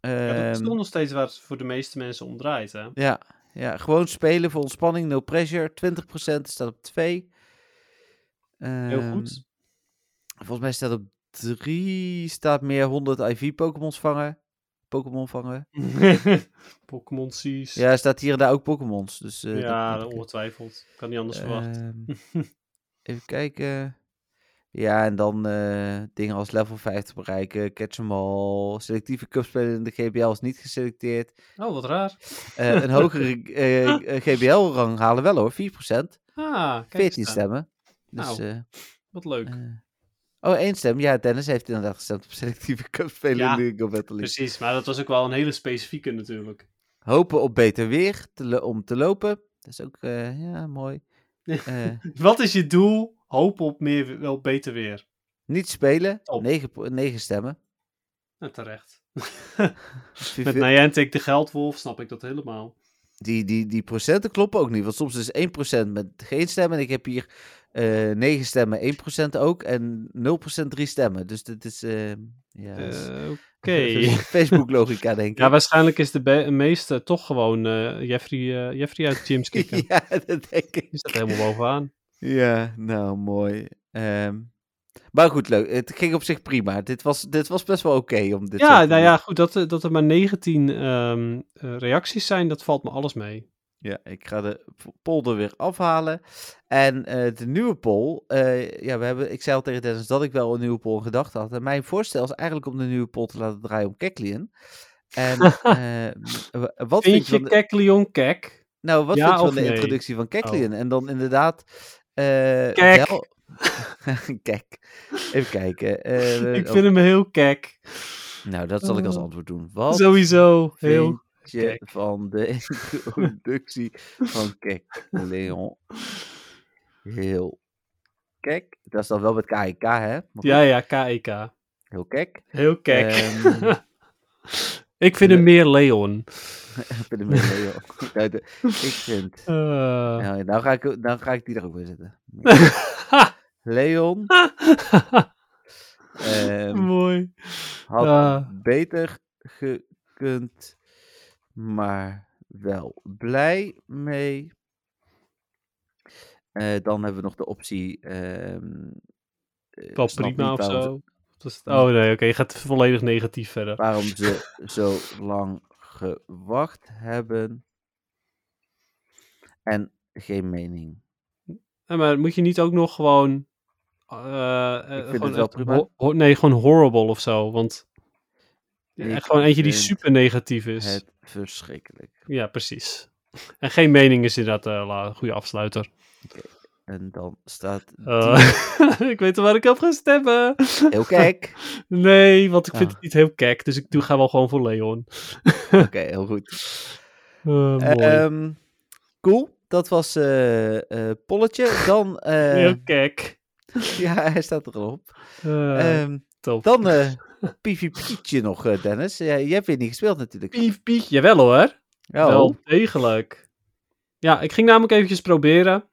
Speaker 1: ehm,
Speaker 2: dat is toch nog steeds waar het voor de meeste mensen om draait, hè?
Speaker 1: ja, ja, gewoon spelen voor ontspanning, no pressure. 20 procent staat op 2.
Speaker 2: Heel goed.
Speaker 1: Volgens mij staat op 3... Staat meer 100 IV-Pokémons vangen. Pokémon vangen.
Speaker 2: Ehm, Pokémon Seas. Ja,
Speaker 1: Ja, er staat hier en daar ook Pokémons. Dus, eh, moet ik-
Speaker 2: ongetwijfeld. Kan niet
Speaker 1: Eh,
Speaker 2: anders verwacht.
Speaker 1: Ehm, even kijken. Ja, en dan eh, dingen als level 50 bereiken, catch 'em all, selectieve cupspelen in de GBL is niet geselecteerd.
Speaker 2: Oh, wat raar.
Speaker 1: Eh, een hogere eh, GBL-rang halen wel hoor, 4%, 14
Speaker 2: Ah, kijk eens aan.
Speaker 1: stemmen. Dus,
Speaker 2: Nou,
Speaker 1: eh,
Speaker 2: Wat leuk.
Speaker 1: eh, oh, één stem. Ja, Dennis heeft inderdaad gestemd op selectieve cupspelen
Speaker 2: Ja,
Speaker 1: in
Speaker 2: Dus
Speaker 1: de League of Battle League.
Speaker 2: Precies, maar dat was ook wel een hele specifieke natuurlijk.
Speaker 1: Hopen op beter weer te lo- om te lopen. Dat is ook eh, ja, mooi. Eh,
Speaker 2: Wat is je doel? Hoop op meer, wel beter weer.
Speaker 1: niet spelen,
Speaker 2: Top.
Speaker 1: 9, 9 stemmen.
Speaker 2: Nou, terecht. Met
Speaker 1: Vivi-
Speaker 2: Niantic de geldwolf snap ik dat helemaal.
Speaker 1: die, die, die procenten kloppen ook niet. Want soms is 1% met geen stemmen. En ik heb hier eh 9 stemmen, 1% ook. En 0% 3 stemmen. Dus dit is. eh, ja, dat is-
Speaker 2: Eh, Oké.
Speaker 1: dat is Facebook-logica, denk ik.
Speaker 2: Ja, waarschijnlijk is de be- meeste toch gewoon eh, Jeffrey, eh, Jeffrey uit Jim's kicken.
Speaker 1: ja, dat denk ik.
Speaker 2: Die staat helemaal bovenaan.
Speaker 1: Ja, nou mooi. Ehm, maar goed, leuk. Het ging op zich prima. Dit was, dit was best wel oké om dit. zo
Speaker 2: Ja,
Speaker 1: te
Speaker 2: nou
Speaker 1: doen.
Speaker 2: ja, goed. Dat, er- dat er maar 19 ehm, eh, reacties zijn, dat valt me alles mee.
Speaker 1: Ja, ik ga de p- poll er weer afhalen. En eh, de nieuwe poll. eh, ja, we hebben, ik zei al tegen Dennis dat ik wel een nieuwe poll in gedachten had. En mijn voorstel is eigenlijk om de nieuwe poll te laten draaien om Keklian. En eh, w- wat vind,
Speaker 2: Vind
Speaker 1: je van
Speaker 2: je
Speaker 1: de,
Speaker 2: kek Leon kek?
Speaker 1: nou, wat
Speaker 2: ja
Speaker 1: vind je van
Speaker 2: of
Speaker 1: de
Speaker 2: nee? Oh.
Speaker 1: introductie van Keklian? En dan inderdaad. eh,
Speaker 2: Kek.
Speaker 1: wel- Kijk, even kijken. eh,
Speaker 2: ik
Speaker 1: oh,
Speaker 2: vind hem heel kek.
Speaker 1: Nou, dat zal ik als
Speaker 2: Oh.
Speaker 1: antwoord doen. Wat
Speaker 2: Sowieso. Heel.
Speaker 1: vind je
Speaker 2: kek.
Speaker 1: van de introductie van Kek Leon. Heel kek. Dat is dan wel met KIK, hè? Maar goed,
Speaker 2: Ja, ja, KEK.
Speaker 1: Heel kek.
Speaker 2: Heel kek.
Speaker 1: Ehm,
Speaker 2: ik vind hem meer Leon.
Speaker 1: ik vind hem heel Leon. Nou, de- Ik vind...
Speaker 2: Eh,
Speaker 1: Nou, nou, ga ik, nou ga ik die er ook weer zetten.
Speaker 2: Ha,
Speaker 1: Leon ehm,
Speaker 2: Mooi.
Speaker 1: had
Speaker 2: Ah.
Speaker 1: beter gekund, maar wel blij mee. Eh, dan hebben we nog de optie... ehm, eh,
Speaker 2: Wel
Speaker 1: snap
Speaker 2: prima
Speaker 1: niet
Speaker 2: of
Speaker 1: waarom ze-
Speaker 2: zo. Dat is- Oh nee, oké. je gaat volledig negatief verder.
Speaker 1: waarom ze zo lang gewacht hebben. En geen mening.
Speaker 2: Ja, maar moet je niet ook nog gewoon eh, eh,
Speaker 1: vind
Speaker 2: gewoon
Speaker 1: het wel
Speaker 2: echt
Speaker 1: prima.
Speaker 2: ho- ho- nee, gewoon horrible of zo. Want
Speaker 1: Ik
Speaker 2: echt gewoon eentje die
Speaker 1: vind
Speaker 2: super negatief is.
Speaker 1: Het verschrikkelijk.
Speaker 2: Ja, precies. En geen mening is inderdaad eh, la- een goede afsluiter.
Speaker 1: En dan staat
Speaker 2: Eh, ik weet al waar ik op ga stemmen.
Speaker 1: heel kijk.
Speaker 2: Nee, want ik vind
Speaker 1: Ah.
Speaker 2: het niet heel kek. Dus ik doe, ga wel gewoon voor Leon.
Speaker 1: Oké, heel goed.
Speaker 2: Eh, mooi.
Speaker 1: Ehm, cool. Dat was eh, eh, Polletje. Dan, eh,
Speaker 2: heel kek.
Speaker 1: ja, hij staat erop.
Speaker 2: Eh,
Speaker 1: Ehm
Speaker 2: top.
Speaker 1: dan eh PvP'tje nog, eh, Dennis. Ja, jij hebt weer niet gespeeld natuurlijk.
Speaker 2: Pief, pief. Jawel hoor.
Speaker 1: Ja,
Speaker 2: Wel degelijk. Ja, ik ging namelijk eventjes proberen.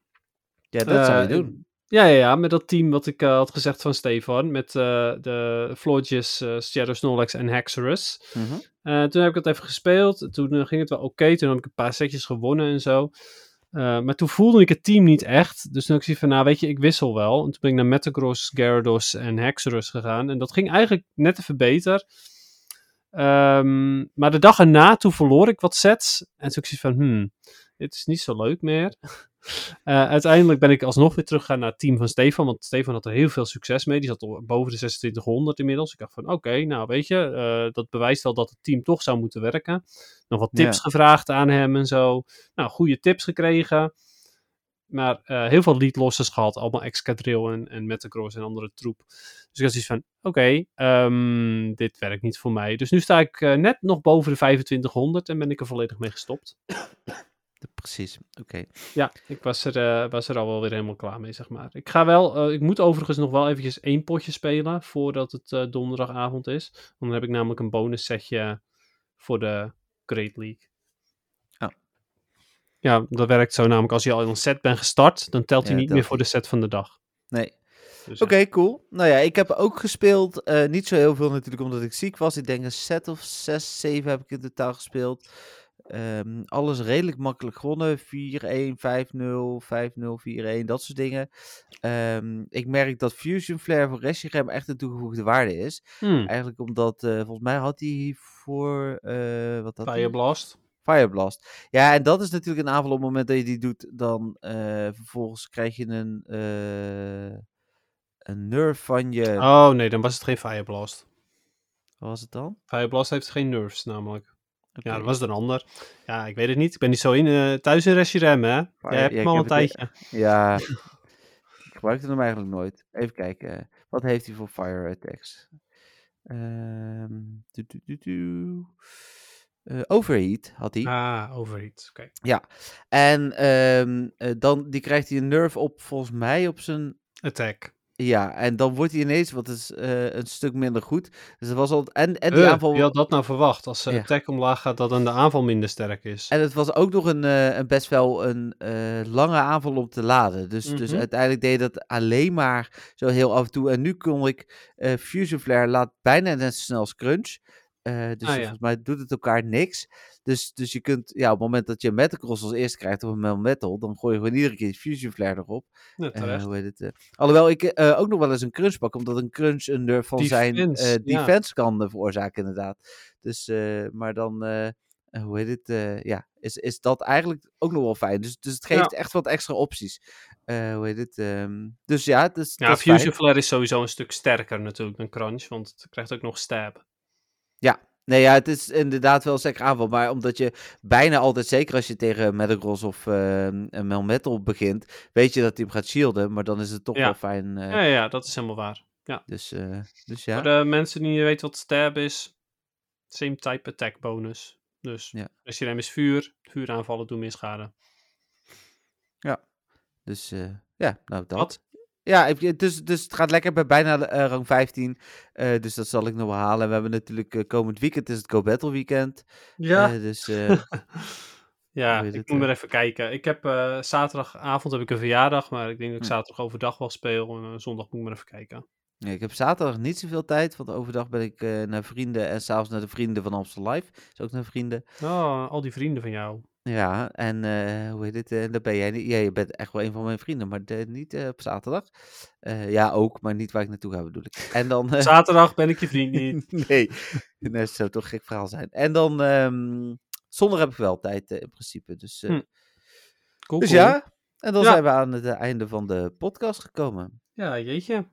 Speaker 1: ja dat zou je
Speaker 2: Eh,
Speaker 1: doen.
Speaker 2: Ja, ja, ja, met dat team wat ik eh, had gezegd van Stefan. Met eh, de Flodges, eh Shadow Snorlax en Hexerus.
Speaker 1: Mhm.
Speaker 2: Eh, toen heb ik dat even gespeeld. Toen eh, ging het wel oké. Toen heb ik een paar setjes gewonnen en zo. Eh, maar toen voelde ik het team niet echt. Dus toen had ik zoiets van, nou weet je, ik wissel wel. En toen ben ik naar Metagross, Gyarados en Hexerus gegaan. En dat ging eigenlijk net even beter. Ehm, maar de dag erna, toen verloor ik wat sets. En toen had ik zoiets van, hmm, dit is niet zo leuk meer. Eh, uiteindelijk ben ik alsnog weer teruggegaan naar het team van Stefan. Want Stefan had er heel veel succes mee. Die zat al boven de 2600 inmiddels. Ik dacht van, oké, nou weet je, eh, dat bewijst wel dat het team toch zou moeten werken. Nog wat tips
Speaker 1: Ja.
Speaker 2: gevraagd aan hem en zo. Nou, goede tips gekregen. Maar eh, heel veel lead losses gehad. Allemaal Excadrill en, en Metacross en andere troep. Dus ik had zoiets van, oké, ehm, dit werkt niet voor mij. Dus nu sta ik eh, net nog boven de 2500 en ben ik er volledig mee gestopt.
Speaker 1: Precies, oké.
Speaker 2: Ja, ik was er, eh, was er al wel weer helemaal klaar mee, zeg maar. Ik ga wel, eh, ik moet overigens nog wel eventjes één potje spelen voordat het eh, donderdagavond is. Want dan heb ik namelijk een bonus setje voor de Great League.
Speaker 1: Oh.
Speaker 2: Ja, dat werkt zo namelijk. Als je al in een set bent gestart, dan telt hij
Speaker 1: Ja,
Speaker 2: niet
Speaker 1: telt
Speaker 2: meer voor de set van de dag.
Speaker 1: Nee.
Speaker 2: Dus,
Speaker 1: Oké, cool. Nou ja, ik heb ook gespeeld. eh, niet zo heel veel natuurlijk, omdat ik ziek was. Ik denk een set of zes, zeven heb ik in totaal gespeeld. Ehm, alles redelijk makkelijk gewonnen. 4-1, 5-0, 5-0, 4-1, dat soort dingen. Ehm, ik merk dat Fusion Flare voor Reshiram echt een toegevoegde waarde is.
Speaker 2: eh, hmm,
Speaker 1: Eigenlijk omdat, eh, volgens mij had hij voor... eh wat had hij?
Speaker 2: Fireblast.
Speaker 1: Fireblast. Ja, en dat is natuurlijk een aanval op het moment dat je die doet, dan eh, vervolgens krijg je een, eh een nerf van je.
Speaker 2: Oh nee, dan was het geen Fireblast.
Speaker 1: Wat was het dan?
Speaker 2: Fireblast heeft geen nerves namelijk.
Speaker 1: Oké.
Speaker 2: Ja, dat was er een ander. Ja, ik weet het niet. Ik ben niet zo in, eh, thuis in Reshiram, hè? Jij hebt
Speaker 1: ja,
Speaker 2: hem
Speaker 1: ik
Speaker 2: al een
Speaker 1: heb het,
Speaker 2: tijdje.
Speaker 1: Ja, ik gebruikte hem eigenlijk nooit. Even kijken. Wat heeft hij voor fire attacks? Ehm, du- du- du- du. Eh, overheat had hij.
Speaker 2: Ah, overheat. Oké.
Speaker 1: En ehm, eh, dan die krijgt hij een nerf op, volgens mij, op zijn
Speaker 2: Attack.
Speaker 1: Ja, en dan wordt hij ineens, wat is eh, een stuk minder goed. Dus dat was al. En, en die
Speaker 2: Eh,
Speaker 1: aanval.
Speaker 2: Wie had dat nou verwacht? Als de
Speaker 1: Ja.
Speaker 2: attack omlaag gaat, dat dan de aanval minder sterk is.
Speaker 1: En het was ook nog een, eh, een best wel een eh, lange aanval om te laden. Dus, dus
Speaker 2: Mhm.
Speaker 1: uiteindelijk deed dat alleen maar zo heel af en toe. En nu kon ik eh, Fusion Flare laat bijna net zo snel als Crunch. Eh, dus
Speaker 2: Ah, ja.
Speaker 1: volgens mij doet het elkaar niks. Dus, dus je kunt, ja, op het moment dat je Metacross als eerste krijgt of een Mel Metal, dan gooi je gewoon iedere keer die Fusion Flare erop.
Speaker 2: Ja,
Speaker 1: Eh,
Speaker 2: terecht.
Speaker 1: hoe heet het, eh, alhoewel ik eh, ook nog wel eens een crunch pak, omdat een crunch een nerf van zijn
Speaker 2: Defense,
Speaker 1: eh,
Speaker 2: ja.
Speaker 1: defense kan eh, veroorzaken, inderdaad. Dus, eh, maar dan, eh, eh, hoe heet het, eh, ja, is, is dat eigenlijk ook nog wel fijn. Dus, dus het geeft echt wat extra opties. Eh, hoe heet het? ehm, dus ja, dus,
Speaker 2: ja,
Speaker 1: dat is
Speaker 2: Fusion
Speaker 1: fijn.
Speaker 2: Flare is sowieso een stuk sterker natuurlijk dan Crunch, want het krijgt ook nog stab.
Speaker 1: Nee, ja, het is inderdaad wel een sterke aanval. Maar omdat je bijna altijd, zeker als je tegen Metagross of eh, een Melmetal begint, weet je dat hij hem gaat shielden. Maar dan is het toch
Speaker 2: Ja.
Speaker 1: wel fijn. eh,
Speaker 2: Ja, ja, ja, dat is helemaal waar.
Speaker 1: dus, eh, dus ja.
Speaker 2: Voor de mensen die niet weten wat stab is, same type attack bonus. Dus
Speaker 1: Ja.
Speaker 2: als je rem is vuur, vuuraanvallen doen meer schade.
Speaker 1: Dus eh, ja, nou dat.
Speaker 2: Wat?
Speaker 1: Ja, heb je- dus, dus het gaat lekker bij bijna de, eh, rang 15. Eh, dus dat zal ik nog wel halen. En we hebben natuurlijk eh, komend weekend is het Go Battle Weekend.
Speaker 2: Ja,
Speaker 1: Eh, dus eh,
Speaker 2: ja
Speaker 1: hoe heet
Speaker 2: ik
Speaker 1: het,
Speaker 2: moet
Speaker 1: eh?
Speaker 2: maar even kijken. Ik heb eh, zaterdagavond heb ik een verjaardag, maar ik denk dat ik
Speaker 1: Hm.
Speaker 2: zaterdag overdag wel speel. En eh, zondag moet ik maar even kijken.
Speaker 1: nee, ik heb zaterdag niet zoveel tijd. Want overdag ben ik eh, naar vrienden. En s'avonds naar de vrienden van Amsterdam Live. Dus ook naar vrienden.
Speaker 2: Oh, al die vrienden van jou.
Speaker 1: Ja, en eh, hoe heet het? eh, daar ben jij niet. Ja, je bent echt wel een van mijn vrienden. Maar eh, niet eh, op zaterdag. Eh, ja, ook. Maar niet waar ik naartoe ga bedoel ik. En dan... eh,
Speaker 2: Zaterdag ben ik je vriend niet.
Speaker 1: nee. nee, dat zou toch een gek verhaal zijn. En dan, ehm, zondag heb ik wel tijd eh, in principe. Dus, eh,
Speaker 2: Cool,
Speaker 1: dus
Speaker 2: cool.
Speaker 1: ja, en dan
Speaker 2: Ja.
Speaker 1: zijn we aan het eh, einde van de podcast gekomen.
Speaker 2: Ja, jeetje.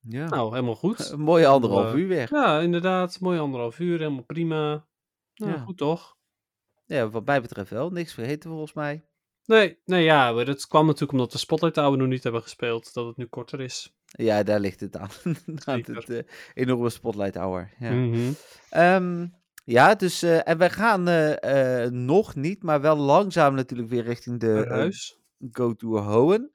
Speaker 1: Ja.
Speaker 2: Nou, helemaal goed.
Speaker 1: Een mooie anderhalf
Speaker 2: eh,
Speaker 1: uur weg.
Speaker 2: Ja, inderdaad. Mooi anderhalf uur. Helemaal prima. Nou,
Speaker 1: Ja.
Speaker 2: goed toch?
Speaker 1: Ja, wat mij betreft wel. Niks vergeten volgens mij.
Speaker 2: Nee, nee, ja. maar Dat kwam natuurlijk omdat de Spotlight Hour nog niet hebben gespeeld. Dat het nu korter is.
Speaker 1: Ja, daar ligt het aan. aan
Speaker 2: Zeker.
Speaker 1: het eh, enorme spotlight hour. Ja,
Speaker 2: Mhm.
Speaker 1: Ehm, ja dus eh, en wij gaan eh, eh, nog niet, maar wel langzaam natuurlijk weer richting de
Speaker 2: Naar
Speaker 1: eh,
Speaker 2: huis.
Speaker 1: Go Tour Hohen.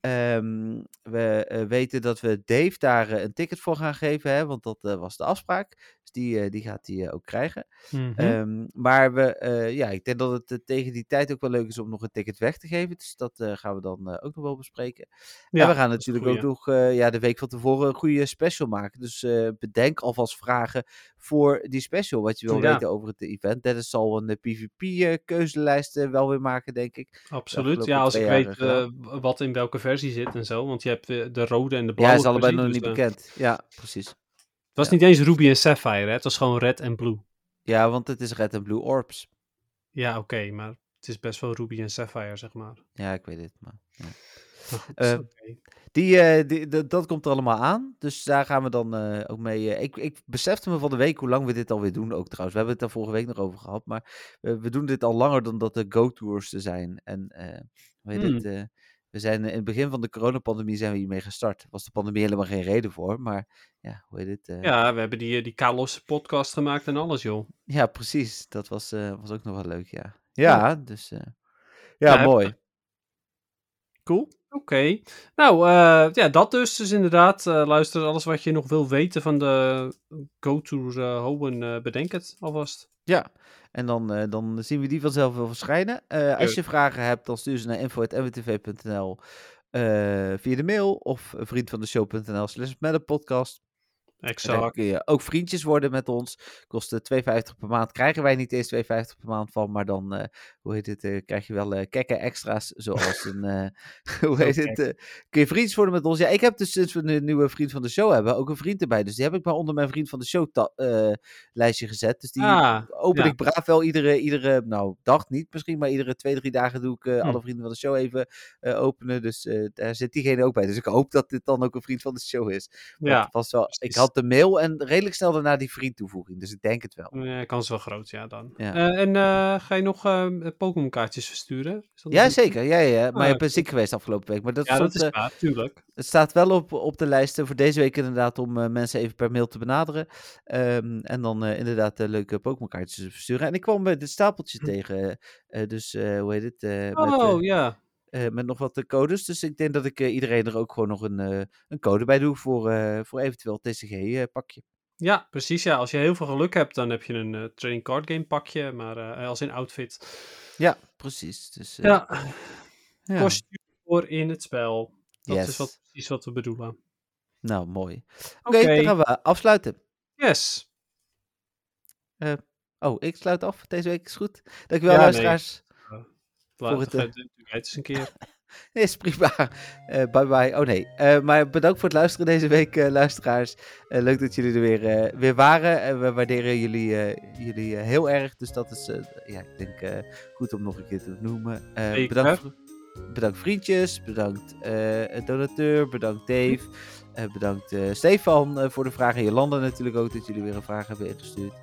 Speaker 1: Ehm, we eh, weten dat we Dave daar eh, een ticket voor gaan geven, hè, want dat eh, was de afspraak. Dus die, eh, die gaat hij eh, ook krijgen.
Speaker 2: Mhm.
Speaker 1: Ehm, maar we, eh, ja, ik denk dat het eh, tegen die tijd ook wel leuk is om nog een ticket weg te geven. Dus dat eh, gaan we dan eh, ook nog wel bespreken.
Speaker 2: Ja,
Speaker 1: en we gaan
Speaker 2: dat is een
Speaker 1: natuurlijk ook
Speaker 2: goeie.
Speaker 1: nog eh, ja, de week van tevoren een goede special maken. Dus eh, bedenk alvast vragen voor die special. Wat je wil
Speaker 2: Ja.
Speaker 1: weten over het event. Dennis zal een eh, PvP-keuzelijst eh, wel weer maken, denk ik.
Speaker 2: Absoluut.
Speaker 1: afgelopen
Speaker 2: Ja, als
Speaker 1: twee
Speaker 2: ik
Speaker 1: jaar,
Speaker 2: weet
Speaker 1: eh,
Speaker 2: eh, wat in welke versie zit en zo. Want je hebt eh, de, de rode en de
Speaker 1: Ja,
Speaker 2: blauwe.
Speaker 1: is allebei
Speaker 2: versie,
Speaker 1: nog
Speaker 2: dus,
Speaker 1: niet
Speaker 2: eh,
Speaker 1: bekend. Ja, precies.
Speaker 2: Het was
Speaker 1: Ja.
Speaker 2: niet eens Ruby en Sapphire, hè? Het was gewoon red en blue.
Speaker 1: Ja, want het is Red en Blue Orbs.
Speaker 2: Ja, oké, maar het is best wel Ruby en Sapphire, zeg maar.
Speaker 1: Ja, ik weet het. Maar, ja.
Speaker 2: Maar goed,
Speaker 1: Eh,
Speaker 2: oké.
Speaker 1: Die, eh, die- dat- dat komt er allemaal aan. Dus daar gaan we dan eh, ook mee. eh, ik, ik besefte me van de week hoe lang we dit alweer doen ook trouwens. We hebben het daar vorige week nog over gehad. Maar eh, we doen dit al langer dan dat er go-tours er zijn. En eh, hoe heet het, eh, we zijn eh, in het begin van de coronapandemie zijn we hiermee gestart. Was de pandemie helemaal geen reden voor. Maar ja, hoe heet het? eh, ja.
Speaker 2: ja, we hebben die, eh, die Carlos podcast gemaakt en alles, joh.
Speaker 1: precies. Dat was, eh, was ook nog wel leuk, ja. Ja,
Speaker 2: Ja.
Speaker 1: dus... eh,
Speaker 2: Ja,
Speaker 1: ja,
Speaker 2: heb-
Speaker 1: mooi. Cool.
Speaker 2: Oké. Nou, eh, ja, dat dus. Dus inderdaad, eh, luister, alles wat je nog wil weten van de go-to eh Hohen, eh, bedenk het alvast.
Speaker 1: Ja, en dan, eh, dan zien we die vanzelf wel verschijnen. Eh, als je vragen hebt, dan stuur ze naar info.mwtv.nl eh, via de mail of vriendvandeshow.nl slash met een podcast. En Dan
Speaker 2: Exact.
Speaker 1: kun je ook vriendjes worden met ons. Kost eh, 2,50 per maand. Krijgen wij niet eens 2,50 per maand van, maar dan, eh, hoe heet het, eh, krijg je wel eh kekke extra's. Zoals een, eh, hoe heet
Speaker 2: Zo
Speaker 1: het, eh, kun je vriendjes worden met ons. Ja, ik heb dus sinds we een nieuwe vriend van de show hebben, ook een vriend erbij. Dus die heb ik maar onder mijn vriend van de show ta- eh, lijstje gezet. Dus die
Speaker 2: Ah,
Speaker 1: open
Speaker 2: Ja.
Speaker 1: ik braaf wel iedere, iedere, nou, dag niet misschien, maar iedere twee, drie dagen doe ik eh,
Speaker 2: Hm.
Speaker 1: alle vrienden van de show even eh, openen. Dus eh, daar zit diegene ook bij. Dus ik hoop dat dit dan ook een vriend van de show is. Want
Speaker 2: ja.
Speaker 1: het was wel, ik
Speaker 2: precies.
Speaker 1: had de mail en redelijk snel daarna die vriend toevoeging. Dus ik denk het wel.
Speaker 2: Eh, kans wel groot, ja, dan.
Speaker 1: Ja.
Speaker 2: Eh, en eh, ga je nog eh, Pokémon kaartjes versturen? Is dat nog
Speaker 1: Ja,
Speaker 2: niet-
Speaker 1: zeker. Ja, ja, ja. Maar je
Speaker 2: Ah,
Speaker 1: bent ziek geweest afgelopen week. Maar dat,
Speaker 2: Ja, dat
Speaker 1: stond,
Speaker 2: is
Speaker 1: eh,
Speaker 2: waar, tuurlijk.
Speaker 1: het staat wel op, op de lijst eh, voor deze week inderdaad om eh, mensen even per mail te benaderen. Ehm, en dan eh, inderdaad eh, leuke Pokémon kaartjes te versturen. En ik kwam eh, dit stapeltje tegen. eh, dus eh, hoe heet het? eh, met, eh,
Speaker 2: Hm. Oh, ja.
Speaker 1: eh, met nog wat eh, codes. Dus ik denk dat ik eh, iedereen er ook gewoon nog een, eh, een code bij doe voor, eh, voor eventueel TCG-pakje.
Speaker 2: Ja, precies. Ja, als je heel veel geluk hebt, dan heb je een eh, trading card game pakje, maar eh, als in outfit.
Speaker 1: ja, precies. Dus, eh,
Speaker 2: Ja,
Speaker 1: ja.
Speaker 2: kostuum voor in het spel. Dat
Speaker 1: Yes.
Speaker 2: is wat, precies wat we bedoelen.
Speaker 1: Nou, mooi. Oké,
Speaker 2: Oké,
Speaker 1: dan gaan we afsluiten.
Speaker 2: yes.
Speaker 1: Oh, ik sluit af. Deze week is goed. Dankjewel,
Speaker 2: Ja, nee.
Speaker 1: luisteraars.
Speaker 2: Laat
Speaker 1: het,
Speaker 2: het
Speaker 1: eh,
Speaker 2: natuurlijk uit eens een keer.
Speaker 1: Nee. Is prima. Eh, bye bye. Oh nee. Eh, maar bedankt voor het luisteren deze week, eh, luisteraars. Eh, leuk dat jullie er weer, eh, weer waren. Eh, we waarderen jullie, eh, jullie eh, heel erg. Dus dat is, eh, ja, ik denk eh, goed om nog een keer te noemen. Eh,
Speaker 2: Zeker.
Speaker 1: bedankt, vri- bedankt vriendjes. Bedankt eh, het donateur. Bedankt Dave. Eh, bedankt eh, Stefan eh, voor de vragen. Jolanda natuurlijk ook dat jullie weer een vraag hebben ingestuurd.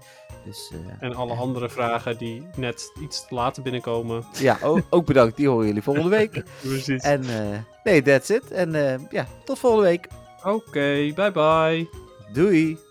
Speaker 1: Dus eh,
Speaker 2: En alle andere vragen die net iets te later binnenkomen.
Speaker 1: Ja, ook, ook bedankt. Die horen jullie volgende week.
Speaker 2: Precies.
Speaker 1: En eh, nee, that's it. En eh, ja, tot volgende week.
Speaker 2: Oké, bye bye.
Speaker 1: Doei.